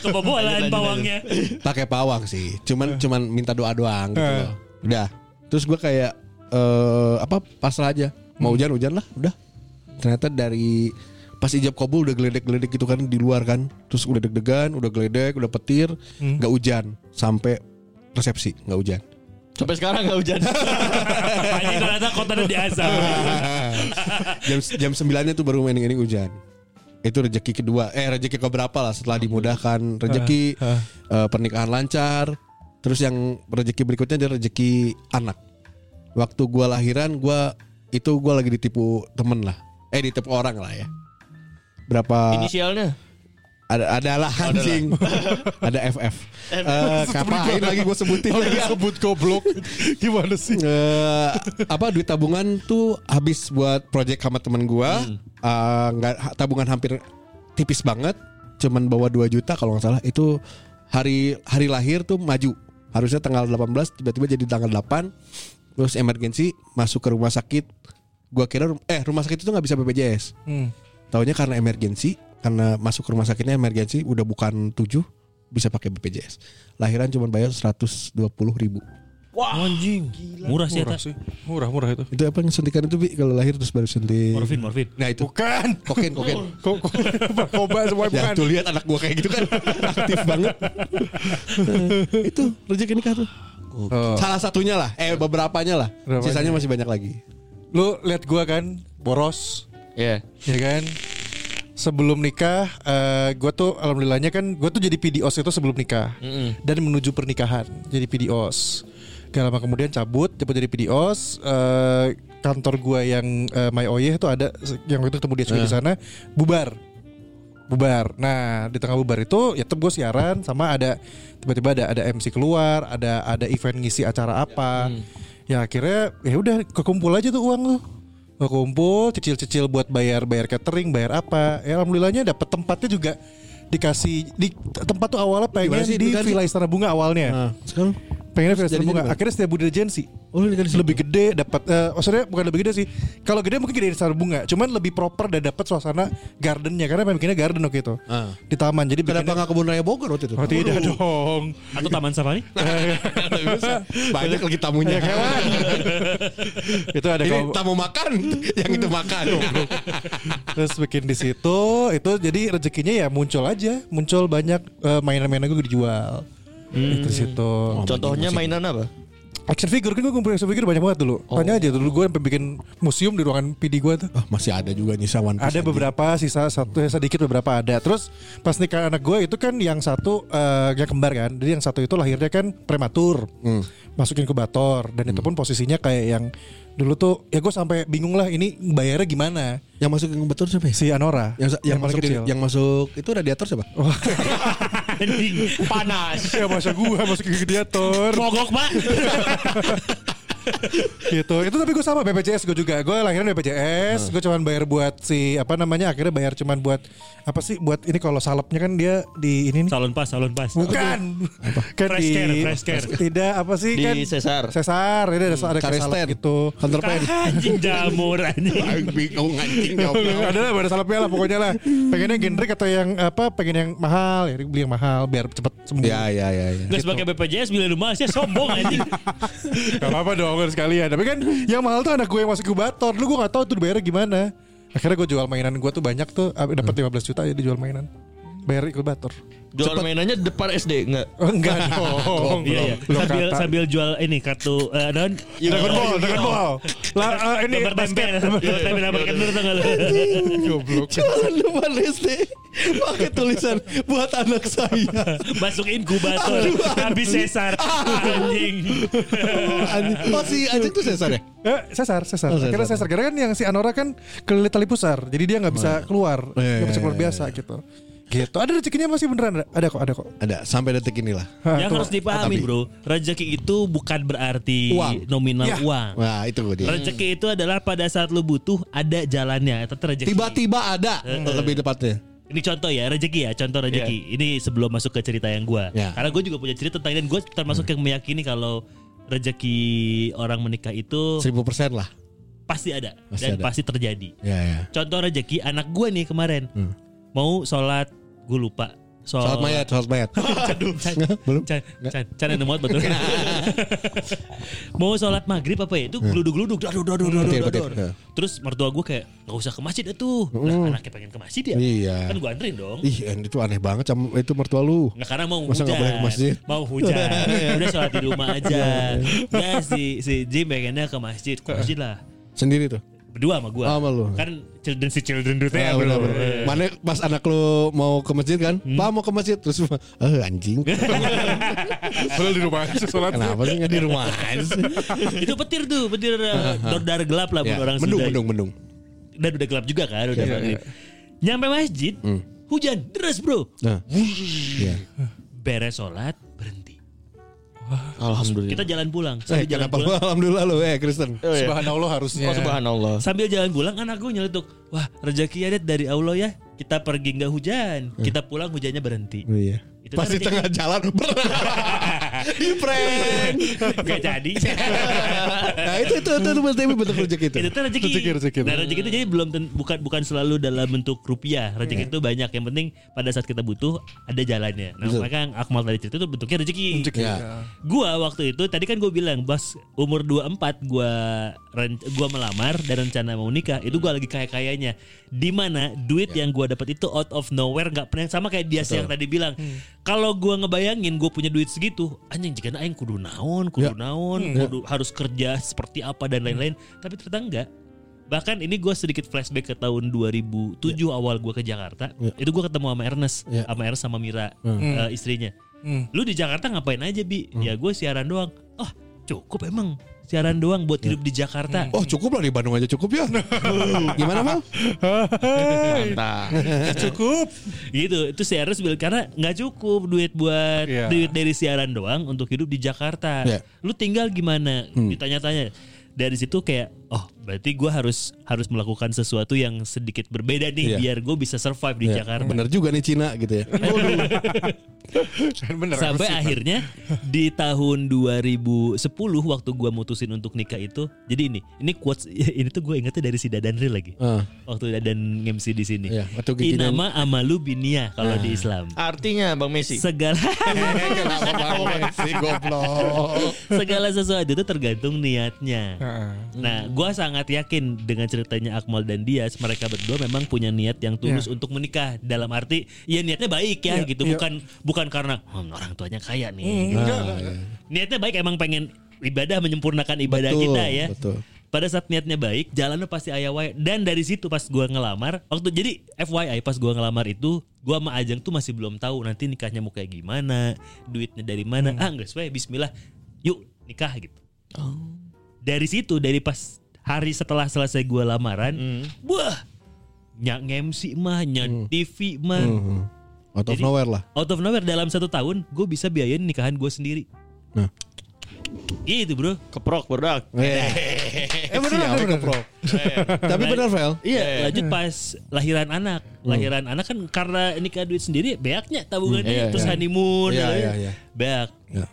Speaker 3: Kebobolan bawangnya.
Speaker 4: Pakai pawang sih. Cuman cuman minta doa doang gitu loh. Udah. Terus gua kayak eh apa pasrah aja. Mau hujan hujan lah, udah. Ternyata dari pas ijab kabul udah geledek-geledek gitu kan di luar kan. Terus udah deg-degan, udah geledek, udah petir, nggak hujan sampai resepsi nggak hujan.
Speaker 2: Sampai sekarang nggak hujan.
Speaker 3: Hanya ternyata kota di
Speaker 4: <laughs>
Speaker 3: asal.
Speaker 4: jam jam sembilannya tuh baru main ini hujan itu rezeki kedua eh rezeki keberapa lah setelah dimudahkan rezeki eh, pernikahan lancar terus yang rezeki berikutnya adalah rezeki anak waktu gua lahiran gua itu gua lagi ditipu temen lah eh ditipu orang lah ya berapa
Speaker 2: <laughs> Inisialnya.
Speaker 4: ada
Speaker 5: Oh,
Speaker 4: adalah
Speaker 5: <laughs>
Speaker 4: anjing ada FF Eh, kapain lagi gua sebutin lagi
Speaker 5: Sebut goblok. Oh, iya. <laughs> Gimana sih?
Speaker 4: eh apa duit tabungan tuh habis buat project sama temen gua
Speaker 5: Hmm.
Speaker 4: Eh, nggak tabungan hampir tipis banget cuman bawa 2 juta kalau nggak salah itu hari hari lahir tuh maju harusnya tanggal 18 tiba-tiba jadi tanggal 8 terus emergency masuk ke rumah sakit gua kira rum- eh rumah sakit itu nggak bisa BPJS taunya karena emergency karena masuk ke rumah sakitnya emergency udah bukan 7 bisa pakai BPJS lahiran cuman bayar 120 ribu
Speaker 3: Anjing. Murah sih
Speaker 5: Murah
Speaker 3: atas.
Speaker 5: sih. Murah-murah itu.
Speaker 4: itu apa yang suntikan itu Bi? kalau lahir terus baru suntik.
Speaker 3: Morfin, morfin.
Speaker 4: Nah itu
Speaker 5: Bukan.
Speaker 4: kokain kokain.
Speaker 5: Kok kok narkoba semua
Speaker 4: Ya tuh
Speaker 5: bukan.
Speaker 4: lihat anak gua kayak gitu kan aktif
Speaker 5: <laughs>
Speaker 4: banget. Eh, itu rezeki nikah tuh.
Speaker 5: Oh.
Speaker 4: Salah satunya lah, eh beberapanya lah.
Speaker 5: Berapanya?
Speaker 4: Sisanya masih banyak lagi.
Speaker 5: Lu lihat gua kan boros.
Speaker 2: Ya.
Speaker 5: ya kan sebelum nikah eh gue tuh alhamdulillahnya kan gue tuh jadi PDOS itu sebelum nikah dan menuju pernikahan jadi PDOS gak lama kemudian cabut cabut jadi PDOS eh kantor gue yang eh, My Oye itu ada yang waktu itu ketemu dia juga di sana bubar bubar nah di tengah bubar itu ya tetap gue siaran sama ada tiba-tiba ada ada MC keluar ada ada event ngisi acara apa
Speaker 4: Hmm.
Speaker 5: ya akhirnya ya udah kekumpul aja tuh uang tuh Gua kumpul cicil-cicil buat bayar bayar catering bayar apa ya alhamdulillahnya dapet tempatnya juga dikasih di tempat tuh awalnya pengen
Speaker 4: Gimana sih,
Speaker 5: di
Speaker 4: bukan sih?
Speaker 5: Villa Istana Bunga awalnya
Speaker 4: Nah, sekarang
Speaker 5: pengen Villa Istana
Speaker 4: jadi
Speaker 5: Bunga
Speaker 4: gimana?
Speaker 5: akhirnya setiap Budi Regency
Speaker 4: oh lu nikah di
Speaker 5: lebih gede dapat eh maksudnya bukan lebih gede sih kalau gede mungkin gede di Istana Bunga cuman lebih proper dan dapat suasana gardennya karena memang bikinnya garden waktu itu
Speaker 4: Ah. Uh.
Speaker 5: di taman jadi
Speaker 4: Kenapa
Speaker 5: bikinnya
Speaker 4: nggak kebun raya Bogor waktu itu?
Speaker 5: Oh, tidak <laughs>
Speaker 4: <laughs>
Speaker 5: dong
Speaker 3: Atau Taman Safari?
Speaker 4: Banyak lagi tamunya.
Speaker 5: itu ada
Speaker 4: Ini
Speaker 5: kau-
Speaker 4: tamu makan, <laughs> yang itu makan.
Speaker 5: Terus bikin di situ itu jadi rezekinya ya muncul aja, muncul banyak eh, mainan-mainan gue dijual.
Speaker 4: Hmm.
Speaker 5: Itu di situ.
Speaker 4: Oh,
Speaker 2: Contohnya mainan apa?
Speaker 5: Action figure kan gue kumpulin action figure banyak banget dulu.
Speaker 4: Oh.
Speaker 5: Tanya aja dulu gue sampai bikin museum di ruangan PD gue tuh.
Speaker 4: <laughs> Ah, masih ada juga nyisa One Piece
Speaker 5: Ada
Speaker 4: anjing.
Speaker 5: beberapa sisa satu ya sedikit beberapa ada. Terus pas nikah anak gue itu kan yang satu eh, yang kembar kan. Jadi yang satu itu lahirnya kan prematur.
Speaker 4: Hmm.
Speaker 5: Masukin inkubator dan itu pun posisinya kayak yang dulu tuh ya gue sampai bingung lah ini bayarnya gimana.
Speaker 4: yang masuk yang betul siapa ya?
Speaker 5: Si Anora
Speaker 4: Yang, yang, masuk di- yang masuk itu radiator siapa?
Speaker 3: Anjing.
Speaker 2: Panas.
Speaker 5: <laughs> ya masa gua masuk ke gladiator
Speaker 3: Mogok,
Speaker 4: <laughs>
Speaker 3: Pak.
Speaker 5: gitu itu tapi gue sama BPJS gue juga gue lahiran
Speaker 4: Hmm.
Speaker 5: BPJS gue cuman bayar buat si apa namanya akhirnya bayar cuman buat apa sih buat ini kalau salepnya kan dia di ini nih.
Speaker 3: Salon pas, salon pas.
Speaker 5: bukan kan
Speaker 3: Fresh care, fresh care.
Speaker 5: tidak apa sih
Speaker 2: Di
Speaker 5: kan
Speaker 2: Sesar.
Speaker 5: sesar ini ada ada kayak
Speaker 4: Karesten.
Speaker 5: salep gitu
Speaker 4: Kantor <laughs> pen.
Speaker 3: Anjing jamur
Speaker 4: <laughs>
Speaker 3: anjing.
Speaker 4: Bingung anjing
Speaker 3: Iya,
Speaker 4: jawabnya.
Speaker 5: ada lah ada salepnya lah pokoknya lah pengennya generic atau yang apa pengen yang mahal ya beli yang mahal biar cepet sembuh
Speaker 4: Ya ya ya ya.
Speaker 3: Gak sebagai BPJS bila rumah sih sombong anjing.
Speaker 5: Gak apa-apa dong harus sekalian Tapi kan yang mahal tuh anak gue yang masuk kubator Lu gue gak tahu tuh dibayarnya gimana Akhirnya gue jual mainan gue tuh banyak tuh dapat 15 juta jadi jual mainan Bayar inkubator
Speaker 2: Jual mainannya depan SD enggak?
Speaker 5: Oh, Enggak dong
Speaker 3: Iya iya.
Speaker 5: Lu
Speaker 3: Sambil
Speaker 5: kata-
Speaker 3: sambil jual ini kartu eh non
Speaker 5: Dragon Ball Dragon Ball Lah eh, ini
Speaker 3: gambar tempel. Gambar tempel apa kendor tuh kalau.
Speaker 5: Goblok
Speaker 4: Jangan lupa SD pakai tulisan buat anak saya.
Speaker 3: Masuk inkubator habis sesar anjing.
Speaker 4: Anjing. Oh si anjing tuh sesar ya?
Speaker 5: Eh, Sesar, Sesar.
Speaker 4: Oh,
Speaker 5: Akhirnya Sesar. Karena kan yang si Anora kan kelilit tali pusar. Jadi dia nggak bisa keluar.
Speaker 4: iya,
Speaker 5: Nggak bisa keluar
Speaker 4: iya,
Speaker 5: biasa gitu. Gitu. Ada rezekinya masih beneran. Ada, ada kok, ada kok.
Speaker 4: Ada sampai detik inilah.
Speaker 5: Hah,
Speaker 3: Yang
Speaker 5: tuh.
Speaker 3: harus dipahami,
Speaker 4: Tapi-
Speaker 3: Bro. Rezeki itu bukan berarti
Speaker 4: Uang. Iya.
Speaker 3: nominal
Speaker 5: Ya.
Speaker 3: uang.
Speaker 4: Wah Nah, itu dia.
Speaker 3: Rezeki itu adalah pada saat lu butuh ada jalannya. Tetap rezeki.
Speaker 4: Tiba-tiba ada lebih tepatnya.
Speaker 3: Ini contoh ya rezeki ya contoh
Speaker 5: Iya.
Speaker 3: rezeki. Ini sebelum masuk ke cerita yang gua.
Speaker 4: Ya. Hmm.
Speaker 3: Karena gue juga punya cerita tentang ini dan gue termasuk yang meyakini kalau rezeki orang menikah itu
Speaker 4: Seribu persen lah.
Speaker 3: pasti ada
Speaker 4: Pasti
Speaker 3: dan
Speaker 4: ada.
Speaker 3: pasti terjadi.
Speaker 4: Ya ya.
Speaker 3: Contoh rezeki anak gue nih kemarin
Speaker 4: Hmm.
Speaker 3: mau sholat gue lupa
Speaker 4: Sholat mayat, sholat mayat.
Speaker 3: Oh. Aduh, Chan,
Speaker 4: Belum.
Speaker 3: Chan, Chan, Chan yang nemot
Speaker 4: <laughs>
Speaker 3: betul. Mau sholat maghrib apa ya? Itu
Speaker 4: Hmm.
Speaker 3: geluduk-geluduk. Aduh, aduh, aduh, aduh,
Speaker 4: Petir,
Speaker 3: aduh,
Speaker 4: petir.
Speaker 3: aduh. Terus mertua gue kayak, gak usah ke masjid atuh. Lah anaknya pengen ke masjid ya?
Speaker 4: Hmm. Iya.
Speaker 3: Kan gue anterin dong.
Speaker 4: Ih, and itu aneh banget sama itu mertua lu.
Speaker 3: Nggak Nah, karena mau
Speaker 4: Masa
Speaker 3: hujan.
Speaker 4: nggak boleh ke masjid? Iya,
Speaker 3: Mau
Speaker 4: <laughs>
Speaker 3: hujan. Udah sholat di rumah aja. Nah si, si Jim pengennya ke masjid. Ke masjid lah.
Speaker 4: Sendiri tuh.
Speaker 3: Berdua sama gue.
Speaker 4: Ah, sama lu.
Speaker 3: Kan children si children dulu.
Speaker 4: Ah, bener, bener. Mana pas anak lu mau ke masjid kan? Pak mau ke masjid terus eh anjing.
Speaker 5: Padahal di rumah aja sholat.
Speaker 4: Kenapa sih nggak di rumah aja sih?
Speaker 3: <laughs> Iya. Itu petir tuh. Petir eh, dar gelap lah. buat
Speaker 4: Ah, Ya,
Speaker 3: Orang
Speaker 4: mendung,
Speaker 3: Sunda.
Speaker 4: mendung, Iya, mendung.
Speaker 3: dan udah gelap juga kan udah maghrib. Nyampe masjid,
Speaker 4: Hmm.
Speaker 3: hujan deras bro.
Speaker 4: Nah. Iya.
Speaker 3: Beres sholat berhenti.
Speaker 2: Alhamdulillah.
Speaker 3: Kita jalan pulang.
Speaker 4: Eh,
Speaker 3: Sambil jalan
Speaker 4: kenapa lu
Speaker 3: pulang,
Speaker 4: alhamdulillah lu eh Kristen.
Speaker 5: Subhanallah harusnya.
Speaker 2: <laughs> Oh, subhanallah.
Speaker 3: sambil jalan pulang anak gue nyeletuk. Wah rezeki ada dari Allah ya. Kita pergi nggak hujan,
Speaker 4: Eh.
Speaker 3: kita pulang hujannya berhenti.
Speaker 4: Iya.
Speaker 3: Itu
Speaker 4: Pas di
Speaker 3: kan
Speaker 4: tengah jalan <laughs> di prank.
Speaker 3: <laughs> Gak
Speaker 4: <laughs>
Speaker 3: jadi.
Speaker 4: Nah, itu itu itu, itu Mas Dewi bentuk gitu. rezeki itu.
Speaker 3: itu tuh rezeki.
Speaker 5: Rezeki, rezeki.
Speaker 3: Nah, rezeki itu jadi belum ten- bukan bukan selalu dalam bentuk rupiah. Rezeki itu banyak. Yang penting pada saat kita butuh ada jalannya. Nah,
Speaker 4: Betul.
Speaker 3: maka yang Akmal tadi cerita itu bentuknya rezeki.
Speaker 5: Rezeki.
Speaker 4: Ya.
Speaker 3: Iya. Gua waktu itu tadi kan gue bilang bas umur 24 gua ren- gua melamar dan rencana mau nikah itu gua lagi kaya kayanya di mana duit yang gua dapat itu out of nowhere nggak pernah sama kayak dia yang tadi bilang kalau gua ngebayangin gue punya duit segitu anjing jika aing kudu naon kudu naon kudu harus kerja seperti apa dan lain-lain tapi ternyata enggak bahkan ini gua sedikit flashback ke tahun 2007 awal gua ke Jakarta itu gua ketemu sama Ernest
Speaker 4: Ya.
Speaker 3: sama Ernest sama Mira eh, istrinya lu di Jakarta ngapain aja bi
Speaker 4: Hmm.
Speaker 3: ya gue siaran doang oh cukup emang siaran doang buat hidup di Jakarta
Speaker 4: Ya. Oh cukup lah di Bandung aja cukup ya. Gimana Mal?
Speaker 5: Cukup.
Speaker 3: gitu itu serius bil karena nggak cukup duit buat
Speaker 4: Ya.
Speaker 5: Iya.
Speaker 3: duit dari siaran doang untuk hidup di Jakarta
Speaker 4: Iya.
Speaker 3: lu tinggal gimana
Speaker 4: Hmm.
Speaker 3: ditanya-tanya dari situ kayak oh berarti gue harus harus melakukan sesuatu yang sedikit berbeda nih
Speaker 4: Iya.
Speaker 3: biar gue bisa survive di
Speaker 4: Ya,
Speaker 3: Jakarta Iya.
Speaker 4: Bener juga nih Cina
Speaker 3: <laughs>
Speaker 4: gitu ya.
Speaker 5: Dan <laughs> bener.
Speaker 3: Sampai
Speaker 5: harus-
Speaker 3: akhirnya di tahun 2010 waktu gua mutusin untuk nikah itu. Jadi ini, ini quotes <laughs> ini tuh gue ingetnya dari si Dadan Ril lagi.
Speaker 4: Ah.
Speaker 3: Waktu Dadan ngemsi di sini.
Speaker 4: Iya, waktu Ah. giginan-
Speaker 3: Inama amalu binia kalau di Islam.
Speaker 2: Artinya Bang Messi.
Speaker 3: Segala <laughs>
Speaker 6: Kenapa bangun sih goblok?
Speaker 3: segala sesuatu itu tergantung niatnya.
Speaker 5: Heeh.
Speaker 3: Nah, gua sangat yakin dengan ceritanya Akmal dan Dias, mereka berdua memang punya niat yang tulus untuk menikah. Dalam arti, ya niatnya baik ya, gitu, bukan bukan karena "Hmm, orang tuanya kaya nih.
Speaker 4: Nah, iya.
Speaker 3: Niatnya baik, emang pengen ibadah menyempurnakan ibadah
Speaker 4: Betul,
Speaker 3: kita ya.
Speaker 4: betul.
Speaker 3: Pada saat niatnya baik, jalannya pasti ayah wae. Dan dari situ pas gua ngelamar, waktu jadi FYI pas gua ngelamar itu, gua sama Ajeng tuh masih belum tahu nanti nikahnya mau kayak gimana, duitnya dari mana.
Speaker 4: Hmm.
Speaker 3: Ah, enggak sesuai, bismillah. Yuk, nikah gitu
Speaker 4: Oh.
Speaker 3: dari situ dari pas hari setelah selesai gua lamaran
Speaker 4: Hmm.
Speaker 3: wah nyak MC mah nyak TV mah
Speaker 4: Hmm. Out of
Speaker 3: Jadi-
Speaker 4: nowhere lah.
Speaker 3: out of nowhere dalam satu tahun gue bisa biayain nikahan gue sendiri
Speaker 4: Nah.
Speaker 3: itu bro
Speaker 2: <laughs> Keprok berdak.
Speaker 4: Eh bener ada keprok. Tapi bener Vel.
Speaker 3: iya lanjut pas lahiran anak
Speaker 4: Hmm.
Speaker 3: lahiran anak kan karena nikah duit sendiri beaknya tabungannya
Speaker 4: Hmm, iya,
Speaker 3: terus
Speaker 4: iya.
Speaker 3: honeymoon
Speaker 4: Iya,
Speaker 3: lain.
Speaker 4: iya, iya.
Speaker 3: beak
Speaker 4: Ya.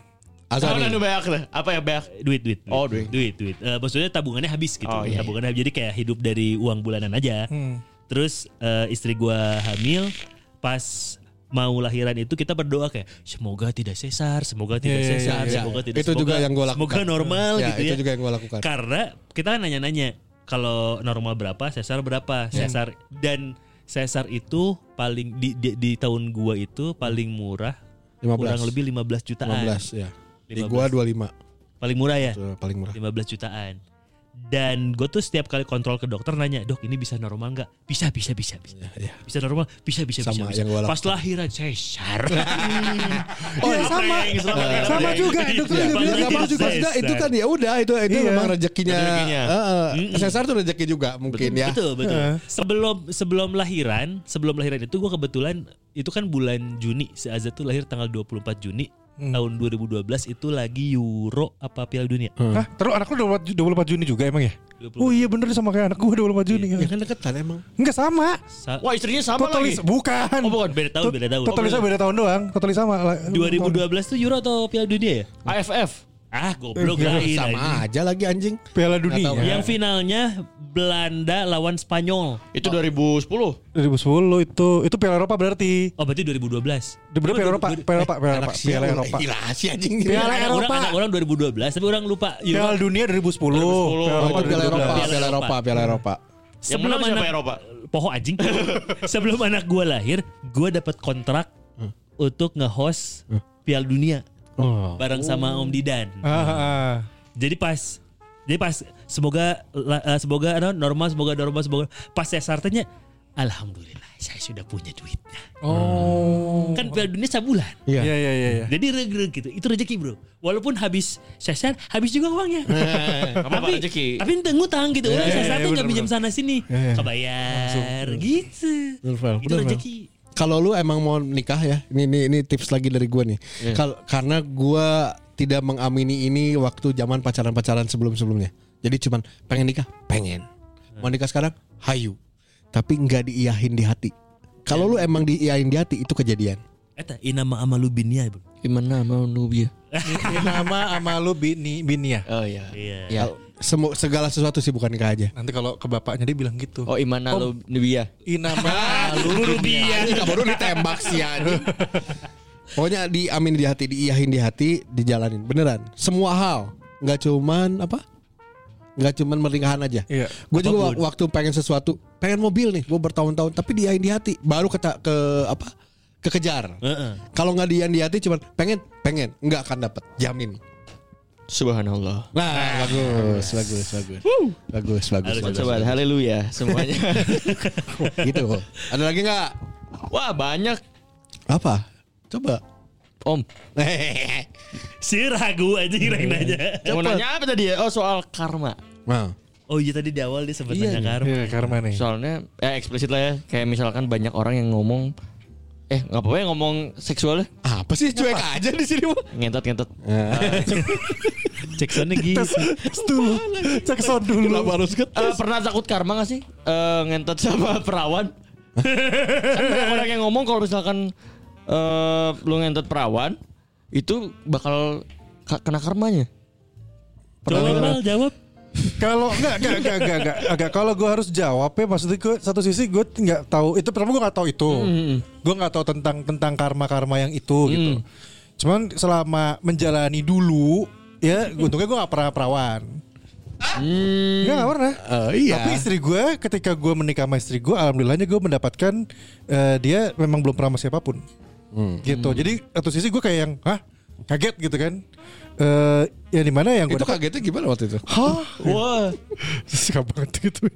Speaker 2: Tahun
Speaker 4: Azari.
Speaker 2: anu banyak deh. Apa ya banyak?
Speaker 3: duit duit, duit.
Speaker 2: Oh, duit.
Speaker 3: duit duit. Eh, maksudnya tabungannya habis gitu
Speaker 2: Oh, iya,
Speaker 3: tabungannya habis. jadi kayak hidup dari uang bulanan aja
Speaker 4: Hmm.
Speaker 3: terus eh, istri gua hamil pas mau lahiran itu kita berdoa kayak semoga tidak sesar semoga tidak
Speaker 5: Iya, iya,
Speaker 3: sesar
Speaker 5: iya, iya.
Speaker 3: semoga tidak
Speaker 4: Itu
Speaker 3: semoga,
Speaker 4: juga yang gua lakukan.
Speaker 3: semoga normal
Speaker 4: Ya,
Speaker 3: gitu
Speaker 4: itu
Speaker 3: ya
Speaker 4: juga yang gue lakukan.
Speaker 3: karena kita kan nanya-nanya kalau normal berapa, sesar
Speaker 4: Hmm.
Speaker 3: berapa, sesar dan sesar itu paling di, di, di tahun gua itu paling murah
Speaker 4: 15.
Speaker 3: kurang lebih 15 jutaan.
Speaker 4: 15 ya. Di
Speaker 3: 15.
Speaker 4: gua 25
Speaker 3: Paling murah ya?
Speaker 4: itu paling murah. Iya.
Speaker 3: 15 jutaan. Dan gue tuh setiap kali kontrol ke dokter nanya, dok ini bisa normal nggak? Bisa, bisa, bisa, bisa.
Speaker 4: iya.
Speaker 3: Bisa normal, bisa, bisa,
Speaker 4: Sama
Speaker 3: bisa. bisa.
Speaker 4: yang gua lakukan.
Speaker 3: Pas lahiran sesar.
Speaker 5: <laughs> Oh, iya, sama. Sama juga, itu tuh
Speaker 4: Iya,
Speaker 5: juga
Speaker 4: nggak
Speaker 5: bilang
Speaker 4: apa-apa juga. Maksudnya itu
Speaker 3: Iya.
Speaker 4: kan ya udah itu itu
Speaker 5: Iya.
Speaker 4: memang rezekinya.
Speaker 2: Rezekinya.
Speaker 4: Heeh. Sesar tuh rezeki juga mungkin ya.
Speaker 3: Betul, betul. Sebelum sebelum lahiran, sebelum lahiran itu gue kebetulan itu kan bulan Juni. Si Azza tuh lahir tanggal 24 Juni
Speaker 5: Hmm.
Speaker 3: tahun 2012 itu lagi Euro apa Piala Dunia.
Speaker 5: Hah, terus anak lu 24 Ju- 24 Juni juga emang ya?
Speaker 3: 24.
Speaker 5: Oh iya bener sama kayak anak gua 24 Juni.
Speaker 3: Iya,
Speaker 4: Ya kan deketan emang.
Speaker 5: Enggak sama.
Speaker 3: Sa-
Speaker 2: Wah, istrinya sama
Speaker 5: Totalis
Speaker 2: lagi.
Speaker 5: bukan.
Speaker 3: Oh, bukan, beda tahun,
Speaker 5: Tot-
Speaker 3: beda tahun.
Speaker 5: Totalisnya beda tahun doang. Totalis sama. lah.
Speaker 3: 2012 tuh Euro atau Piala Dunia ya?
Speaker 2: AFF.
Speaker 3: Ah, goblok
Speaker 5: Eh,
Speaker 3: lain. anjing.
Speaker 4: Sama aja lagi anjing.
Speaker 5: Piala
Speaker 4: Nggak tahu.
Speaker 5: Dunia
Speaker 3: Yang finalnya Belanda lawan Spanyol.
Speaker 2: Itu 2010.
Speaker 5: 2010 itu itu Piala Eropa berarti.
Speaker 3: Oh, berarti 2012.
Speaker 5: Di bener Piala Eropa, Piala Eropa, Piala Eropa, Piala Eropa.
Speaker 3: Iya.
Speaker 4: Gila sih anjing.
Speaker 5: Piala
Speaker 3: Anak
Speaker 5: Eropa.
Speaker 3: Eh, Orang, anak orang 2012, tapi orang lupa.
Speaker 5: Piala Dunia 2010. Piala
Speaker 4: Oh,
Speaker 5: Eropa
Speaker 4: itu Piala Eropa,
Speaker 5: 2012.
Speaker 4: Piala Eropa, Piala Eropa.
Speaker 2: Yang menang siapa Eropa?
Speaker 3: Poho anjing. Sebelum anak gue lahir, gue dapat kontrak untuk nge-host Piala Dunia
Speaker 4: Oh.
Speaker 5: Oh.
Speaker 3: bareng sama Om Didan.
Speaker 5: Ah, ah, ah.
Speaker 3: Jadi pas jadi pas semoga la- eh, semoga ano, normal semoga normal semoga pas saya sartanya alhamdulillah saya sudah punya duitnya.
Speaker 5: Oh.
Speaker 3: Kan Piala Dunia sebulan.
Speaker 5: Iya iya iya iya.
Speaker 3: Jadi reg-reg gitu. Itu rezeki, Bro. Walaupun habis sesar, habis juga
Speaker 5: <laughs>
Speaker 3: uangnya.
Speaker 2: apa-apa, rezeki.
Speaker 3: Tapi ente ngutang gitu. Orang
Speaker 5: iya,
Speaker 3: sesar
Speaker 5: iya,
Speaker 3: tuh
Speaker 5: bener,
Speaker 3: nggak pinjam sana sini.
Speaker 5: iya.
Speaker 3: Kebayar gitu. Itu rezeki.
Speaker 4: Kalau lu emang mau nikah ya, ini ini, ini tips lagi dari gue nih. Kalau karena gue tidak mengamini ini waktu zaman pacaran-pacaran sebelum-sebelumnya. Jadi cuman pengen nikah, pengen. Mau nikah sekarang, hayu. Tapi nggak diiyahin di hati. Kalau lu emang diiyahin di hati itu kejadian.
Speaker 3: Eta inama amalu binia, Bro.
Speaker 4: Gimana mau nubia?
Speaker 5: Ini nama sama lu Bini Binia.
Speaker 2: Oh iya.
Speaker 3: Iya.
Speaker 4: Ya, semu- segala sesuatu sih bukan nikah aja.
Speaker 5: Nanti kalau ke bapaknya dia bilang gitu.
Speaker 2: Oh Imana lu Nubia.
Speaker 5: Inama lu Binia.
Speaker 4: Ini kamu dulu ditembak sih anjing. Pokoknya diamin di hati, diiyahin di hati, dijalanin. Beneran. Semua hal, nggak cuman apa? Nggak cuman pernikahan aja.
Speaker 5: Iya.
Speaker 4: Gue juga wak- waktu pengen sesuatu, pengen mobil nih, gue bertahun-tahun, tapi diiyahin di hati, baru keta ke apa? Kekejar.
Speaker 3: Heeh.
Speaker 4: Kalau nggak diiyahin di hati, cuman pengen, pengen, nggak akan dapet, jamin.
Speaker 2: Subhanallah.
Speaker 4: Nah, bagus, bagus, bagus, bagus, bagus, bagus,
Speaker 2: Sobat, haleluya semuanya.
Speaker 4: <laughs> Gitu. Ada lagi nggak?
Speaker 2: Wah, banyak.
Speaker 4: Apa? <laughs> Coba.
Speaker 2: Om,
Speaker 3: Si ragu aja
Speaker 5: Iya,
Speaker 3: kirain aja.
Speaker 2: mau nanya apa tadi ya? Oh, soal karma.
Speaker 4: Nah.
Speaker 3: Oh iya tadi di awal dia sempat nanya karma.
Speaker 5: Iya, karma nih.
Speaker 2: Soalnya eh eksplisit lah ya. Kayak misalkan banyak orang yang ngomong eh nggak apa-apa ya ngomong seksual ya.
Speaker 4: Apa sih cuek aja di sini mah?
Speaker 2: ngentot-ngentot.
Speaker 3: Cek sana <laughs> gitu.
Speaker 5: Dulu. Cek sound dulu.
Speaker 4: Kenapa harus
Speaker 3: kan?
Speaker 4: ke
Speaker 2: Eh, pernah takut karma gak sih? Eh, ngentot <laughs> sama perawan? kan banyak orang yang ngomong kalau misalkan eh lu ngentot perawan itu bakal ka- kena karmanya.
Speaker 3: Coba Mal, jawab.
Speaker 5: Kalau enggak enggak enggak enggak enggak, enggak. kalau gue harus jawab ya maksudnya gue satu sisi gue nggak tahu itu pertama gue nggak tahu itu gue nggak tahu tentang tentang karma karma yang itu gitu cuman selama menjalani dulu ya untungnya gue nggak pernah perawan Enggak nggak pernah
Speaker 4: iya.
Speaker 5: tapi istri gue ketika gue menikah sama istri gue alhamdulillahnya gue mendapatkan eh, dia memang belum pernah sama siapapun
Speaker 4: Hmm.
Speaker 5: gitu jadi satu sisi gue kayak yang hah kaget gitu kan Eh ya di mana yang gue
Speaker 4: itu kan kagetnya gimana waktu itu?
Speaker 5: Hah?
Speaker 2: Wah,
Speaker 5: <laughs> Suka banget gitu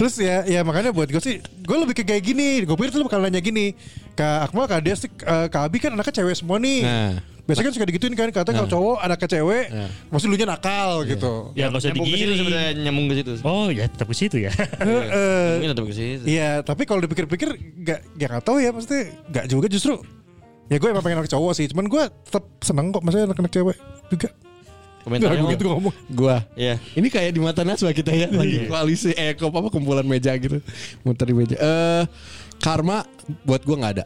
Speaker 5: Terus ya ya makanya buat gue sih Gue lebih ke kayak gini Gue pikir tuh lu bakal nanya gini Kak Akmal, Kak Des, eh, Kak Abi kan anaknya cewek semua nih
Speaker 4: Nah.
Speaker 5: Biasanya kan suka digituin kan Katanya kalau cowok anaknya cewek Masih lunya nakal
Speaker 4: Iya.
Speaker 5: gitu
Speaker 3: Ya enggak usah
Speaker 2: nyambung ke situ
Speaker 3: digiring.
Speaker 2: sebenarnya nyambung ke situ.
Speaker 3: Oh ya tetap ke situ ya.
Speaker 4: Iya.
Speaker 5: Eh, <laughs> eh,
Speaker 2: Mungkin tetap ke situ.
Speaker 5: Iya tapi kalau dipikir-pikir Gak, ya gak tau ya Maksudnya gak juga justru Ya gue emang pengen anak cowok sih Cuman gue tetap seneng kok Maksudnya anak-anak cewek juga
Speaker 2: Komentarnya
Speaker 5: gitu
Speaker 2: apa?
Speaker 5: ngomong
Speaker 4: Gua.
Speaker 2: Iya.
Speaker 4: Ini kayak di mata Naswa kita ya lagi koalisi eh kok apa kumpulan meja gitu. Muter di meja. Eh karma buat gua nggak ada.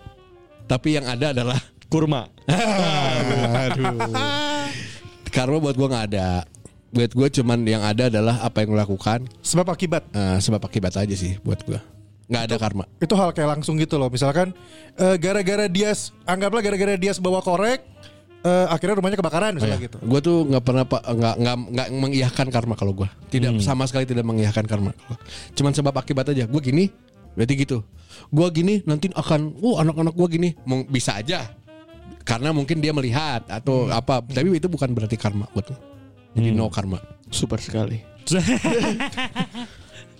Speaker 4: Tapi yang ada adalah <laughs>
Speaker 2: Kurma.
Speaker 4: aduh. karma buat gua nggak ada. Buat gua cuman yang ada adalah apa yang lu lakukan
Speaker 5: Sebab akibat
Speaker 4: eh, sebab akibat aja sih buat gua. Nggak ada karma.
Speaker 5: itu hal kayak langsung gitu loh misalkan eh, gara-gara dia anggaplah gara-gara dia bawa korek eh, akhirnya rumahnya kebakaran misalnya gitu
Speaker 4: Gue Iya. tuh nggak pernah pak nggak nggak nggak mengiyahkan karma kalau gue tidak
Speaker 2: Hmm.
Speaker 4: sama sekali tidak mengiyahkan karma. Cuman sebab akibat aja. Gue gini berarti gitu. Gue gini nanti akan uh anak-anak gue gini Mung- bisa aja karena mungkin dia melihat atau apa. Tapi itu bukan berarti karma buat gua. Jadi
Speaker 2: Hmm.
Speaker 4: no karma.
Speaker 2: Super sekali. <laughs>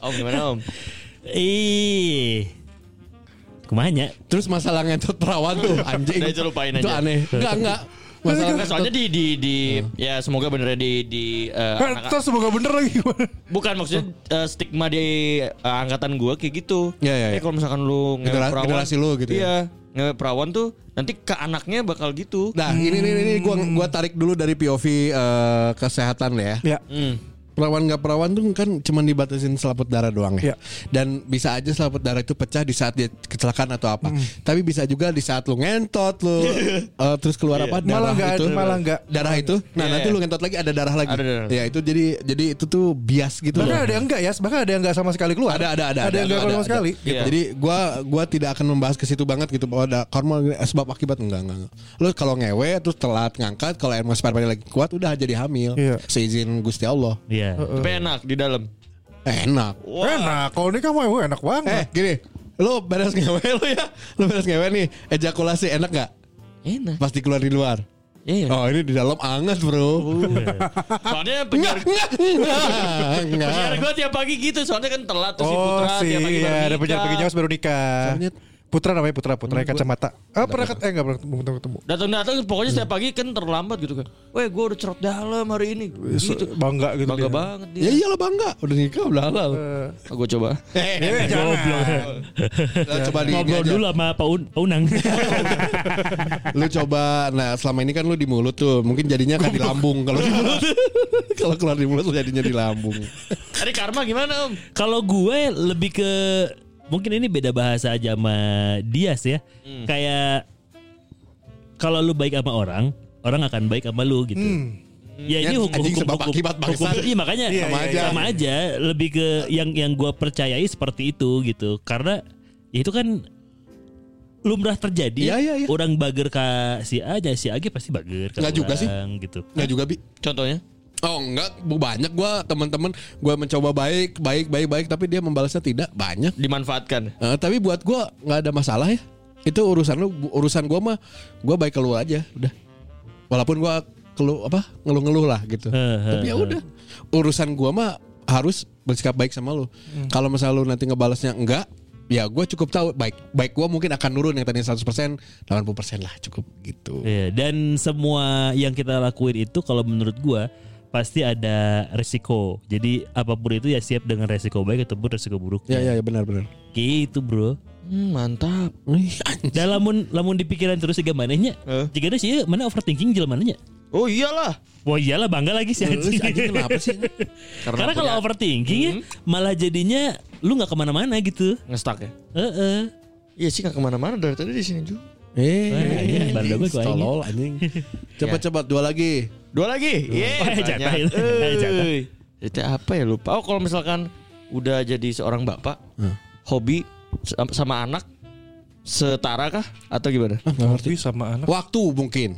Speaker 2: Om gimana Om?
Speaker 3: <laughs> Ih. Kumanya.
Speaker 4: Terus masalah ngentot perawan
Speaker 2: <laughs>
Speaker 4: tuh anjing.
Speaker 2: Udah, itu lupain
Speaker 4: Itu
Speaker 2: aja.
Speaker 4: aneh. Enggak enggak. Masalah
Speaker 2: Nah, soalnya di di di ya semoga bener di di eh,
Speaker 4: nah,
Speaker 5: Eh,
Speaker 2: anak-
Speaker 5: terus semoga bener lagi gimana?
Speaker 2: Bukan maksudnya eh, stigma di eh, angkatan gua kayak gitu.
Speaker 4: Ya, ya, ya.
Speaker 2: Eh, kalau misalkan lu ngewe
Speaker 4: Genera-
Speaker 2: perawan,
Speaker 4: generasi lu gitu ya.
Speaker 2: Iya, ngewe perawan tuh nanti ke anaknya bakal gitu.
Speaker 4: Nah, ini ini ini gua gua tarik dulu dari POV eh, kesehatan ya.
Speaker 5: Ya.
Speaker 2: Hmm.
Speaker 4: perawan nggak perawan tuh kan cuman dibatasin selaput darah doang ya.
Speaker 5: Iya.
Speaker 4: Dan bisa aja selaput darah itu pecah di saat dia kecelakaan atau apa. Tapi bisa juga di saat lu ngentot
Speaker 5: <laughs>
Speaker 4: lu eh, terus keluar apa darah
Speaker 5: Iya. Malah nggak-
Speaker 4: itu.
Speaker 5: malah nggak. Iya,
Speaker 4: darah itu. Nah, nanti lu ngentot lagi ada darah lagi.
Speaker 2: Ada darah.
Speaker 4: Ya, itu jadi jadi itu tuh bias gitu
Speaker 5: Bahkan
Speaker 4: loh.
Speaker 5: ada yang enggak ya, bahkan ada yang enggak sama sekali keluar.
Speaker 4: Ada ada ada
Speaker 5: Ada yang enggak keluar sama
Speaker 4: ada.
Speaker 5: sekali.
Speaker 4: Gitu.
Speaker 2: Iya.
Speaker 4: Jadi gua gua tidak akan membahas ke situ banget gitu bahwa ada karma eh, sebab akibat enggak enggak. enggak. Lu kalau ngewe terus telat ngangkat kalau emang sperma lagi kuat udah jadi hamil.
Speaker 5: Iya.
Speaker 4: Seizin Gusti Allah.
Speaker 3: Iya.
Speaker 2: Tapi enak di dalam.
Speaker 4: Eh, enak.
Speaker 5: Enak, kalau nikah mah wah, enak
Speaker 4: Eh
Speaker 5: banget.
Speaker 4: gini, lu beres ngewe lu ya. Lu beres ngewe nih, ejakulasi enak nggak?
Speaker 2: Enak.
Speaker 4: Pas dikeluar di luar.
Speaker 2: Iya.
Speaker 4: Oh ini di dalam anget bro.
Speaker 2: Soalnya
Speaker 4: Enggak,
Speaker 2: penyiar
Speaker 4: enggak, enggak, <laughs> enggak.
Speaker 2: penyiar gue tiap pagi gitu. Soalnya kan telat tuh si
Speaker 5: Oh
Speaker 2: Putra
Speaker 5: sih,
Speaker 2: tiap pagi baru
Speaker 5: iya, ada
Speaker 2: nikah.
Speaker 5: penyiar penyiar harus baru nikah.
Speaker 4: Soalnya-
Speaker 5: Putra namanya Putra, Putra yang kacamata. Ah pernah ket- eh enggak pernah ketemu, ketemu, ketemu.
Speaker 2: Datang-datang pokoknya setiap pagi kan terlambat gitu kan. Weh gue udah cerot dalam hari ini. Gitu.
Speaker 5: Bangga gitu.
Speaker 2: Bangga
Speaker 5: dia.
Speaker 2: banget dia.
Speaker 4: Ya iyalah bangga, udah nikah udah halal.
Speaker 5: Eh,
Speaker 2: Gue coba.
Speaker 5: eh, jangan.
Speaker 4: Lu coba di ini
Speaker 3: Ngobrol
Speaker 4: aja.
Speaker 3: dulu sama Pak Un- Pak Unang. <laughs>
Speaker 4: Lu coba, nah selama ini kan lu di mulut tuh, mungkin jadinya kan di lambung kalau di mulut. <laughs> kalau keluar di mulut lu jadinya di lambung.
Speaker 2: Tadi karma gimana om?
Speaker 3: Kalau gue lebih ke mungkin ini beda bahasa aja sama Dias ya.
Speaker 4: Hmm.
Speaker 3: Kayak kalau lu baik sama orang, orang akan baik sama lu gitu. Ya ini
Speaker 4: Ya,
Speaker 3: hukum
Speaker 4: anjing
Speaker 3: hukum
Speaker 4: sebab akibat,
Speaker 3: hukum-
Speaker 4: bangsat.
Speaker 3: iya makanya
Speaker 5: Iya,
Speaker 3: sama,
Speaker 5: iya,
Speaker 3: aja.
Speaker 5: iya.
Speaker 3: sama aja lebih ke yang yang gue percayai seperti itu gitu karena ya itu kan lumrah terjadi
Speaker 4: Iya, iya, iya.
Speaker 3: orang bager ke si A nya si A ge pasti bager ke
Speaker 4: Nggak juga sih.
Speaker 3: orang, gitu
Speaker 4: Enggak juga bi.
Speaker 2: Contohnya?
Speaker 4: Oh enggak, Bu, banyak gua teman-teman gua mencoba baik, baik, baik, baik tapi dia membalasnya tidak banyak.
Speaker 2: Dimanfaatkan.
Speaker 4: Eh, tapi buat gua nggak ada masalah ya. Itu urusan lu, bu- urusan gua mah gua baik keluar aja, udah. Walaupun gua keluh apa ngeluh-ngeluh lah gitu.
Speaker 3: Eh,
Speaker 4: tapi ya udah. Urusan gua mah harus bersikap baik sama lu.
Speaker 3: Hmm.
Speaker 4: Kalau misalnya lu nanti ngebalasnya enggak, ya gua cukup tahu baik baik gua mungkin akan nurun yang tadinya 100%, 80% lah cukup gitu.
Speaker 3: Iya, dan semua yang kita lakuin itu kalau menurut gua pasti ada resiko. Jadi apapun itu ya siap dengan resiko baik ataupun resiko buruk.
Speaker 4: Ya ya ya benar benar.
Speaker 3: Gitu, Bro.
Speaker 2: Hmm, mantap.
Speaker 3: Dan lamun lamun di pikiran terus juga manehnya.
Speaker 2: Eh?
Speaker 3: Jika ada sih mana overthinking jelema manehnya.
Speaker 2: Oh iyalah.
Speaker 3: Wah iyalah bangga lagi sih anjing. <laughs>
Speaker 4: Anjing kenapa sih?
Speaker 2: Karena
Speaker 3: Karena kalau
Speaker 2: punya-
Speaker 3: overthinking ya malah jadinya lu nggak kemana-mana gitu.
Speaker 2: Ngestak ya?
Speaker 3: Heeh.
Speaker 2: Iya sih gak kemana-mana dari tadi di sini juga.
Speaker 4: Eh,
Speaker 3: Wah, iya, baru gue gua Iya. ini.
Speaker 4: tolol
Speaker 3: <laughs>
Speaker 4: anjing. Cepat-cepat dua lagi.
Speaker 2: Dua lagi. Iya.
Speaker 3: Eh,
Speaker 2: banyak.
Speaker 3: jatah itu. Eh, jatah.
Speaker 2: Euy. Itu apa ya lupa? Oh, kalau misalkan udah jadi seorang bapak, hobi s- sama anak setara kah atau gimana?
Speaker 5: Hobi Iya, sama anak.
Speaker 4: Waktu mungkin.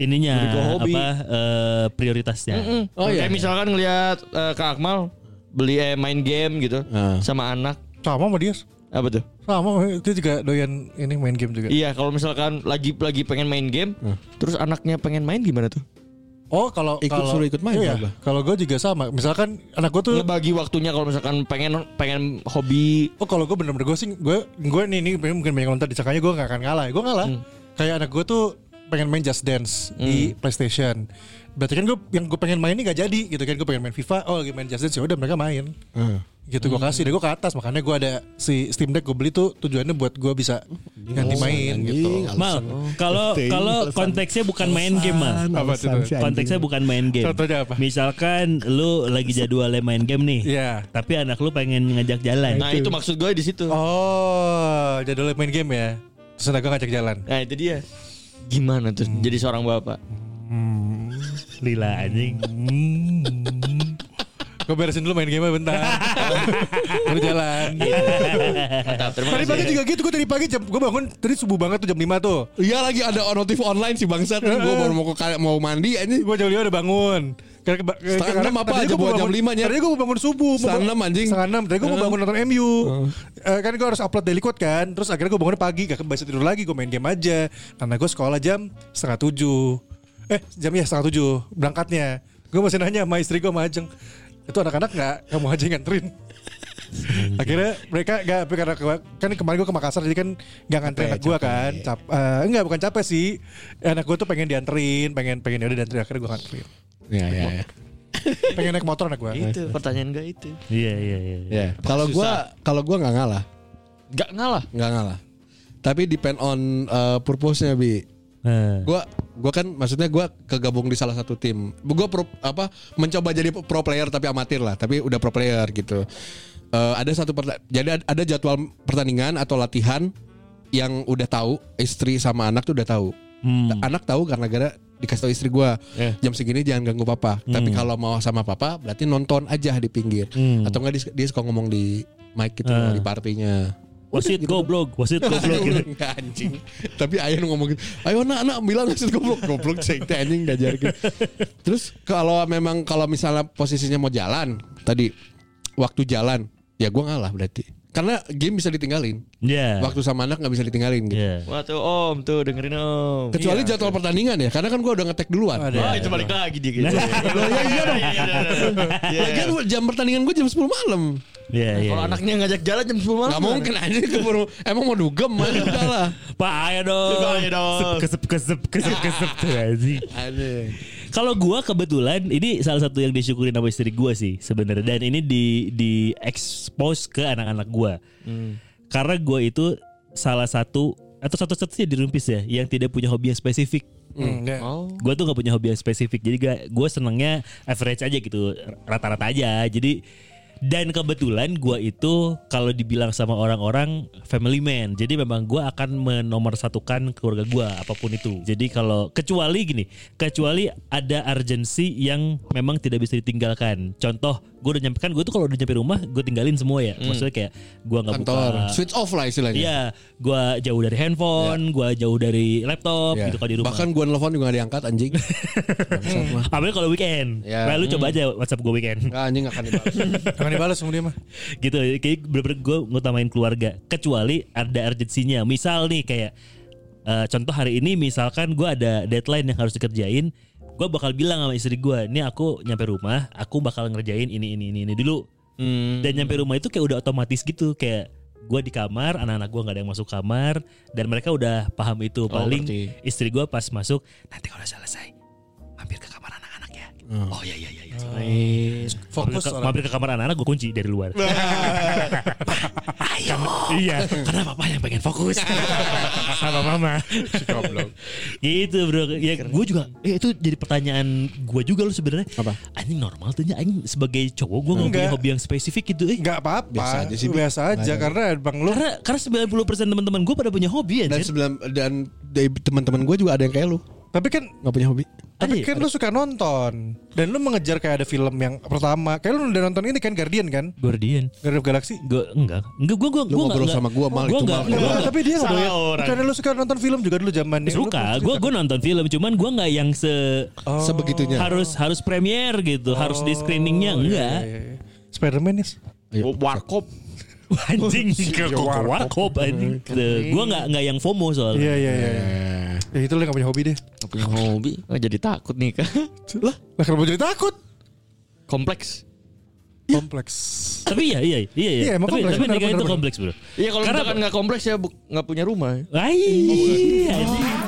Speaker 3: Ininya
Speaker 2: Lebih ke hobi.
Speaker 3: apa eh, prioritasnya.
Speaker 4: Oh, iya.
Speaker 2: Kayak misalkan ngelihat eh, Kak Akmal beli eh, main game gitu
Speaker 4: Ah.
Speaker 2: sama anak.
Speaker 5: Sama sama dia.
Speaker 2: Apa tuh?
Speaker 5: Sama itu juga doyan ini main game juga.
Speaker 2: Iya, kalau misalkan lagi lagi pengen main game,
Speaker 4: Ah.
Speaker 2: terus anaknya pengen main gimana tuh?
Speaker 5: Oh kalau
Speaker 4: Ikut
Speaker 5: kalau,
Speaker 4: suruh ikut main, apa?
Speaker 5: Iya, kalau gue juga sama. Misalkan anak gue tuh
Speaker 2: Ngebagi waktunya kalau misalkan pengen pengen hobi
Speaker 5: Oh kalau gue bener-bener gue sih gue gue nih ini pengen- mungkin banyak komentar disangkanya gue gak akan kalah. Gue ngalah. Kayak anak gue tuh pengen main Just Dance di PlayStation. Berarti kan gue yang gue pengen main ini gak jadi gitu kan gue pengen main FIFA. Oh lagi main Just Dance ya udah mereka main. Gitu gue kasih deh gue ke atas makanya gue ada si Steam Deck gue beli tuh tujuannya buat gue bisa ganti main gitu.
Speaker 3: Mal, kalau kalau konteksnya bukan main game mal.
Speaker 5: Apa tuh?
Speaker 3: Konteksnya bukan main game.
Speaker 5: Contohnya apa?
Speaker 3: Misalkan lu lagi jadwalnya main game nih.
Speaker 5: Iya.
Speaker 3: Tapi anak lu pengen ngajak jalan.
Speaker 2: Nah itu maksud gue di situ.
Speaker 5: Oh jadi lo main game ya. Terus anak gue ngajak jalan.
Speaker 2: Nah itu dia. Gimana tuh
Speaker 4: Hmm.
Speaker 2: jadi seorang bapak?
Speaker 4: <laughs>
Speaker 3: Lila anjing.
Speaker 5: Gue beresin dulu main game <laughs> bentar. Baru jalan. Iya.
Speaker 2: Mantap, terima
Speaker 5: Tadi pagi
Speaker 2: kasih.
Speaker 5: juga gitu, gue tadi pagi jam, gue bangun tadi subuh banget tuh jam 5 tuh
Speaker 4: Iya lagi ada notif online si bangsa tuh. Gue baru mau ke mau mandi anjing.
Speaker 5: Gue jam 5 udah bangun Karena keba-
Speaker 4: Setengah
Speaker 5: karena
Speaker 4: enam apa
Speaker 5: tadi
Speaker 4: aja
Speaker 5: gua mau
Speaker 4: buat jam
Speaker 5: bangun-
Speaker 4: lima nya?
Speaker 5: Tadi gue mau bangun subuh mau
Speaker 4: Setengah
Speaker 5: bangun-
Speaker 4: enam, anjing.
Speaker 5: Setengah enam Tadi gue mau bangun nonton MU Eh, Kan gue harus upload daily code kan Terus akhirnya gue bangun pagi Gak bisa tidur lagi Gue main game aja Karena gue sekolah jam setengah tujuh Eh jam ya setengah tujuh Berangkatnya Gue masih nanya sama istri gue sama Ajeng Itu anak-anak gak Kamu aja yang nganterin Akhirnya mereka gak karena ke- kan kemarin gue ke Makassar jadi kan gak nganterin anak gue kan. Cap, eh, enggak bukan capek sih. Eh, Anak gue tuh pengen dianterin, pengen pengen ya udah dianterin akhirnya gue nganterin.
Speaker 4: Iya iya iya.
Speaker 5: Pengen naik motor anak gue.
Speaker 2: Itu pertanyaan gue itu.
Speaker 3: Iya iya iya.
Speaker 4: Iya. Kalau gua kalau gua nggak ngalah,
Speaker 2: Gak ngalah.
Speaker 4: nggak ngalah. Tapi depend on uh, purpose-nya eh, bi.
Speaker 3: Eh,
Speaker 4: Gua Gue kan maksudnya gue kegabung di salah satu tim. Gue pro, apa mencoba jadi pro player tapi amatir lah, tapi udah pro player gitu. Eh, ada satu perta- jadi ad- ada jadwal pertandingan atau latihan yang udah tahu istri sama anak tuh udah tahu. Anak tahu karena gara dikasih tahu istri gue
Speaker 3: Iya.
Speaker 4: jam segini jangan ganggu papa.
Speaker 3: Hmm.
Speaker 4: Tapi kalau mau sama papa berarti nonton aja di pinggir
Speaker 3: Hmm.
Speaker 4: atau enggak dia, dia suka ngomong di mic gitu di partinya.
Speaker 3: Ah. Wasit goblok, wasit goblok
Speaker 4: <laughs>
Speaker 3: gitu.
Speaker 4: Enggak anjing. Tapi Ayan ngomong gitu. Ayo nak nak bilang maksud goblok goblok cek teh anjing diajar gitu. Terus kalau memang kalau misalnya posisinya mau jalan tadi waktu jalan ya gua ngalah berarti. Karena game bisa ditinggalin.
Speaker 3: Ya.
Speaker 4: Waktu sama anak nggak bisa ditinggalin gitu.
Speaker 3: Ya.
Speaker 2: Wah tuh om tuh dengerin om.
Speaker 4: Kecuali
Speaker 3: Iya.
Speaker 4: jadwal pertandingan ya, karena kan gua udah ngetek duluan.
Speaker 2: Wah itu balik lagi dia gitu.
Speaker 4: ya, <laughs> iya dong.
Speaker 2: Iya, iya, iya.
Speaker 4: Lagian Kan gua- jam pertandingan gue jam 10 malam.
Speaker 3: Ya, ya.
Speaker 2: Kalau
Speaker 3: ya.
Speaker 2: anaknya ngajak jalan jam 10
Speaker 3: Oh,
Speaker 2: malam.
Speaker 4: Gak mungkin anjing keburu. Emang mau dugem
Speaker 3: <laughs>
Speaker 4: aja udah lah.
Speaker 3: Pak ayo dong.
Speaker 2: Pak, ayo dong.
Speaker 3: Kesep kesep kesep kesep tuh anjing.
Speaker 4: Anjing.
Speaker 3: Kalau gua kebetulan ini salah satu yang disyukurin sama istri gua sih sebenarnya dan ini di di expose ke anak-anak gua. Karena gua itu salah satu atau satu-satunya di Rumpis ya yang tidak punya hobi yang spesifik.
Speaker 5: Enggak.
Speaker 2: Oh.
Speaker 3: Gue tuh gak punya hobi yang spesifik Jadi gak, gue senengnya average aja gitu Rata-rata aja Jadi dan kebetulan gue itu kalau dibilang sama orang-orang family man, jadi memang gue akan menomorsatukan keluarga gue apapun itu. Jadi kalau kecuali gini, kecuali ada urgensi yang memang tidak bisa ditinggalkan. Contoh, gue udah nyampe kan gue tuh kalau udah nyampe rumah gue tinggalin semua ya. Maksudnya kayak gue nggak
Speaker 4: Hmm. Kantor.
Speaker 3: buka
Speaker 4: Switch off lah istilahnya.
Speaker 3: Iya, gue jauh dari handphone, gue jauh dari laptop
Speaker 4: Iya.
Speaker 3: gitu kalau di rumah.
Speaker 4: Bahkan gua nelfon juga gak diangkat
Speaker 3: <laughs>
Speaker 4: anjing. Bangsat mah.
Speaker 3: Apalagi kalau weekend.
Speaker 4: Ya.
Speaker 3: Nah, lu coba aja WhatsApp gue weekend.
Speaker 4: Enggak anjing gak akan
Speaker 3: <laughs>
Speaker 4: dibalas.
Speaker 5: Jangan dibalas kemudian mah.
Speaker 3: gitu. Kayak bener-bener gue ngutamain keluarga. Kecuali ada urgensinya. Misal nih kayak eh, contoh hari ini misalkan gue ada deadline yang harus dikerjain, gue bakal bilang sama istri gue, "Nih aku nyampe rumah, aku bakal ngerjain ini ini ini ini dulu."
Speaker 2: Hmm.
Speaker 3: Dan nyampe rumah itu kayak udah otomatis gitu kayak gue di kamar, anak-anak gue nggak ada yang masuk kamar, dan mereka udah paham itu. Paling istri gue pas masuk, nanti kalau udah selesai, mampir ke kamar anak-anak ya. Oh iya iya iya. iya. Mampir
Speaker 5: Fokus
Speaker 3: ke-
Speaker 5: orang.
Speaker 3: mampir ke kamar anak-anak gue kunci dari luar. Ayo. Iya, karena papa yang pengen fokus. Sama mama. gitu bro. Ya gue juga eh, itu jadi pertanyaan gue juga lu sebenarnya.
Speaker 4: Apa?
Speaker 3: Anjing normal tuhnya anjing sebagai cowok gue nggak
Speaker 5: Enggak.
Speaker 3: punya hobi yang spesifik gitu. Eh.
Speaker 5: Enggak apa-apa.
Speaker 4: Biasa aja sih, Bi.
Speaker 5: Biasa aja karena Bang lu
Speaker 3: Karena karena 90% teman-teman gue pada punya hobi
Speaker 4: dan
Speaker 3: anjir.
Speaker 4: sebelum dan dari teman-teman gue juga ada yang kayak lu
Speaker 5: tapi kan
Speaker 4: nggak punya hobi.
Speaker 3: Ada
Speaker 5: tapi
Speaker 3: ya?
Speaker 5: kan lu suka nonton dan lu mengejar kayak ada film yang pertama. Kayak lu udah nonton ini kan Guardian kan?
Speaker 3: Guardian.
Speaker 5: Guardian of Galaxy.
Speaker 3: Gue enggak. Enggak gue gue
Speaker 4: Lu ngobrol sama gua, Mal, itu, Mal.
Speaker 5: Enggak, tapi dia
Speaker 2: Salah
Speaker 5: enggak
Speaker 2: orang.
Speaker 5: Karena lu suka nonton film juga dulu zamannya. Lu
Speaker 3: Suka,
Speaker 5: pasti
Speaker 3: gue
Speaker 5: suka.
Speaker 3: gue nonton film, cuman gue nggak yang se
Speaker 4: Sebegitunya.
Speaker 3: Oh, harus harus premier gitu, harus di screeningnya
Speaker 5: Oh, iya,
Speaker 3: enggak.
Speaker 5: iya, iya. Spider-Man ya.
Speaker 4: Ayo.
Speaker 2: Warkop.
Speaker 3: <laughs> anjing ke kok wakop anjing gue nggak nggak yang FOMO
Speaker 5: Iya
Speaker 3: soalnya
Speaker 5: iya iya. Ya itu lu yang gak punya hobi deh.
Speaker 2: Nggak punya hobi. Nggak jadi takut nih kak.
Speaker 5: Lah, lah kenapa jadi takut?
Speaker 2: Kompleks.
Speaker 5: Kompleks.
Speaker 3: tapi iya iya iya, iya.
Speaker 5: Iya, emang
Speaker 3: tapi
Speaker 5: kompleks,
Speaker 3: tapi
Speaker 5: benar,
Speaker 3: nikah
Speaker 5: benar,
Speaker 3: itu
Speaker 5: benar.
Speaker 3: kompleks bro
Speaker 2: Iya kalau
Speaker 3: Karena
Speaker 2: misalkan nggak kompleks ya bu- nggak punya rumah.
Speaker 3: Wah, iya, anjing.